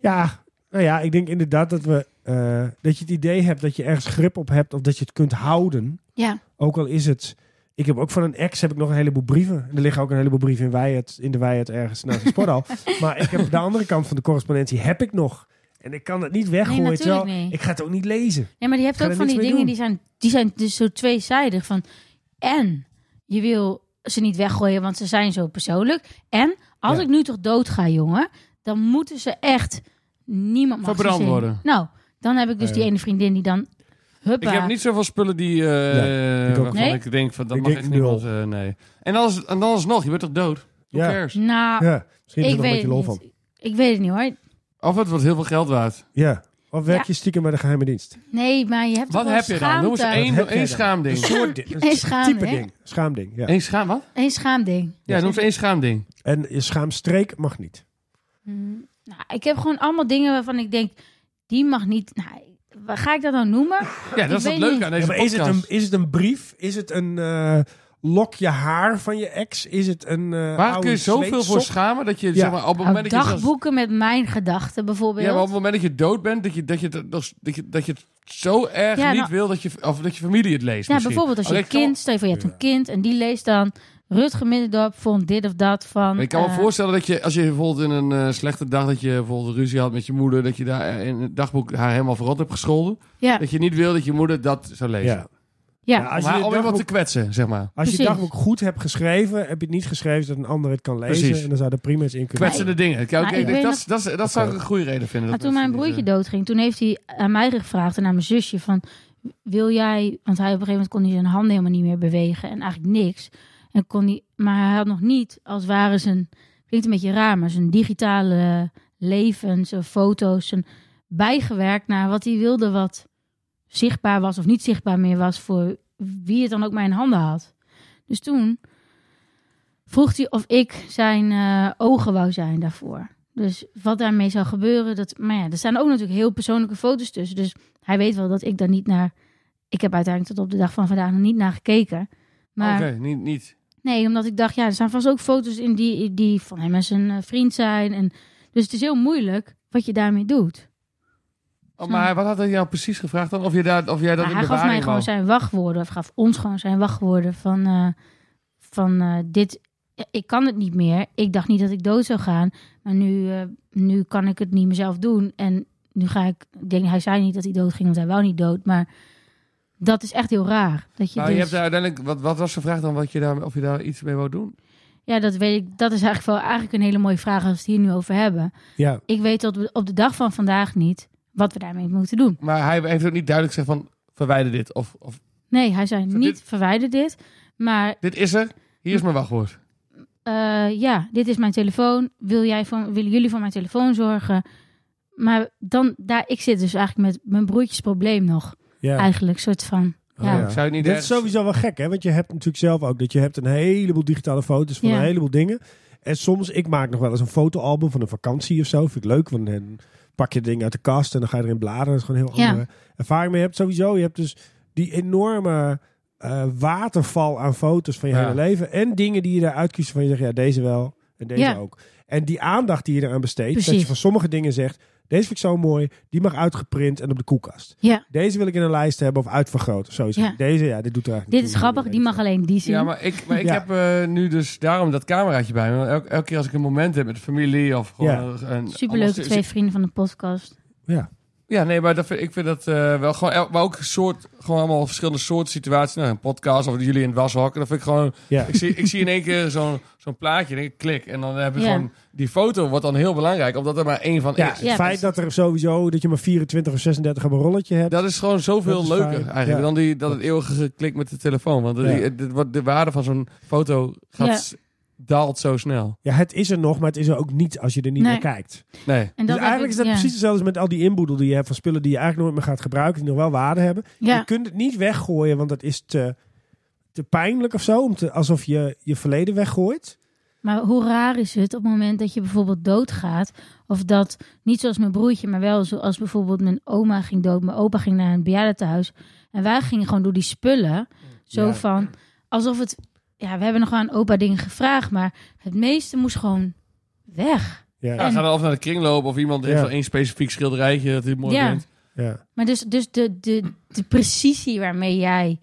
Speaker 1: Ja, nou ja, ik denk inderdaad dat we... eh, dat je het idee hebt dat je ergens grip op hebt. Of dat je het kunt houden.
Speaker 3: Ja,
Speaker 1: Ook al is het... Ik heb ook van een ex heb ik nog een heleboel brieven. En er liggen ook een heleboel brieven in, Weijert, in de Weijert ergens naast het sporthal. maar ik heb de andere kant van de correspondentie heb ik nog. En ik kan het niet weggooien.
Speaker 3: natuurlijk
Speaker 1: terwijl
Speaker 3: niet.
Speaker 1: Ik ga het ook niet lezen.
Speaker 3: ja maar die hebt
Speaker 1: Ga
Speaker 3: ook
Speaker 1: er
Speaker 3: van
Speaker 1: niks
Speaker 3: die
Speaker 1: mee
Speaker 3: dingen
Speaker 1: doen.
Speaker 3: die zijn, die zijn dus zo tweezijdig. Van, en je wil ze niet weggooien, want ze zijn zo persoonlijk. En als
Speaker 1: Ja.
Speaker 3: ik nu toch dood ga, jongen, dan moeten ze echt... Niemand mag ze
Speaker 2: Verbrand
Speaker 3: zien.
Speaker 2: worden.
Speaker 3: Nou, dan heb ik dus
Speaker 1: Ja.
Speaker 3: die ene vriendin die dan... Huppa.
Speaker 2: Ik heb niet zoveel spullen die, eh
Speaker 1: ik ook
Speaker 2: waarvan
Speaker 3: niet.
Speaker 2: ik denk van, dat
Speaker 1: Ik
Speaker 2: mag
Speaker 1: denk
Speaker 2: echt niemand.
Speaker 1: nul.
Speaker 2: eh nee. En alles, en alles nog, je bent toch dood? Who
Speaker 1: Ja.
Speaker 2: cares?
Speaker 3: Nou,
Speaker 1: ja, misschien is er nog
Speaker 3: ik
Speaker 1: een
Speaker 3: weet,
Speaker 1: beetje
Speaker 3: het
Speaker 1: lol
Speaker 3: niet.
Speaker 1: van.
Speaker 3: ik weet het niet hoor.
Speaker 2: Of het wordt heel veel geld waard.
Speaker 1: Ja. Of werk
Speaker 3: Ja.
Speaker 1: je stiekem bij de geheime dienst?
Speaker 3: Nee, maar je hebt
Speaker 2: Wat
Speaker 3: toch wel
Speaker 2: heb je dan? Noem eens
Speaker 3: schaamte.
Speaker 2: één,
Speaker 1: Wat heb jij
Speaker 2: één
Speaker 1: dan?
Speaker 2: schaamding.
Speaker 1: soort ding.
Speaker 3: Een schaamding.
Speaker 1: type ding. Schaamding, ja.
Speaker 2: Eén schaam, wat?
Speaker 3: Eén schaamding.
Speaker 2: Ja, noem eens één schaamding.
Speaker 1: En je schaamstreek mag niet.
Speaker 3: Nou, ik heb gewoon allemaal dingen waarvan ik denk, die mag niet. Nou, waar ga ik dat nou noemen?
Speaker 2: Ja,
Speaker 3: Ik
Speaker 2: dat is het
Speaker 3: weet
Speaker 2: leuke
Speaker 3: niet.
Speaker 2: aan
Speaker 1: Ja,
Speaker 2: deze
Speaker 1: maar is,
Speaker 2: podcast.
Speaker 1: het een, is het een brief? Is het een eh, lokje haar van je ex? Is het een eh
Speaker 2: Waar
Speaker 1: oude
Speaker 2: kun je zoveel voor
Speaker 1: zweetsop?
Speaker 2: schamen dat je
Speaker 1: Ja.
Speaker 2: zeg maar, op het
Speaker 3: Nou,
Speaker 2: moment dat je zelfs-
Speaker 3: dagboeken met mijn gedachten bijvoorbeeld.
Speaker 2: dus ja, maar op het moment dat je dood bent, dat je, dat je, dat dat je, dat je het zo erg
Speaker 3: Ja,
Speaker 2: niet
Speaker 3: nou-
Speaker 2: wil dat je, of dat je familie het leest.
Speaker 3: Ja,
Speaker 2: misschien.
Speaker 3: bijvoorbeeld als
Speaker 2: Oh,
Speaker 3: je
Speaker 2: ik kan
Speaker 3: kind, stel je voor je hebt een kind en die leest dan Rutger Middendorp vond dit of dat van.
Speaker 2: Maar ik kan me
Speaker 3: eh,
Speaker 2: voorstellen dat je, als je bijvoorbeeld in een eh, slechte dag, dat je bijvoorbeeld ruzie had met je moeder, dat je daar eh, in het dagboek haar helemaal verrot hebt gescholden.
Speaker 3: Ja,
Speaker 2: Dat je niet wil dat je moeder dat zou lezen.
Speaker 1: Ja.
Speaker 3: ja.
Speaker 1: Ja,
Speaker 2: Om,
Speaker 1: als je
Speaker 2: haar,
Speaker 1: je
Speaker 2: om iemand te
Speaker 1: dagboek-
Speaker 2: kwetsen, zeg maar.
Speaker 1: Als je je
Speaker 3: Precies.
Speaker 1: dagboek goed hebt geschreven, heb je het niet geschreven zodat een ander het kan lezen.
Speaker 2: Precies.
Speaker 1: En dan zou er prima eens in kunnen.
Speaker 2: Kwetsende dingen. Kijk,
Speaker 3: Maar
Speaker 2: ik
Speaker 3: ik
Speaker 2: denk,
Speaker 3: weet
Speaker 2: dat
Speaker 3: nog-
Speaker 2: dat, dat zou ik een goede reden vinden.
Speaker 3: Maar
Speaker 2: dat
Speaker 3: toen mijn
Speaker 2: mensen eh,
Speaker 3: broertje
Speaker 2: niet,
Speaker 3: doodging, toen heeft hij aan mij gevraagd en aan mijn zusje van... wil jij... Want hij op een gegeven moment kon hij zijn handen helemaal niet meer bewegen. En eigenlijk niks. En kon hij, maar hij had nog niet, als het ware zijn... Klinkt een beetje raar, maar zijn digitale leven, zijn foto's, zijn bijgewerkt naar wat hij wilde, wat zichtbaar was of niet zichtbaar meer was voor wie het dan ook maar in handen had. Dus toen vroeg hij of ik zijn eh, ogen wou zijn daarvoor. Dus wat daarmee zou gebeuren, dat, maar ja, er staan ook natuurlijk heel persoonlijke foto's tussen. Dus hij weet wel dat ik daar niet naar. Ik heb uiteindelijk tot op de dag van vandaag nog niet naar gekeken. Maar
Speaker 2: Oké, niet, niet.
Speaker 3: Nee, omdat ik dacht, ja, er staan vast ook foto's in die, die van hem en zijn eh, vriend zijn. En, dus het is heel moeilijk wat je daarmee doet.
Speaker 2: Oh, maar wat had hij jou precies gevraagd dan? Of, je daar, of jij dat
Speaker 3: Maar
Speaker 2: in
Speaker 3: hij gaf mij
Speaker 2: bewaring
Speaker 3: gewoon
Speaker 2: wou?
Speaker 3: zijn wachtwoorden, of gaf ons gewoon zijn wachtwoorden van, eh, van eh, dit, ik kan het niet meer. Ik dacht niet dat ik dood zou gaan, maar nu, eh, nu kan ik het niet mezelf doen. En nu ga ik, ik denk, hij zei niet dat hij dood ging, want hij wou niet dood. Maar dat is echt heel raar. Dat je
Speaker 2: Nou, je
Speaker 3: dus-
Speaker 2: hebt daar uiteindelijk, wat, wat was de vraag dan? Wat je daar, of je daar iets mee wou doen?
Speaker 3: Ja, dat weet ik. Dat is eigenlijk wel eigenlijk een hele mooie vraag als we het hier nu over hebben.
Speaker 1: Ja,
Speaker 3: ik weet tot op de dag van vandaag niet wat we daarmee moeten doen.
Speaker 2: Maar hij heeft ook niet duidelijk gezegd van, verwijder dit. Of, of
Speaker 3: Nee, hij zei
Speaker 2: Zo,
Speaker 3: niet
Speaker 2: dit-
Speaker 3: verwijder dit. Maar
Speaker 2: dit is er, hier is mijn wachtwoord.
Speaker 3: eh, ja, dit is mijn telefoon. Wil jij van, willen jullie voor mijn telefoon zorgen? Maar dan, daar, ik zit dus eigenlijk met mijn broertjesprobleem nog.
Speaker 1: ja.
Speaker 3: Eigenlijk, soort van. Ja.
Speaker 1: ja.
Speaker 2: Ik zou het niet
Speaker 1: Dat is
Speaker 2: ergens-
Speaker 1: sowieso wel gek, hè? Want je hebt natuurlijk zelf ook dat je hebt een heleboel digitale foto's van
Speaker 3: Ja.
Speaker 1: een heleboel dingen. En soms, ik maak nog wel eens een fotoalbum van een vakantie of zo. Vind ik leuk, want dan pak je dingen uit de kast en dan ga je erin bladeren. Dat is gewoon een heel
Speaker 3: Ja.
Speaker 1: andere ervaring mee. Je hebt sowieso, je hebt dus die enorme eh, waterval aan foto's van je
Speaker 2: Ja.
Speaker 1: hele leven. En dingen die je daaruit kiest van je zegt, ja, deze wel en deze
Speaker 3: Ja.
Speaker 1: ook. En die aandacht die je eraan besteedt, dat
Speaker 3: Precies.
Speaker 1: je van sommige dingen zegt, deze vind ik zo mooi, die mag uitgeprint en op de koelkast.
Speaker 3: Ja.
Speaker 1: Deze wil ik in een lijst hebben of uitvergroten. of Zo
Speaker 3: Ja.
Speaker 1: Deze, ja, dit doet er eigenlijk
Speaker 3: Dit is
Speaker 1: niet toe,
Speaker 3: grappig,
Speaker 1: weet
Speaker 3: die
Speaker 1: je
Speaker 3: mag
Speaker 1: wel.
Speaker 3: alleen die zien.
Speaker 2: Ja, maar ik, maar ik
Speaker 1: Ja.
Speaker 2: heb eh, nu dus daarom dat cameraatje bij me. Want Elke, elke keer als ik een moment heb met familie of gewoon...
Speaker 1: Ja.
Speaker 2: een- Een,
Speaker 3: Superleuke
Speaker 2: anders-
Speaker 3: twee vrienden van de podcast.
Speaker 1: Ja.
Speaker 2: Ja, nee, maar dat vind, ik vind dat eh, wel gewoon... el- Maar ook soort, gewoon allemaal verschillende soorten situaties. Nou, een podcast of jullie in het washok. Dat vind ik gewoon...
Speaker 1: Ja.
Speaker 2: Ik zie, ik zie in één keer zo'n zo'n plaatje en ik klik. En dan heb je
Speaker 3: Ja.
Speaker 2: gewoon... Die foto wordt dan heel belangrijk, omdat er maar één van
Speaker 1: Ja,
Speaker 2: is.
Speaker 1: het
Speaker 3: Ja, dus-
Speaker 1: feit dat er sowieso dat je maar 24 of 36 op een rolletje hebt.
Speaker 2: Dat is gewoon zoveel
Speaker 1: Dat is
Speaker 2: leuker
Speaker 1: fijn,
Speaker 2: eigenlijk
Speaker 1: ja.
Speaker 2: dan die, dat het eeuwige klik met de telefoon. Want
Speaker 1: Ja.
Speaker 2: die- dit wordt- de waarde van zo'n foto gaat,
Speaker 3: Ja.
Speaker 2: s- daalt zo snel.
Speaker 1: Ja, het is er nog, maar het is er ook niet als je er niet
Speaker 3: Nee.
Speaker 1: naar kijkt.
Speaker 2: Nee.
Speaker 3: En
Speaker 1: dus
Speaker 3: heb
Speaker 1: eigenlijk
Speaker 3: ik-
Speaker 1: is dat
Speaker 3: ja.
Speaker 1: precies hetzelfde als met al die inboedel die je hebt van spullen die je eigenlijk nooit meer gaat gebruiken, die nog wel waarde hebben. Je
Speaker 3: Ja,
Speaker 1: kunt het niet weggooien, want dat is te, te pijnlijk of zo. Om te, alsof je je verleden weggooit.
Speaker 3: Maar hoe raar is het op het moment dat je bijvoorbeeld doodgaat? Of dat, niet zoals mijn broertje, maar wel zoals bijvoorbeeld mijn oma ging dood. Mijn opa ging naar een bejaardentehuis. En wij gingen gewoon door die spullen. Zo
Speaker 1: Ja.
Speaker 3: van, alsof het... Ja, we hebben nog wel aan opa dingen gevraagd. Maar het meeste moest gewoon weg.
Speaker 1: Ja,
Speaker 2: Ja,
Speaker 1: ja.
Speaker 2: ga dan af naar de kringloop of iemand heeft
Speaker 1: Ja.
Speaker 2: wel één specifiek schilderijtje dat hij mooi
Speaker 3: Ja.
Speaker 2: vindt.
Speaker 3: Maar dus, dus de, de, de precisie waarmee jij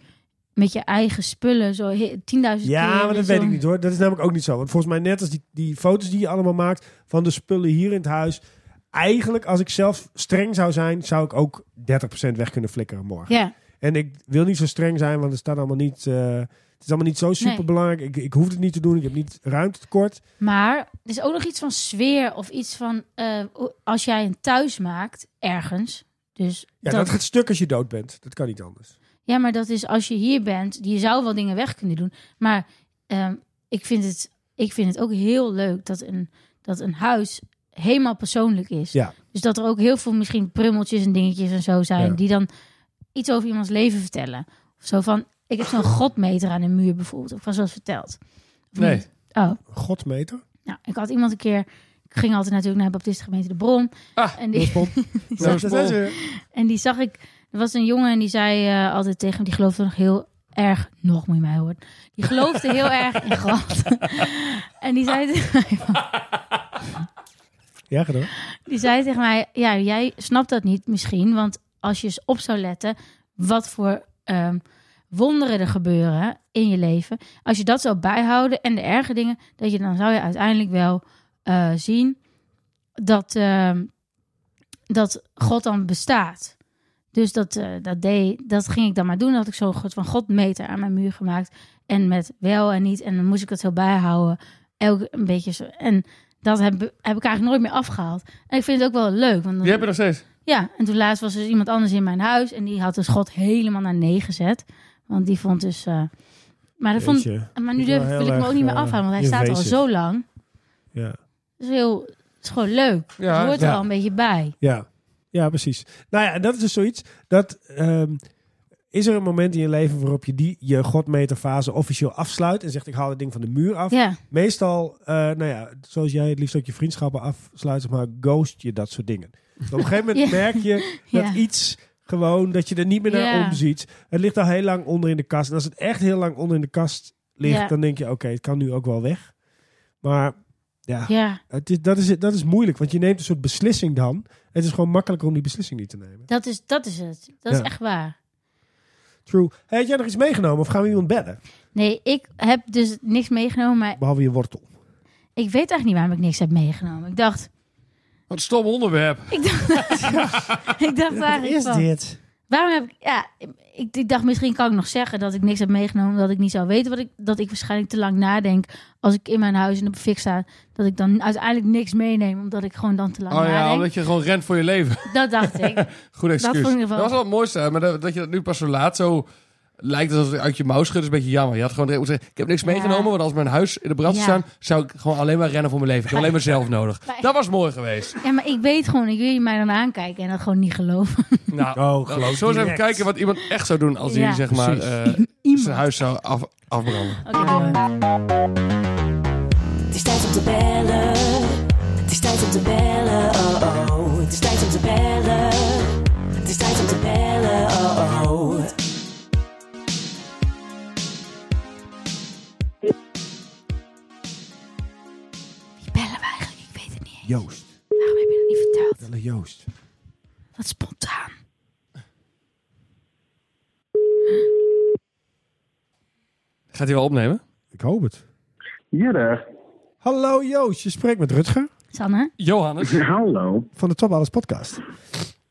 Speaker 3: met je eigen spullen zo he- 10.000
Speaker 1: Ja,
Speaker 3: keer
Speaker 1: maar dat
Speaker 3: zo-
Speaker 1: weet ik niet hoor. Dat is namelijk ook niet zo. Want volgens mij net als die, die foto's die je allemaal maakt van de spullen hier in het huis. Eigenlijk, als ik zelf streng zou zijn, zou ik ook 30% weg kunnen flikkeren morgen.
Speaker 3: Ja,
Speaker 1: En ik wil niet zo streng zijn, want het staat allemaal niet. eh, het is allemaal niet zo super belangrijk. Ik, ik hoef het niet te doen. Ik heb niet ruimte tekort.
Speaker 3: Maar er is ook nog iets van sfeer of iets van eh, als jij een thuis maakt ergens. Dus
Speaker 1: Ja, dat...
Speaker 3: dat-
Speaker 1: gaat stuk als je dood bent. Dat kan niet anders.
Speaker 3: ja, maar dat is als je hier bent, je zou wel dingen weg kunnen doen. Maar ehm, ik, vind het, ik vind het ook heel leuk dat een, dat een huis helemaal persoonlijk is.
Speaker 1: Ja.
Speaker 3: Dus dat er ook heel veel misschien prummeltjes en dingetjes en zo zijn
Speaker 1: Ja.
Speaker 3: die dan iets over iemands leven vertellen. Of zo van, ik heb zo'n godmeter aan de muur bijvoorbeeld. Of was dat verteld? Of
Speaker 2: Nee.
Speaker 3: niet? Oh.
Speaker 1: Godmeter.
Speaker 3: Nou, ik had iemand een keer. Ik ging altijd natuurlijk naar Baptistengemeente De Bron.
Speaker 2: Ah,
Speaker 3: en, die,
Speaker 1: Lospop.
Speaker 2: Zo small.
Speaker 3: en die zag ik. Er was een jongen en die zei eh, altijd tegen hem. Die geloofde nog heel erg. Nog moet je mij horen. Die geloofde heel erg in God. en die zei, te-
Speaker 1: Ja, gedaan.
Speaker 3: die zei tegen mij: Ja, jij snapt dat niet misschien. Want als je eens op zou letten. wat voor ehm, wonderen er gebeuren in je leven. Als je dat zou bijhouden en de erge dingen. Dat je, dan zou je uiteindelijk wel eh, zien dat, ehm, dat God dan bestaat. Dus dat, eh, dat, deed, dat ging ik dan maar doen. Dat had ik zo'n God van God meter aan mijn muur gemaakt. En met wel en niet. En dan moest ik dat zo bijhouden. Elk een beetje zo. En dat heb, heb ik eigenlijk nooit meer afgehaald. En ik vind het ook wel leuk. Want dan-
Speaker 2: Die heb je nog steeds.
Speaker 3: Ja, en toen laatst was dus iemand anders in mijn huis. En die had de schot helemaal naar nee gezet. Want die vond dus... eh, maar, dat vond,
Speaker 1: Jeetje.
Speaker 3: maar
Speaker 1: Vind
Speaker 3: nu
Speaker 1: ik
Speaker 3: durf,
Speaker 1: wel
Speaker 3: wil
Speaker 1: heel
Speaker 3: ik me ook
Speaker 1: erg,
Speaker 3: niet meer
Speaker 1: eh,
Speaker 3: afhouden. Want hij staat al
Speaker 1: invasive.
Speaker 3: zo lang.
Speaker 1: Ja.
Speaker 3: Het is, heel, het is gewoon leuk.
Speaker 2: Ja,
Speaker 3: het hoort
Speaker 1: ja.
Speaker 3: er al een beetje bij.
Speaker 1: Ja, ja precies. Nou ja, en dat is dus zoiets. Dat, ehm, is er een moment in je leven waarop je die, je godmeterfase officieel afsluit en zegt ik haal het ding van de muur af?
Speaker 3: Ja,
Speaker 1: Meestal, eh, nou ja, zoals jij het liefst ook je vriendschappen afsluit, zeg maar ghost je dat soort dingen. Dus op een gegeven moment
Speaker 3: Ja.
Speaker 1: merk je dat
Speaker 3: Ja.
Speaker 1: iets gewoon, dat je er niet meer naar
Speaker 3: Ja.
Speaker 1: omziet. Het ligt al heel lang onder in de kast. En als het echt heel lang onder in de kast ligt,
Speaker 3: Ja.
Speaker 1: dan denk je oké, het kan nu ook wel weg. Maar ja,
Speaker 3: ja,
Speaker 1: het is, dat, is, dat is moeilijk, want je neemt een soort beslissing dan. Het is gewoon makkelijker om die beslissing niet te nemen.
Speaker 3: dat is, dat is het. Dat
Speaker 1: Ja.
Speaker 3: is echt waar.
Speaker 1: True. Hey, had jij nog iets meegenomen of gaan we iemand bellen?
Speaker 3: Nee, ik heb dus niks meegenomen. Maar
Speaker 1: Behalve je wortel.
Speaker 3: ik weet eigenlijk niet waarom ik niks heb meegenomen. Ik dacht...
Speaker 2: Wat een stom onderwerp.
Speaker 3: Ik dacht, ik dacht eigenlijk van...
Speaker 1: dit?
Speaker 3: Waarom heb ik... Ja, ik, ik dacht misschien kan ik nog zeggen dat ik niks heb meegenomen. Dat ik niet zou weten wat ik... Dat ik waarschijnlijk te lang nadenk als ik in mijn huis in de fik sta. Dat ik dan uiteindelijk niks meeneem. Omdat ik gewoon dan te lang
Speaker 2: Oh ja,
Speaker 3: nadenk.
Speaker 2: omdat je gewoon rent voor je leven.
Speaker 3: Dat dacht ik.
Speaker 2: Goed excuus.
Speaker 3: vond ik in ieder geval-
Speaker 2: was wel het mooiste, hè, maar dat, dat je dat nu pas zo laat zo lijkt alsof het uit je mouw schudt, is een beetje jammer. Je had gewoon direct moeten zeggen, ik heb niks
Speaker 3: Ja.
Speaker 2: meegenomen, want als mijn huis in de brand zou
Speaker 3: Ja.
Speaker 2: staan, zou ik gewoon alleen maar rennen voor mijn leven. Ik heb alleen maar zelf nodig.
Speaker 3: Maar-
Speaker 2: Dat was mooi geweest.
Speaker 3: Ja, maar ik weet gewoon. Ik wil je mij dan aankijken en dat gewoon niet geloven.
Speaker 2: Nou,
Speaker 1: Oh,
Speaker 2: zo
Speaker 1: geloof
Speaker 2: eens even
Speaker 1: direct.
Speaker 2: kijken wat iemand echt zou doen als
Speaker 3: Ja.
Speaker 2: hij zeg maar
Speaker 1: Precies.
Speaker 2: eh,
Speaker 3: Iemand.
Speaker 2: zijn huis zou af, afbranden.
Speaker 3: Oké, mooi.
Speaker 4: Het is tijd om te bellen. Het is tijd om te bellen. Oh oh. Het is tijd om te bellen. Het is tijd om te bellen. Oh oh.
Speaker 3: Wie bellen we eigenlijk? Ik weet het niet. eens.
Speaker 1: Joost.
Speaker 3: Waarom heb je dat niet verteld?
Speaker 1: Bellen Joost.
Speaker 3: Wat spontaan.
Speaker 2: Gaat hij wel opnemen?
Speaker 1: Ik hoop het.
Speaker 6: Ja, daar.
Speaker 1: Hallo Joost, je spreekt met Rutger
Speaker 3: Sanne?
Speaker 2: Johannes.
Speaker 6: Hallo.
Speaker 1: van de Top Alles podcast.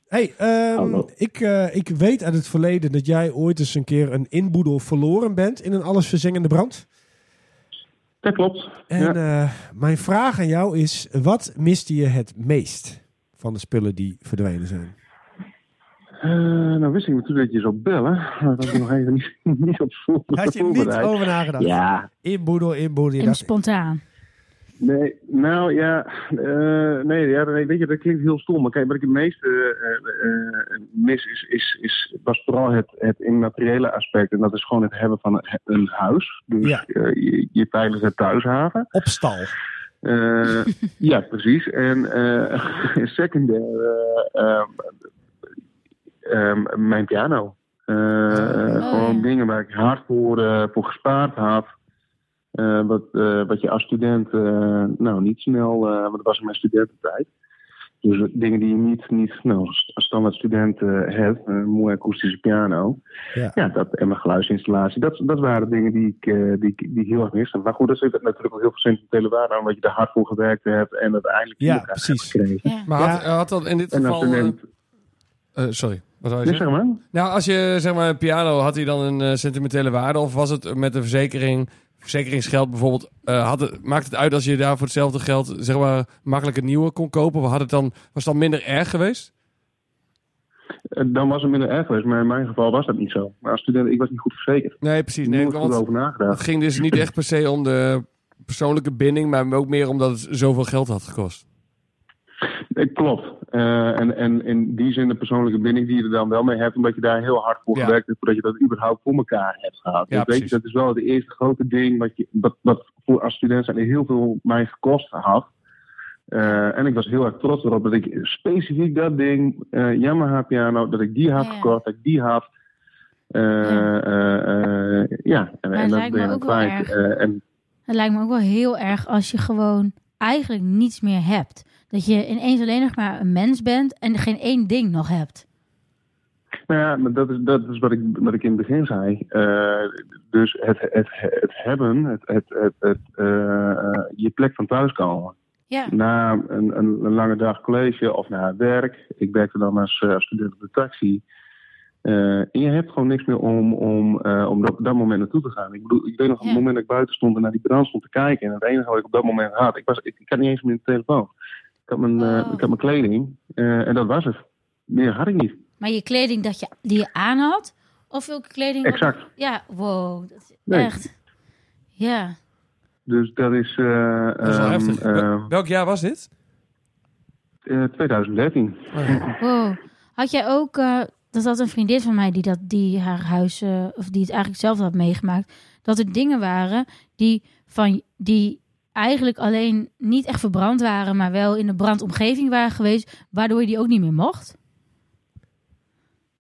Speaker 1: Hey, ehm,
Speaker 6: Hallo.
Speaker 1: ik, eh, ik weet uit het verleden dat jij ooit eens een keer een inboedel verloren bent in een allesverzengende brand.
Speaker 6: Dat klopt.
Speaker 1: En eh, mijn vraag aan jou is, wat miste je het meest van de spullen die verdwenen zijn?
Speaker 6: Eh, nou wist ik natuurlijk dat je zou bellen, maar dat had ik nog even niet, niet op voor-
Speaker 1: Had je niet
Speaker 6: voorbereid.
Speaker 1: over nagedacht?
Speaker 6: Ja,
Speaker 1: Inboedel, inboedel. Je
Speaker 3: Even
Speaker 1: dacht,
Speaker 3: spontaan.
Speaker 6: nee, nou ja, eh, nee, ja, nee, weet je, dat klinkt heel stom. Maar kijk, wat ik het meeste eh, eh, eh, mis is, is, is, was vooral het, het immateriële aspect. En dat is gewoon het hebben van een- een huis. Dus
Speaker 1: Ja.
Speaker 6: eh, je, je veilige thuishaven.
Speaker 1: opstal.
Speaker 6: Eh, ja, precies. En eh secundair eh, ehm, ehm, mijn piano. Eh, eh,
Speaker 3: Oh,
Speaker 6: gewoon
Speaker 3: ja.
Speaker 6: dingen waar ik hard voor, eh, voor gespaard had. Eh, wat, eh, wat je als student eh, nou niet snel, eh, want dat was in mijn studententijd. Dus dingen die je niet, niet nou, als als standaard student eh, hebt, een mooie akoestische piano.
Speaker 1: Ja.
Speaker 6: Ja, dat en mijn geluidsinstallatie. Dat, dat waren dingen die ik, eh, die, ik- die ik heel erg miste. Maar goed, dat zit natuurlijk ook heel veel sentimentele waarde aan, omdat je er hard voor gewerkt hebt en uiteindelijk
Speaker 1: Ja,
Speaker 6: hier hebt
Speaker 1: precies.
Speaker 6: gekregen.
Speaker 3: Ja.
Speaker 2: Maar had, had dat in dit
Speaker 6: En als
Speaker 2: geval... eh,
Speaker 6: student.
Speaker 2: eh, sorry, wat wou je
Speaker 6: Nee,
Speaker 2: zeggen?
Speaker 6: zeg maar.
Speaker 2: Nou, als je zeg maar een piano, had hij dan een eh, sentimentele waarde? Of was het met de verzekering, verzekeringsgeld bijvoorbeeld, eh, had het, maakt het uit als je daar voor hetzelfde geld zeg maar makkelijk een nieuwe kon kopen? Of had het dan, was het dan minder erg geweest?
Speaker 6: Eh, Dan was het minder erg geweest, maar in mijn geval was dat niet zo. Maar als student, ik was niet goed verzekerd.
Speaker 2: Nee, precies.
Speaker 6: Ik
Speaker 2: Nee,
Speaker 6: heb er goed
Speaker 2: want
Speaker 6: over nagedacht.
Speaker 2: het ging dus niet echt per se om de persoonlijke binding, maar ook meer omdat het zoveel geld had gekost.
Speaker 6: Eh, Klopt. Eh, en, en in die zin de persoonlijke binding die je er dan wel mee hebt, omdat je daar heel hard voor
Speaker 2: Ja.
Speaker 6: gewerkt hebt, voordat je dat überhaupt voor elkaar hebt gehad.
Speaker 2: Ja,
Speaker 6: Dus weet
Speaker 2: precies.
Speaker 6: je, dat is wel het eerste grote ding wat, je, wat, wat voor als student zijn heel veel mij gekost had. Eh, en ik was heel erg trots erop dat ik specifiek dat ding, eh Yamaha piano, dat ik die had
Speaker 3: Ja.
Speaker 6: gekocht, dat ik die had. Eh,
Speaker 3: Ja.
Speaker 6: eh, eh, ja, en,
Speaker 3: Maar
Speaker 6: en
Speaker 3: het
Speaker 6: dat
Speaker 3: lijkt me
Speaker 6: ben je dan
Speaker 3: ook wel
Speaker 6: kwijt.
Speaker 3: erg.
Speaker 6: Eh, en
Speaker 3: Het lijkt me ook wel heel erg als je gewoon eigenlijk niets meer hebt. Dat je ineens alleen nog maar een mens bent en geen één ding nog hebt.
Speaker 6: Nou ja, maar dat is, dat is wat, ik, wat ik in het begin zei. Eh, dus het, het, het hebben, het, het, het, het, eh, eh, je plek van thuiskomen.
Speaker 3: Ja.
Speaker 6: Na een, een, een lange dag college of na werk. Ik werkte dan als eh, student op de taxi. Eh, en je hebt gewoon niks meer om, om, eh, om dat, dat moment naartoe te gaan. Ik bedoel, ik weet nog
Speaker 3: Ja.
Speaker 6: het moment dat ik buiten stond en naar die brand stond te kijken. En het enige wat ik op dat moment had, ik, was, ik, ik had niet eens meer een telefoon. Ik had mijn, eh,
Speaker 3: Oh.
Speaker 6: ik had mijn kleding eh, en dat was het. meer had ik niet.
Speaker 3: Maar je kleding dat je, die je aan had? Of welke kleding?
Speaker 6: Exact.
Speaker 3: Ja, wow. Dat is
Speaker 6: Nee.
Speaker 3: Echt. Ja.
Speaker 6: Dus dat is, eh,
Speaker 2: Dat is wel
Speaker 6: ehm,
Speaker 2: heftig. Wel-
Speaker 6: ehm,
Speaker 2: Welk jaar was dit?
Speaker 6: eh, 2013.
Speaker 3: Wow. Had jij ook, eh, dat had een vriendin van mij die, dat, die haar huis, eh, of die het eigenlijk zelf had meegemaakt, dat er dingen waren die, van, die eigenlijk alleen niet echt verbrand waren, maar wel in de brandomgeving waren geweest, waardoor je die ook niet meer mocht?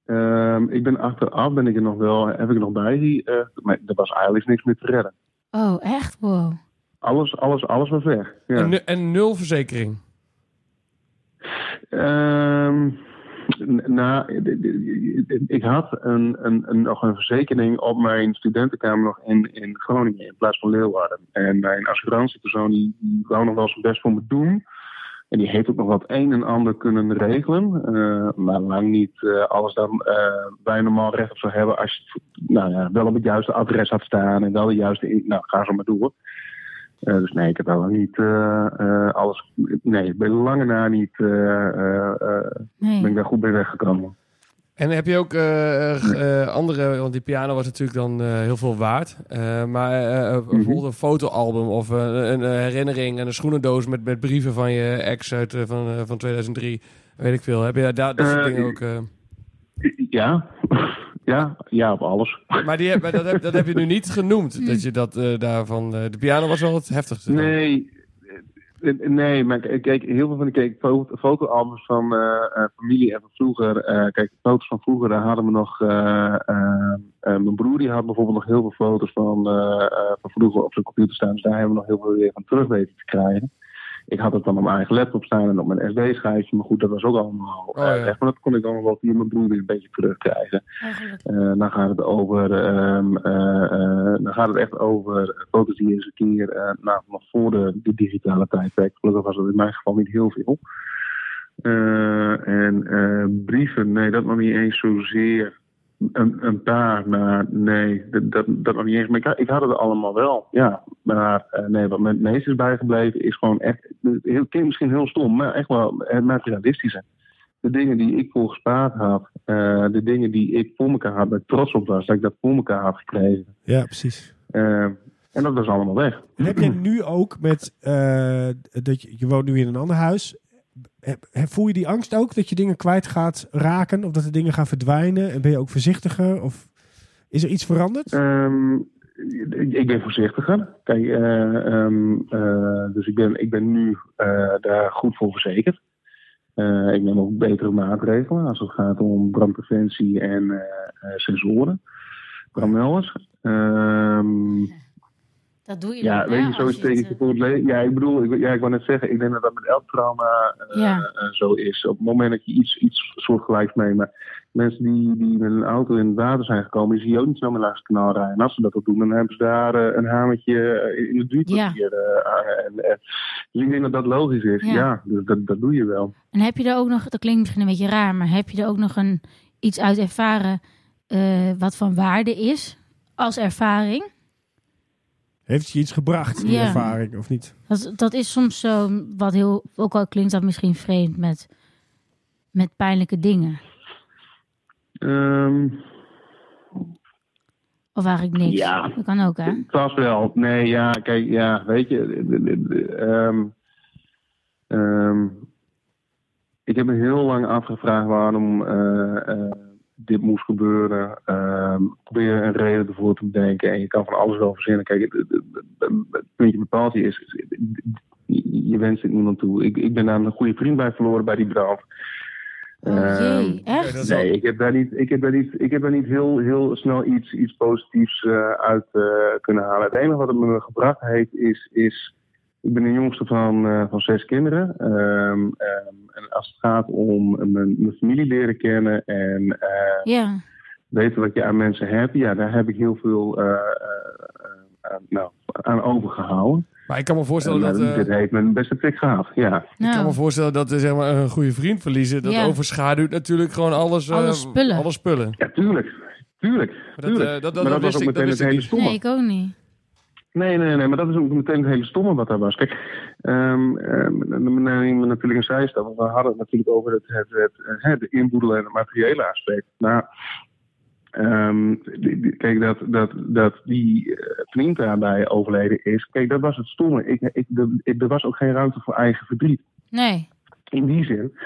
Speaker 6: Ehm, ik ben achteraf, ben ik er nog wel, heb ik er nog bij. die, eh, maar er was eigenlijk niks meer te redden.
Speaker 3: Oh, echt? Wow.
Speaker 6: Alles, alles, alles was weg. Ja.
Speaker 2: En, nu- en nul verzekering.
Speaker 6: Ehm, n- nou, d- d- ik had een, een, een, nog een verzekering op mijn studentenkamer nog in, in Groningen in plaats van Leeuwarden. En mijn assurantiepersoon die, die wou nog wel zijn best voor me doen. En die heeft ook nog wat een en ander kunnen regelen. eh, maar lang niet eh, alles dan eh wij normaal recht op zou hebben als je het, nou ja, wel op het juiste adres had staan en wel de juiste. in- Nou, ga zo maar door. Eh, dus nee, ik heb wel niet eh, eh, alles. Nee, bij lange na niet eh, eh, eh, ben ik
Speaker 3: Nee.
Speaker 6: daar goed bij weggekomen.
Speaker 2: En heb je ook eh, eh, eh, andere, want die piano was natuurlijk dan eh, heel veel waard. Eh, maar eh, eh,
Speaker 6: Mhm.
Speaker 2: bijvoorbeeld een fotoalbum of eh, een, een herinnering en een schoenendoos met, met brieven van je ex uit eh, van, eh, van 2003. Weet ik veel. Heb je daar dat soort
Speaker 6: Eh,
Speaker 2: dingen ook? eh?
Speaker 6: Ja, ja, ja, op alles.
Speaker 2: Maar, die, heb- maar dat, heb, dat heb je nu niet
Speaker 3: Hmm.
Speaker 2: genoemd. Dat je dat eh, daarvan. eh, de piano was wel het heftigste. dan.
Speaker 6: Nee, eh, nee, maar kijk, kijk, heel veel van die kijk, fo- fotoalbums van eh, eh, familie en van vroeger. eh, kijk, foto's van vroeger, daar hadden we nog. eh, eh, eh, mijn broer die had bijvoorbeeld nog heel veel foto's van, eh, eh, van vroeger op zijn computer staan. Dus daar hebben we nog heel veel weer van terug weten te krijgen. Ik had het dan op mijn eigen laptop staan en op mijn SD-schijfje. Maar goed, dat was ook allemaal
Speaker 2: Oh, ja.
Speaker 6: eh, weg. Maar dat kon ik allemaal wel via mijn broer weer een beetje terugkrijgen.
Speaker 3: Eigenlijk.
Speaker 6: Eh, dan gaat het over, ehm, eh, eh, dan gaat het echt over foto's die eens een keer, eh, nou, nog voor de, de digitale tijdperk. Gelukkig was dat in mijn geval niet heel veel. Eh, en eh, brieven, nee, dat nog niet eens zozeer. Een, een paar, maar nee, dat, dat, dat nog niet eens. Maar ik, ha- ik had het allemaal wel, ja. Maar eh, nee, wat me het meest is bijgebleven is gewoon echt, heel, klinkt misschien heel stom, maar echt wel eh, materialistische. De dingen die ik voor gespaard had, eh, de dingen die ik voor elkaar had, waar ik trots op was, dat ik dat voor elkaar had gekregen.
Speaker 1: Ja, precies.
Speaker 6: Eh, en dat was allemaal weg.
Speaker 1: En heb jij nu ook met eh, dat je, je woont nu in een ander huis. Heb- heb- Voel je die angst ook dat je dingen kwijt gaat raken of dat de dingen gaan verdwijnen? En ben je ook voorzichtiger? Of is er iets veranderd?
Speaker 6: Ehm, ik- ik ben voorzichtiger. Kijk, eh, ehm, eh, dus ik ben, ik ben nu eh, daar goed voor verzekerd. Eh, ik neem ook betere maatregelen als het gaat om brandpreventie en eh, eh, sensoren. Brandmelders. Ehm
Speaker 3: Dat doe je
Speaker 6: ja,
Speaker 3: dan,
Speaker 6: weet
Speaker 3: hè,
Speaker 6: je, zo
Speaker 3: als
Speaker 6: is
Speaker 3: het,
Speaker 6: het je
Speaker 3: eh,
Speaker 6: voor het leven. Ja, ik bedoel, ik, ja, ik wou net zeggen, ik denk dat dat met elk trauma eh,
Speaker 3: Ja.
Speaker 6: eh, zo is. Op het moment dat je iets, iets soortgelijks meemaakt. Mensen die, die met een auto in het water zijn gekomen, die zie je ook niet snel meer langs het kanaal rijden. En als ze dat ook doen, dan hebben ze daar eh, een hamertje eh, in de duurkwartier
Speaker 3: Ja.
Speaker 6: eh, hangen. En, eh, dus ik denk dat dat logisch is.
Speaker 3: Ja.
Speaker 6: Ja, dus dat, dat doe je wel.
Speaker 3: En heb je er ook nog, dat klinkt misschien een beetje raar, maar heb je er ook nog een, iets uit ervaren eh, wat van waarde is als ervaring?
Speaker 1: Heeft je iets gebracht in je
Speaker 3: Ja.
Speaker 1: ervaring of niet?
Speaker 3: Dat, dat is soms zo wat heel, ook al klinkt dat misschien vreemd met, met pijnlijke dingen.
Speaker 6: Ehm,
Speaker 3: Of eigenlijk niks.
Speaker 6: Ja. Ehm,
Speaker 3: Dat kan ook, hè?
Speaker 6: Vast wel. Nee, ja, kijk, ja, weet je. de- de- de- de- ehm, ehm, ik heb me heel lang afgevraagd waarom eh, eh, dit moest gebeuren. Ehm, probeer een reden ervoor te bedenken. En je kan van alles wel verzinnen. Kijk, het, het- het- het puntje bepaald hier is. is- Je je wenst het niemand toe. Ik, ik ben daar een goede vriend bij verloren bij die brand.
Speaker 3: Oh
Speaker 6: Ehm,
Speaker 3: jee,
Speaker 2: Oké, dat
Speaker 3: echt?
Speaker 2: is
Speaker 6: Nee,
Speaker 2: wel-
Speaker 6: ik heb daar niet, ik heb daar niet, ik heb daar niet heel, heel snel iets, iets positiefs eh, uit eh, kunnen halen. Het enige wat het me gebracht heeft is, is ik ben de jongste van, eh, van zes kinderen. Ehm, ehm, en als het gaat om mijn, mijn familie leren kennen en eh,
Speaker 3: Ja,
Speaker 6: weten wat je aan mensen hebt, ja, daar heb ik heel veel eh, eh, eh, aan- nou, aan overgehouden.
Speaker 2: Maar ik kan me voorstellen
Speaker 6: En,
Speaker 2: dat.
Speaker 6: eh,
Speaker 2: eh,
Speaker 6: dit heeft mijn beste tik gehad, ja.
Speaker 2: Ik kan me
Speaker 3: nou,
Speaker 2: voorstellen dat eh, zeg maar, een goede vriend verliezen, dat
Speaker 3: Ja.
Speaker 2: overschaduwt natuurlijk gewoon alles. eh,
Speaker 3: Alle spullen.
Speaker 2: Alle spullen.
Speaker 6: Ja, tuurlijk. Tuurlijk.
Speaker 2: dat,
Speaker 6: tuurlijk.
Speaker 2: eh, dat- dat-
Speaker 6: maar
Speaker 2: dat
Speaker 6: dat was
Speaker 2: wist
Speaker 6: ook
Speaker 2: ik- dat
Speaker 6: meteen
Speaker 2: wist
Speaker 6: het
Speaker 2: ik
Speaker 6: hele
Speaker 2: niet.
Speaker 6: stomme.
Speaker 3: nee, ik ook niet.
Speaker 6: Nee, nee, nee, maar dat is ook meteen het hele stomme wat daar was. Kijk, ehm ehm, dan nemen we natuurlijk een zijstap. want We hadden het natuurlijk over het, het, het, eh, hè, de inboedel en het materiële aspect. Nou, ehm, die- die- kijk, dat, dat, dat die eh, vriend daarbij overleden is. Kijk, dat was het stomme. Ik, ik, de- ik- er was ook geen ruimte voor eigen verdriet.
Speaker 3: Nee.
Speaker 6: In die zin,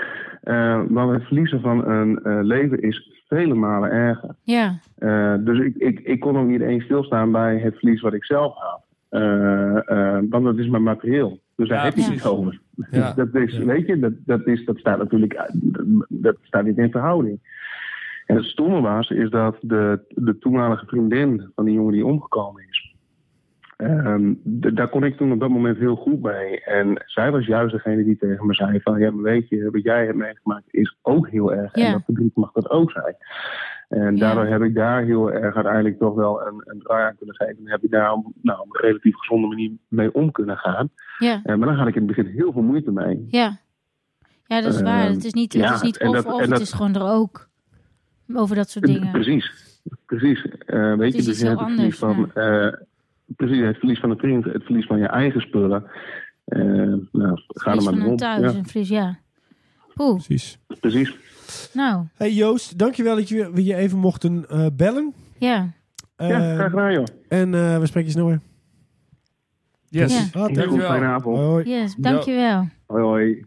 Speaker 6: eh want het verliezen van een eh, leven is vele malen erger.
Speaker 3: Ja.
Speaker 6: Eh, dus ik, ik, ik kon ook niet eens stilstaan bij het verlies wat ik zelf had. Eh, eh, want dat is maar materieel. Dus daar
Speaker 2: Ja,
Speaker 6: heb je
Speaker 2: precies.
Speaker 6: niet over. Dus
Speaker 2: Ja.
Speaker 6: Dat is, Weet je, dat, dat, is, dat staat natuurlijk uit- dat- dat staat niet in verhouding. En het stomme was, is dat de, de toenmalige vriendin van die jongen die omgekomen is. ehm, d- daar kon ik toen op dat moment heel goed mee. En zij was juist degene die tegen me zei van... ja, maar weet je, wat jij hebt meegemaakt is ook heel erg.
Speaker 3: Ja.
Speaker 6: En dat verdriet mag dat ook zijn. En
Speaker 3: Ja.
Speaker 6: daardoor heb ik daar heel erg uiteindelijk toch wel een, een draai aan kunnen geven. En heb ik daar op- nou, op een relatief gezonde manier mee om kunnen gaan.
Speaker 3: Ja.
Speaker 6: Eh, maar daar had ik in het begin heel veel moeite mee.
Speaker 3: Ja. Ja, dat is waar.
Speaker 6: Ehm,
Speaker 3: Het is niet,
Speaker 6: ja,
Speaker 3: het is niet
Speaker 6: en
Speaker 3: of,
Speaker 6: dat-
Speaker 3: of
Speaker 6: en
Speaker 3: het
Speaker 6: dat-
Speaker 3: is gewoon er ook. Over dat soort dingen.
Speaker 6: Precies. Precies. Eh, weet
Speaker 3: is
Speaker 6: je,
Speaker 3: iets
Speaker 6: dus je
Speaker 3: heel
Speaker 6: hebt het verlies
Speaker 3: anders,
Speaker 6: van, eh, precies, het verlies van een vriend, het verlies van je eigen spullen. Eh, nou, ga er
Speaker 3: Iets
Speaker 6: maar
Speaker 3: van
Speaker 6: mee
Speaker 3: een
Speaker 6: om.
Speaker 3: thuis,
Speaker 6: Ja,
Speaker 3: een vries, ja. Poeh,
Speaker 2: Precies.
Speaker 6: precies.
Speaker 3: nou,
Speaker 1: Hey Joost, dankjewel dat je, we je even mochten eh, bellen.
Speaker 3: ja.
Speaker 6: ja,
Speaker 1: Eh,
Speaker 6: graag gedaan joh.
Speaker 1: en eh, we spreken je snel weer.
Speaker 2: Yes.
Speaker 3: Ja.
Speaker 1: Ah,
Speaker 6: Heel goed,
Speaker 2: dankjewel.
Speaker 6: fijne avond.
Speaker 1: Hoi.
Speaker 3: Yes, dankjewel.
Speaker 6: Hoi hoi.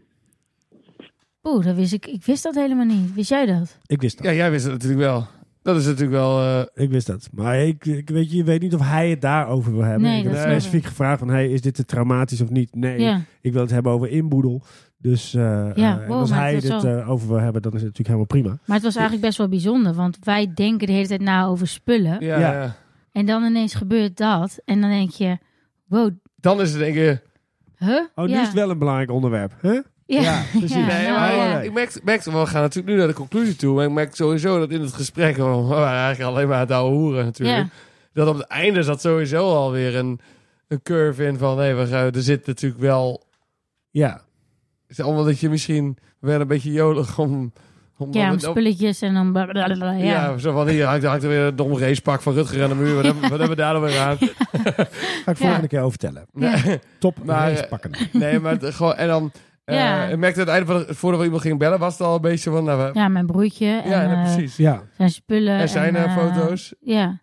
Speaker 3: Poeh, dat wist ik, ik wist dat helemaal niet. Wist jij dat?
Speaker 1: Ik wist dat.
Speaker 2: Ja, jij wist het natuurlijk wel. Dat is natuurlijk wel... eh,
Speaker 1: Ik wist dat. Maar ik, ik weet, je weet niet of hij het daarover wil hebben.
Speaker 3: Nee,
Speaker 1: ik
Speaker 3: dat
Speaker 1: heb
Speaker 2: snap
Speaker 1: specifiek gevraagd van, hey, is dit te traumatisch of niet? Nee,
Speaker 3: Ja.
Speaker 1: ik wil het hebben over inboedel. Dus eh, eh, en
Speaker 3: wow,
Speaker 1: als
Speaker 3: maar
Speaker 1: hij
Speaker 3: dat is
Speaker 1: dit
Speaker 3: wel-
Speaker 1: eh, over wil hebben, dan is het natuurlijk helemaal prima.
Speaker 3: Maar het was eigenlijk best wel bijzonder, want wij denken de hele tijd na over spullen.
Speaker 2: ja,
Speaker 1: Ja.
Speaker 2: ja.
Speaker 3: En dan ineens gebeurt dat. En dan denk je, wow,
Speaker 2: Dan is het denk ik...
Speaker 3: huh?
Speaker 1: Oh, nu
Speaker 3: ja.
Speaker 1: is het wel een belangrijk onderwerp. hè?
Speaker 3: Ja,
Speaker 1: Ja, precies.
Speaker 3: Ja,
Speaker 2: Nee,
Speaker 3: nou,
Speaker 2: maar
Speaker 3: ja.
Speaker 2: ik merkte, merkte wel, we gaan natuurlijk nu naar de conclusie toe. Maar ik merk sowieso dat in het gesprek, we waren eigenlijk alleen maar aan het oude hoeren natuurlijk. Dat op het einde zat sowieso alweer een, een curve in van, nee, we gaan, er zit natuurlijk wel...
Speaker 1: Ja,
Speaker 2: Het is allemaal dat je misschien wel een beetje jolig om... om
Speaker 3: Ja,
Speaker 2: om-
Speaker 3: om spulletjes en dan blablabla,
Speaker 2: ja.
Speaker 3: ja.
Speaker 2: zo van, hier hangt, hangt er weer een dom racepak van Rutger aan de muur. Wat hebben, wat hebben we daar dan weer aan?
Speaker 1: ga ik volgende keer over vertellen.
Speaker 2: Nee.
Speaker 1: Top,
Speaker 2: Maar,
Speaker 1: maar,
Speaker 2: eh, Nee, maar het- gewoon... En dan... eh,
Speaker 3: Ja.
Speaker 2: Ik merkte aan het einde van het, voordat we iemand ging bellen, was het al een beetje van... Nou, we-
Speaker 3: Ja, mijn broertje en
Speaker 2: ja, nou,
Speaker 3: eh,
Speaker 2: precies.
Speaker 1: Ja.
Speaker 3: zijn spullen.
Speaker 2: Er zijn
Speaker 3: en,
Speaker 2: eh,
Speaker 3: eh,
Speaker 2: foto's.
Speaker 3: Ja,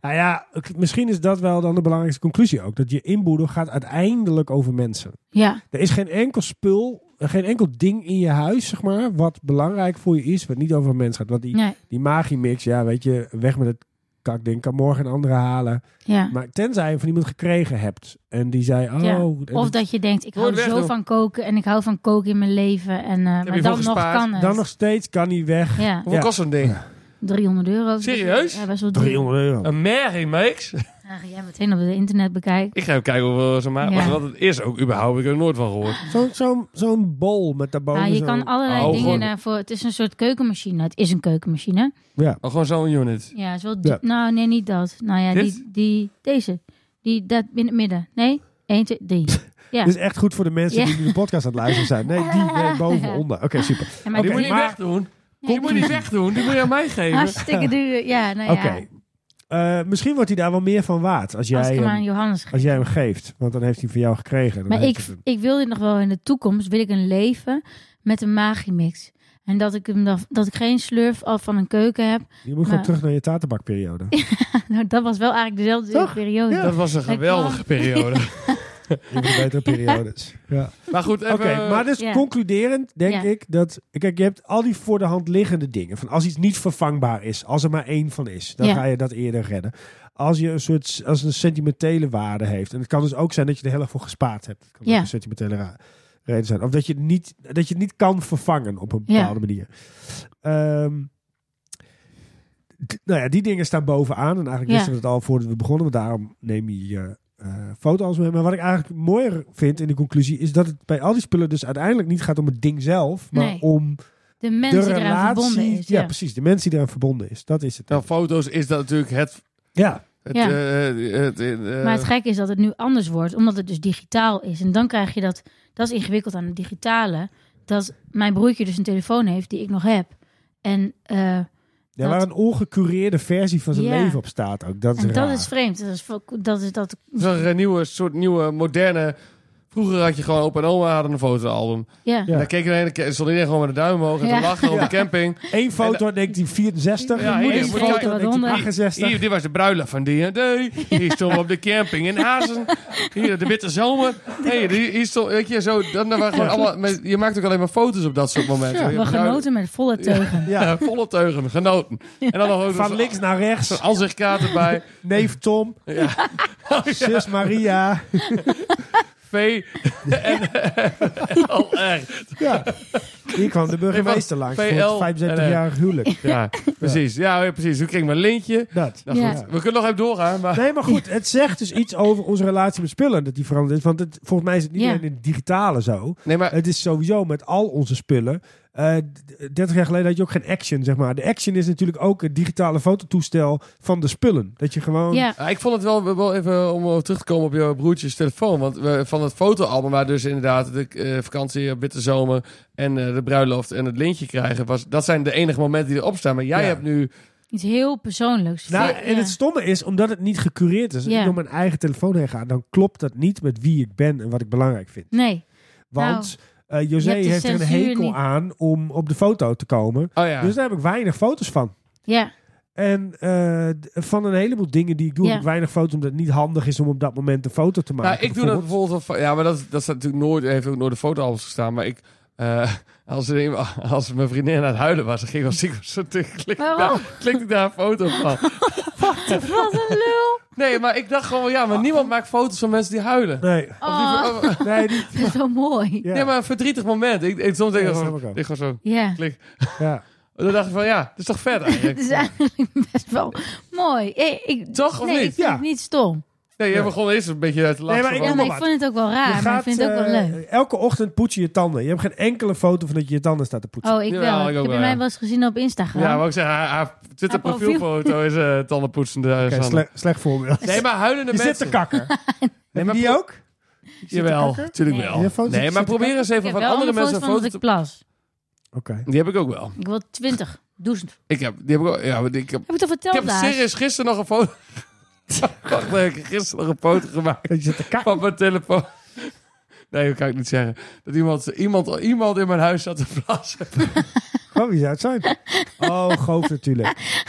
Speaker 1: Nou ja, ik- misschien is dat wel dan de belangrijkste conclusie ook. Dat je inboedel gaat uiteindelijk over mensen.
Speaker 3: ja,
Speaker 1: Er is geen enkel spul, eh, geen enkel ding in je huis, zeg maar, wat belangrijk voor je is, wat niet over een mens gaat. Want die,
Speaker 3: nee,
Speaker 1: die magiemix, ja, weet je, weg met het kakding, kan morgen een andere halen.
Speaker 3: ja.
Speaker 1: Maar tenzij je van iemand gekregen hebt en die zei, oh...
Speaker 3: Ja.
Speaker 1: en
Speaker 3: Of dat je denkt, ik hou
Speaker 2: Nooit
Speaker 3: zo
Speaker 2: wegdoen.
Speaker 3: van koken en ik hou van koken in mijn leven. En, eh, maar
Speaker 2: je
Speaker 3: dan
Speaker 2: voor
Speaker 3: nog
Speaker 2: gespaard?
Speaker 3: kan het.
Speaker 1: Dan nog steeds kan hij weg.
Speaker 3: Ja,
Speaker 2: Hoeveel
Speaker 1: Ja.
Speaker 2: kost zo'n ding?
Speaker 3: 300 euro.
Speaker 2: Serieus?
Speaker 3: Ja, best wel duur.
Speaker 1: 300 euro.
Speaker 2: Een Mary Makes?
Speaker 3: Ja, ga jij meteen op het internet bekijken.
Speaker 2: Ik ga even kijken hoeveel ze maken.
Speaker 3: Ja.
Speaker 2: Want het is ook überhaupt, ik heb er nooit van gehoord.
Speaker 1: Zo'n zo'n- zo'n bol met daarboven
Speaker 3: Ja, je
Speaker 1: zo'n-
Speaker 3: kan allerlei
Speaker 2: Oh,
Speaker 3: dingen eh,
Speaker 2: gewoon-
Speaker 3: daarvoor. Het is een soort keukenmachine. Het is een keukenmachine.
Speaker 1: Ja.
Speaker 2: Oh, gewoon zo'n unit.
Speaker 3: Ja, het is wel.
Speaker 1: Ja.
Speaker 3: du- Nou, nee, niet dat. Nou ja,
Speaker 2: Dit?
Speaker 3: die, die, deze. Die, dat in het midden. Nee, 1, 2, 3. Ja.
Speaker 1: Dit is echt goed voor de mensen
Speaker 3: Ja.
Speaker 1: die nu de podcast aan het luisteren zijn. Nee, die nee, boven,
Speaker 3: Ja.
Speaker 1: onder. Oké, super.
Speaker 3: Ja,
Speaker 2: Maar die
Speaker 1: Oké,
Speaker 2: moet je niet
Speaker 1: maar-
Speaker 2: wegdoen. Die moet je niet wegdoen. Die moet je aan mij geven.
Speaker 3: Hartstikke duur. Ja, nou ja.
Speaker 1: Oké. Eh, misschien wordt hij daar wel meer van waard als
Speaker 3: Als
Speaker 1: jij,
Speaker 3: ik hem aan
Speaker 1: hem,
Speaker 3: Johannes geef.
Speaker 1: als jij hem geeft. Want dan heeft hij van jou gekregen. Dan
Speaker 3: Maar
Speaker 1: heeft
Speaker 3: ik,
Speaker 1: het hem.
Speaker 3: ik wil dit nog wel in de toekomst. Wil ik een leven met een magiemix. En dat ik, hem dan, dat ik geen slurf al van een keuken heb.
Speaker 1: Je moet gewoon
Speaker 3: maar-
Speaker 1: terug naar je tatenbakperiode.
Speaker 3: Nou, dat was wel eigenlijk dezelfde
Speaker 1: Toch?
Speaker 3: periode.
Speaker 2: Dat was een geweldige periode.
Speaker 1: Een van de betere periodes. Ja.
Speaker 2: Maar goed, even...
Speaker 1: Oké, maar dus
Speaker 3: Ja.
Speaker 1: concluderend denk
Speaker 3: Ja.
Speaker 1: ik dat... Kijk, je hebt al die voor de hand liggende dingen. Van als iets niet vervangbaar is, als er maar één van is, dan
Speaker 3: Ja.
Speaker 1: ga je dat eerder redden. Als je een soort als een sentimentele waarde heeft. En het kan dus ook zijn dat je er heel erg voor gespaard hebt. Het kan
Speaker 3: Ja.
Speaker 1: ook een sentimentele ra- reden zijn. Of dat je, het niet, dat je het niet kan vervangen op een
Speaker 3: Ja.
Speaker 1: bepaalde manier. Ehm, d- nou ja, die dingen staan bovenaan. En eigenlijk
Speaker 3: Ja.
Speaker 1: wisten we het al voordat we begonnen. Maar daarom neem je je eh, foto's mee. Maar wat ik eigenlijk mooier vind in de conclusie... is dat het bij al die spullen dus uiteindelijk niet gaat om het ding zelf... maar
Speaker 3: Nee.
Speaker 1: om
Speaker 3: De mensen
Speaker 1: de
Speaker 3: die eraan verbonden
Speaker 1: relatie.
Speaker 3: is.
Speaker 1: ja.
Speaker 3: Ja,
Speaker 1: precies. De mensen die eraan verbonden is. Dat is het.
Speaker 2: Nou, foto's is dat natuurlijk het...
Speaker 1: Ja,
Speaker 2: het,
Speaker 3: Ja.
Speaker 2: eh, het, eh, eh,
Speaker 3: Maar het gekke is dat het nu anders wordt, omdat het dus digitaal is. En dan krijg je dat, dat is ingewikkeld aan het digitale, dat mijn broertje dus een telefoon heeft die ik nog heb. En eh,
Speaker 1: Ja, waar een ongecureerde versie van zijn
Speaker 3: Ja.
Speaker 1: leven op staat ook. Dat is
Speaker 3: En dat
Speaker 1: raar.
Speaker 3: is vreemd. Dat is, vo- dat is dat.
Speaker 2: Het is een eh, nieuwe, soort nieuwe, moderne... Vroeger had je gewoon opa en oma hadden een fotoalbum.
Speaker 3: Ja.
Speaker 1: Ja.
Speaker 2: En dan keek iedereen, dan stond iedereen gewoon met de duim omhoog en te
Speaker 3: Ja.
Speaker 2: lachen op de
Speaker 1: Ja.
Speaker 2: camping.
Speaker 1: Eén foto uit 1964.
Speaker 2: Ja,
Speaker 1: één
Speaker 2: hier, moet
Speaker 1: foto uit
Speaker 2: je kijken
Speaker 3: wat onder.
Speaker 1: 1968.
Speaker 2: Hier, dit was de bruiloft van D&D. Hier stonden we op de camping in Azen. Hier, de witte zomer. Hey, die- hier stond, weet je, zo, dan, dan waren gewoon allemaal, met- je maakt ook alleen maar foto's op dat soort momenten. Je
Speaker 3: We
Speaker 2: bruiloft-
Speaker 3: genoten met volle teugen.
Speaker 1: Ja.
Speaker 2: Ja, volle teugen, genoten. En dan nog ook
Speaker 1: Van
Speaker 2: zo'n-
Speaker 1: links naar rechts.
Speaker 2: zo'n ansichtkaart erbij.
Speaker 1: Neef Tom,
Speaker 2: Ja,
Speaker 1: zus Maria.
Speaker 2: V. En, al erg.
Speaker 1: Ja. Hier kwam de burgemeester langs voor
Speaker 2: PL.
Speaker 1: het
Speaker 2: eh,
Speaker 1: 75-jarig huwelijk.
Speaker 2: Ja, precies. Ja, ja, precies. Toen kreeg ik mijn lintje.
Speaker 1: Dat.
Speaker 2: Nou,
Speaker 3: Ja.
Speaker 2: goed. We kunnen nog even doorgaan, maar...
Speaker 1: Nee, maar goed, het zegt dus iets over onze relatie met spullen dat die veranderd is. Want het, volgens mij is het niet
Speaker 3: Ja.
Speaker 1: alleen in het digitale zo.
Speaker 2: Nee, maar
Speaker 1: Het is sowieso met al onze spullen. Eh, d- 30 jaar geleden had je ook geen action, zeg maar. De action is natuurlijk ook het digitale fototoestel van de spullen. Dat je gewoon...
Speaker 3: Ja.
Speaker 2: Ja, ik vond het wel, wel even om op terug te komen op jouw broertjes telefoon. Want we, van het fotoalbum, waar dus inderdaad de eh, vakantie, bitter zomer en eh, de bruiloft en het lintje krijgen, was, dat zijn de enige momenten die erop staan. Maar jij
Speaker 1: Ja.
Speaker 2: hebt nu.
Speaker 3: Iets heel persoonlijks.
Speaker 1: Nou,
Speaker 3: Ja.
Speaker 1: en het stomme is, omdat het niet gecureerd is, als
Speaker 3: Ja.
Speaker 1: ik door mijn eigen telefoon heen ga, dan klopt dat niet met wie ik ben en wat ik belangrijk vind.
Speaker 3: Nee.
Speaker 1: Want eh,
Speaker 3: Nou, je
Speaker 1: José
Speaker 3: hebt de
Speaker 1: heeft er een
Speaker 3: censuur
Speaker 1: hekel
Speaker 3: niet.
Speaker 1: aan om op de foto te komen.
Speaker 2: Oh ja.
Speaker 1: Dus daar heb ik weinig foto's van.
Speaker 3: Ja.
Speaker 1: En eh, d- van een heleboel dingen die ik doe,
Speaker 3: Ja.
Speaker 1: heb ik weinig foto's, omdat het niet handig is om op dat moment een foto te maken.
Speaker 2: nou, ik doe dat bijvoorbeeld. wel va- Ja, maar dat, dat staat natuurlijk nooit, heeft ook nooit de fotoalbums gestaan. Maar ik. eh, als, er iemand- als mijn vriendin aan het huilen was, dan ging ik als ik zo te klik,
Speaker 3: Waarom?
Speaker 2: daar, klikte ik daar een foto van.
Speaker 3: Wat een lul.
Speaker 2: Nee, maar ik dacht gewoon, ja, maar niemand maakt foto's van mensen die huilen.
Speaker 1: Nee,
Speaker 3: Oh,
Speaker 2: Of die- of-
Speaker 1: nee, die-
Speaker 3: dat is wel mooi.
Speaker 1: ja,
Speaker 2: Nee, maar een verdrietig moment. Ik, ik, soms denk
Speaker 1: Ja,
Speaker 2: ik
Speaker 1: dat
Speaker 2: gewoon,
Speaker 1: snap ik ook.
Speaker 2: ik gewoon zo.
Speaker 3: Ja. Ah,
Speaker 1: ja.
Speaker 2: En Dan dacht ik van ja, dat is toch vet
Speaker 3: Het
Speaker 2: eigenlijk.
Speaker 3: is eigenlijk best wel mooi. Ik, ik,
Speaker 2: Toch, of
Speaker 3: nee,
Speaker 2: niet?
Speaker 3: ik vind
Speaker 1: Ja.
Speaker 3: het niet stom.
Speaker 2: Nee, je begon eerst een beetje uit te lachen. oh,
Speaker 1: Nee, maar
Speaker 3: Ja,
Speaker 1: Kom
Speaker 3: maar ik
Speaker 1: maar.
Speaker 3: vond het ook wel raar,
Speaker 1: Je
Speaker 3: maar ik
Speaker 1: gaat,
Speaker 3: vind het ook wel
Speaker 1: eh,
Speaker 3: leuk.
Speaker 1: Elke ochtend poets je je tanden. Je hebt geen enkele foto van dat je je tanden staat te poetsen.
Speaker 3: Oh, ik
Speaker 2: Jawel, ik
Speaker 3: wel.
Speaker 2: ook
Speaker 3: Ik heb
Speaker 2: wel,
Speaker 3: je
Speaker 2: ja.
Speaker 3: mij wel eens gezien op Instagram.
Speaker 2: Ja, maar ik zeg, haar, haar Twitter
Speaker 3: Haar profiel.
Speaker 2: profielfoto is eh tandenpoetsende.
Speaker 1: Oké,
Speaker 2: Sanne.
Speaker 1: sle- slecht voorbeeld.
Speaker 2: nee, maar huilende
Speaker 1: je zit
Speaker 2: mensen.
Speaker 1: te kakker. Hebben
Speaker 2: maar
Speaker 1: die
Speaker 2: pro-
Speaker 1: ook?
Speaker 2: Jawel, natuurlijk
Speaker 3: Nee.
Speaker 1: Je
Speaker 2: wel.
Speaker 1: foto's
Speaker 2: Nee,
Speaker 1: zit
Speaker 2: maar
Speaker 1: te
Speaker 2: probeer eens
Speaker 3: ik
Speaker 2: even
Speaker 3: heb
Speaker 2: van
Speaker 3: wel
Speaker 2: andere
Speaker 3: allemaal
Speaker 2: mensen
Speaker 3: foto's
Speaker 2: een
Speaker 3: van
Speaker 2: foto
Speaker 3: dat ik
Speaker 2: te...
Speaker 3: plas.
Speaker 1: Oké.
Speaker 2: Die heb ik ook wel.
Speaker 3: Ik wil twintig. Duizend.
Speaker 2: Ik heb, die heb ik ook, ja, maar die- ik heb,
Speaker 3: Heb ik dat
Speaker 2: ik
Speaker 3: verteld
Speaker 2: heb
Speaker 3: daar?
Speaker 2: serieus gisteren nog een foto... Wacht, nee, ik heb gisteren nog een foto gemaakt
Speaker 1: Dat je zit te kakker.
Speaker 2: van mijn telefoon. Nee, dat kan ik niet zeggen. Dat iemand, iemand, iemand in mijn huis zat te plassen.
Speaker 1: Oh, wie zou het zijn? Oh, goof natuurlijk.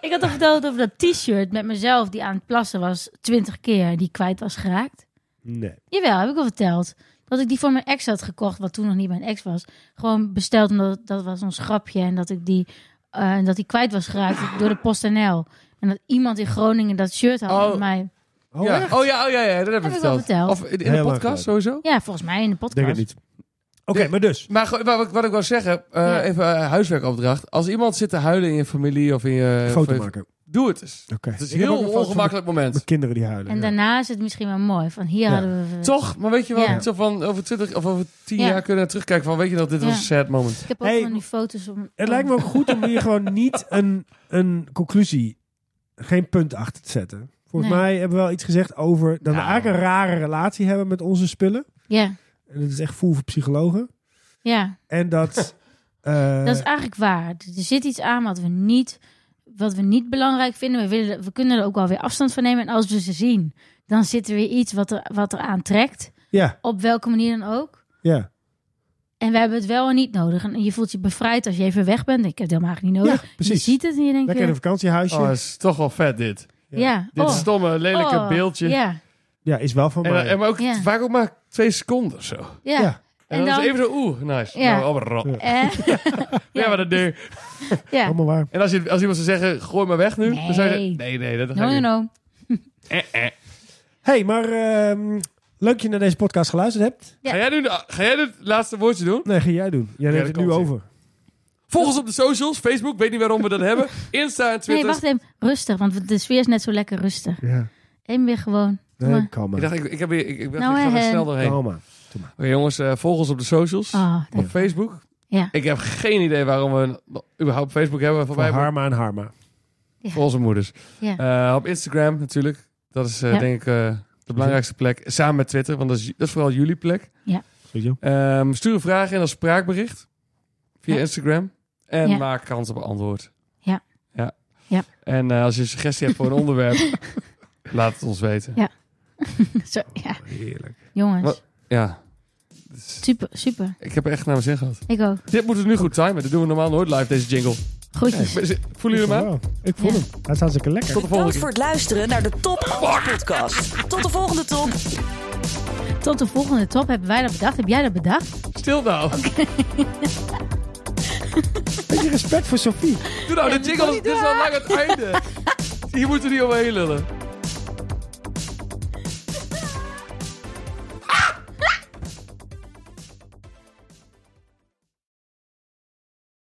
Speaker 3: Ik had al verteld over dat t-shirt met mezelf die aan het plassen was twintig keer die ik kwijt was geraakt.
Speaker 1: Nee.
Speaker 3: Jawel, heb ik al verteld. Dat ik die voor mijn ex had gekocht, wat toen nog niet mijn ex was. Gewoon besteld, omdat dat was ons grapje. En dat ik die, eh, en dat die kwijt was
Speaker 1: Ah.
Speaker 3: geraakt door de PostNL. En dat iemand in Groningen dat shirt had
Speaker 2: Oh.
Speaker 3: met mij.
Speaker 1: Oh,
Speaker 2: ja.
Speaker 1: echt?
Speaker 2: oh ja, oh ja, ja, dat heb,
Speaker 3: Heb
Speaker 2: ik
Speaker 3: ik wel
Speaker 2: verteld.
Speaker 3: verteld.
Speaker 2: Of in, in de
Speaker 1: Heel lang
Speaker 2: podcast
Speaker 1: geleden.
Speaker 2: sowieso?
Speaker 3: Ja, volgens mij in de podcast.
Speaker 1: Denk het niet. Oké, maar dus.
Speaker 2: Maar go- maar wat, wat ik wil zeggen, eh,
Speaker 3: Ja.
Speaker 2: even eh, huiswerkopdracht. Als iemand zit te huilen in je familie of in je...
Speaker 1: foto
Speaker 2: of-
Speaker 1: maken.
Speaker 2: Doe het eens.
Speaker 1: Oké.
Speaker 2: Het is
Speaker 1: Ik
Speaker 2: een
Speaker 1: heb
Speaker 2: heel
Speaker 1: ook een foto van
Speaker 2: ongemakkelijk moment.
Speaker 1: Mijn kinderen die huilen.
Speaker 3: En
Speaker 1: ja.
Speaker 3: daarna is het misschien wel mooi. Van hier
Speaker 1: Ja.
Speaker 3: hadden we...
Speaker 2: Toch? Maar weet je wel,
Speaker 3: Ja.
Speaker 2: zo van over 20 of over 10
Speaker 3: Ja.
Speaker 2: jaar kunnen we terugkijken van... Weet je dat dit was
Speaker 3: Ja.
Speaker 2: een sad moment.
Speaker 3: Ik heb ook
Speaker 1: Hey,
Speaker 3: van die foto's. Om,
Speaker 1: Het lijkt me ook goed om hier gewoon niet een, een conclusie, geen punt achter te zetten. Volgens
Speaker 3: Nee.
Speaker 1: mij hebben we wel iets gezegd over dat we
Speaker 2: Nou.
Speaker 1: eigenlijk een rare relatie hebben met onze spullen.
Speaker 3: Ja,
Speaker 1: En dat is echt voel voor psychologen.
Speaker 3: ja.
Speaker 1: En dat. eh,
Speaker 3: dat is eigenlijk waar. Er zit iets aan wat we niet, wat we niet belangrijk vinden. We, willen, we kunnen er ook wel weer afstand van nemen. En als we ze zien, dan zit er weer iets wat er, wat er aantrekt.
Speaker 1: ja,
Speaker 3: Op welke manier dan ook.
Speaker 1: ja.
Speaker 3: En we hebben het wel en niet nodig. En je voelt je bevrijd als je even weg bent. Ik heb het helemaal eigenlijk niet
Speaker 1: ja,
Speaker 3: nodig. je
Speaker 1: precies.
Speaker 3: ziet het en je denkt...
Speaker 1: Lekker in een
Speaker 3: weer,
Speaker 1: vakantiehuisje.
Speaker 2: Oh, dat is toch wel vet dit.
Speaker 1: ja.
Speaker 3: ja,
Speaker 2: Dit
Speaker 3: oh,
Speaker 2: stomme, lelijke
Speaker 3: oh,
Speaker 2: beeldje.
Speaker 3: Ja,
Speaker 1: ja, is wel van
Speaker 2: En,
Speaker 1: mij.
Speaker 2: eh, en maar ook,
Speaker 3: Ja.
Speaker 2: vaak ook maar twee seconden of zo. En,
Speaker 3: ja.
Speaker 1: Ja.
Speaker 3: En
Speaker 2: dan
Speaker 3: dan...
Speaker 2: is even zo, oeh, nice.
Speaker 3: Ja.
Speaker 2: Nou, oh, rot.
Speaker 3: eh,
Speaker 2: Ja, maar dat ding.
Speaker 3: ja.
Speaker 1: Allemaal waar.
Speaker 2: En als, je, als iemand zou zeggen, gooi maar weg nu. Dan zou je,
Speaker 3: Nee.
Speaker 2: nee, nee, dat ga
Speaker 3: No,
Speaker 2: ik
Speaker 3: no,
Speaker 2: niet.
Speaker 3: no.
Speaker 2: Eh, eh.
Speaker 1: hey, maar ehm, leuk dat je naar deze podcast geluisterd hebt.
Speaker 3: Ja.
Speaker 2: Ga, jij nu, de- ga jij het laatste woordje doen?
Speaker 1: Nee, ga jij doen. Jij neemt
Speaker 2: dat
Speaker 1: het
Speaker 2: kan
Speaker 1: nu
Speaker 2: wel.
Speaker 1: over.
Speaker 2: Volg ons op de socials. Facebook, weet niet waarom we dat hebben. Insta en
Speaker 3: Nee,
Speaker 2: Twitter.
Speaker 3: wacht even. Rustig, want de sfeer is net zo lekker rustig.
Speaker 1: Ja.
Speaker 3: Eén weer gewoon. Doe
Speaker 1: Nee,
Speaker 3: maar.
Speaker 1: kalm
Speaker 2: ik
Speaker 1: maar.
Speaker 2: dacht, ik, ik, heb weer, ik, ik, dacht,
Speaker 3: Nou,
Speaker 2: ik ga er
Speaker 3: hè.
Speaker 2: snel doorheen. Oké
Speaker 1: Kalm maar.
Speaker 2: jongens, eh, volg ons op de socials.
Speaker 3: Ah, dank-
Speaker 2: Op Facebook.
Speaker 3: Ja.
Speaker 2: Ik heb geen idee waarom we een- überhaupt Facebook hebben. Voor,
Speaker 1: Van
Speaker 2: mij, maar
Speaker 1: Harma en Harma.
Speaker 2: voor onze moeders.
Speaker 3: ja.
Speaker 2: Eh, op Instagram natuurlijk. Dat is eh,
Speaker 3: Ja.
Speaker 2: denk ik eh, de belangrijkste plek. Samen met Twitter, want dat is, dat is vooral jullie plek.
Speaker 1: Sowieso.
Speaker 2: Ehm, stuur een vraag in als spraakbericht. Via
Speaker 3: Ja.
Speaker 2: Instagram. Eh, En
Speaker 3: Ja.
Speaker 2: maak kans op een antwoord.
Speaker 3: Ja.
Speaker 2: ja.
Speaker 3: Ja.
Speaker 2: En eh, als je een suggestie hebt voor een onderwerp, laat het ons weten.
Speaker 3: Zo, ja,
Speaker 1: Oh, Heerlijk.
Speaker 3: jongens.
Speaker 2: Wat? Ja. Dus
Speaker 3: Super, super.
Speaker 2: ik heb er echt naar mijn zin gehad.
Speaker 3: Ik ook.
Speaker 2: Dit moeten we nu goed timen. Dat doen we normaal nooit live, deze jingle.
Speaker 3: Groetjes.
Speaker 2: Voelen jullie hem aan?
Speaker 1: Wauw, Ik voel
Speaker 3: Ja.
Speaker 1: hem. Hij is hartstikke lekker.
Speaker 2: Tot de volgende keer.
Speaker 4: Bedankt
Speaker 2: Ah.
Speaker 4: voor het luisteren naar de Top Alles Podcast. Tot de volgende top.
Speaker 3: Tot de volgende top. Hebben wij dat bedacht? Heb jij dat bedacht?
Speaker 2: Stil nou.
Speaker 1: Beetje respect voor Sophie.
Speaker 2: Doe nou, de jingle. Dit is al lang het einde. Hier moeten we niet omheen lullen.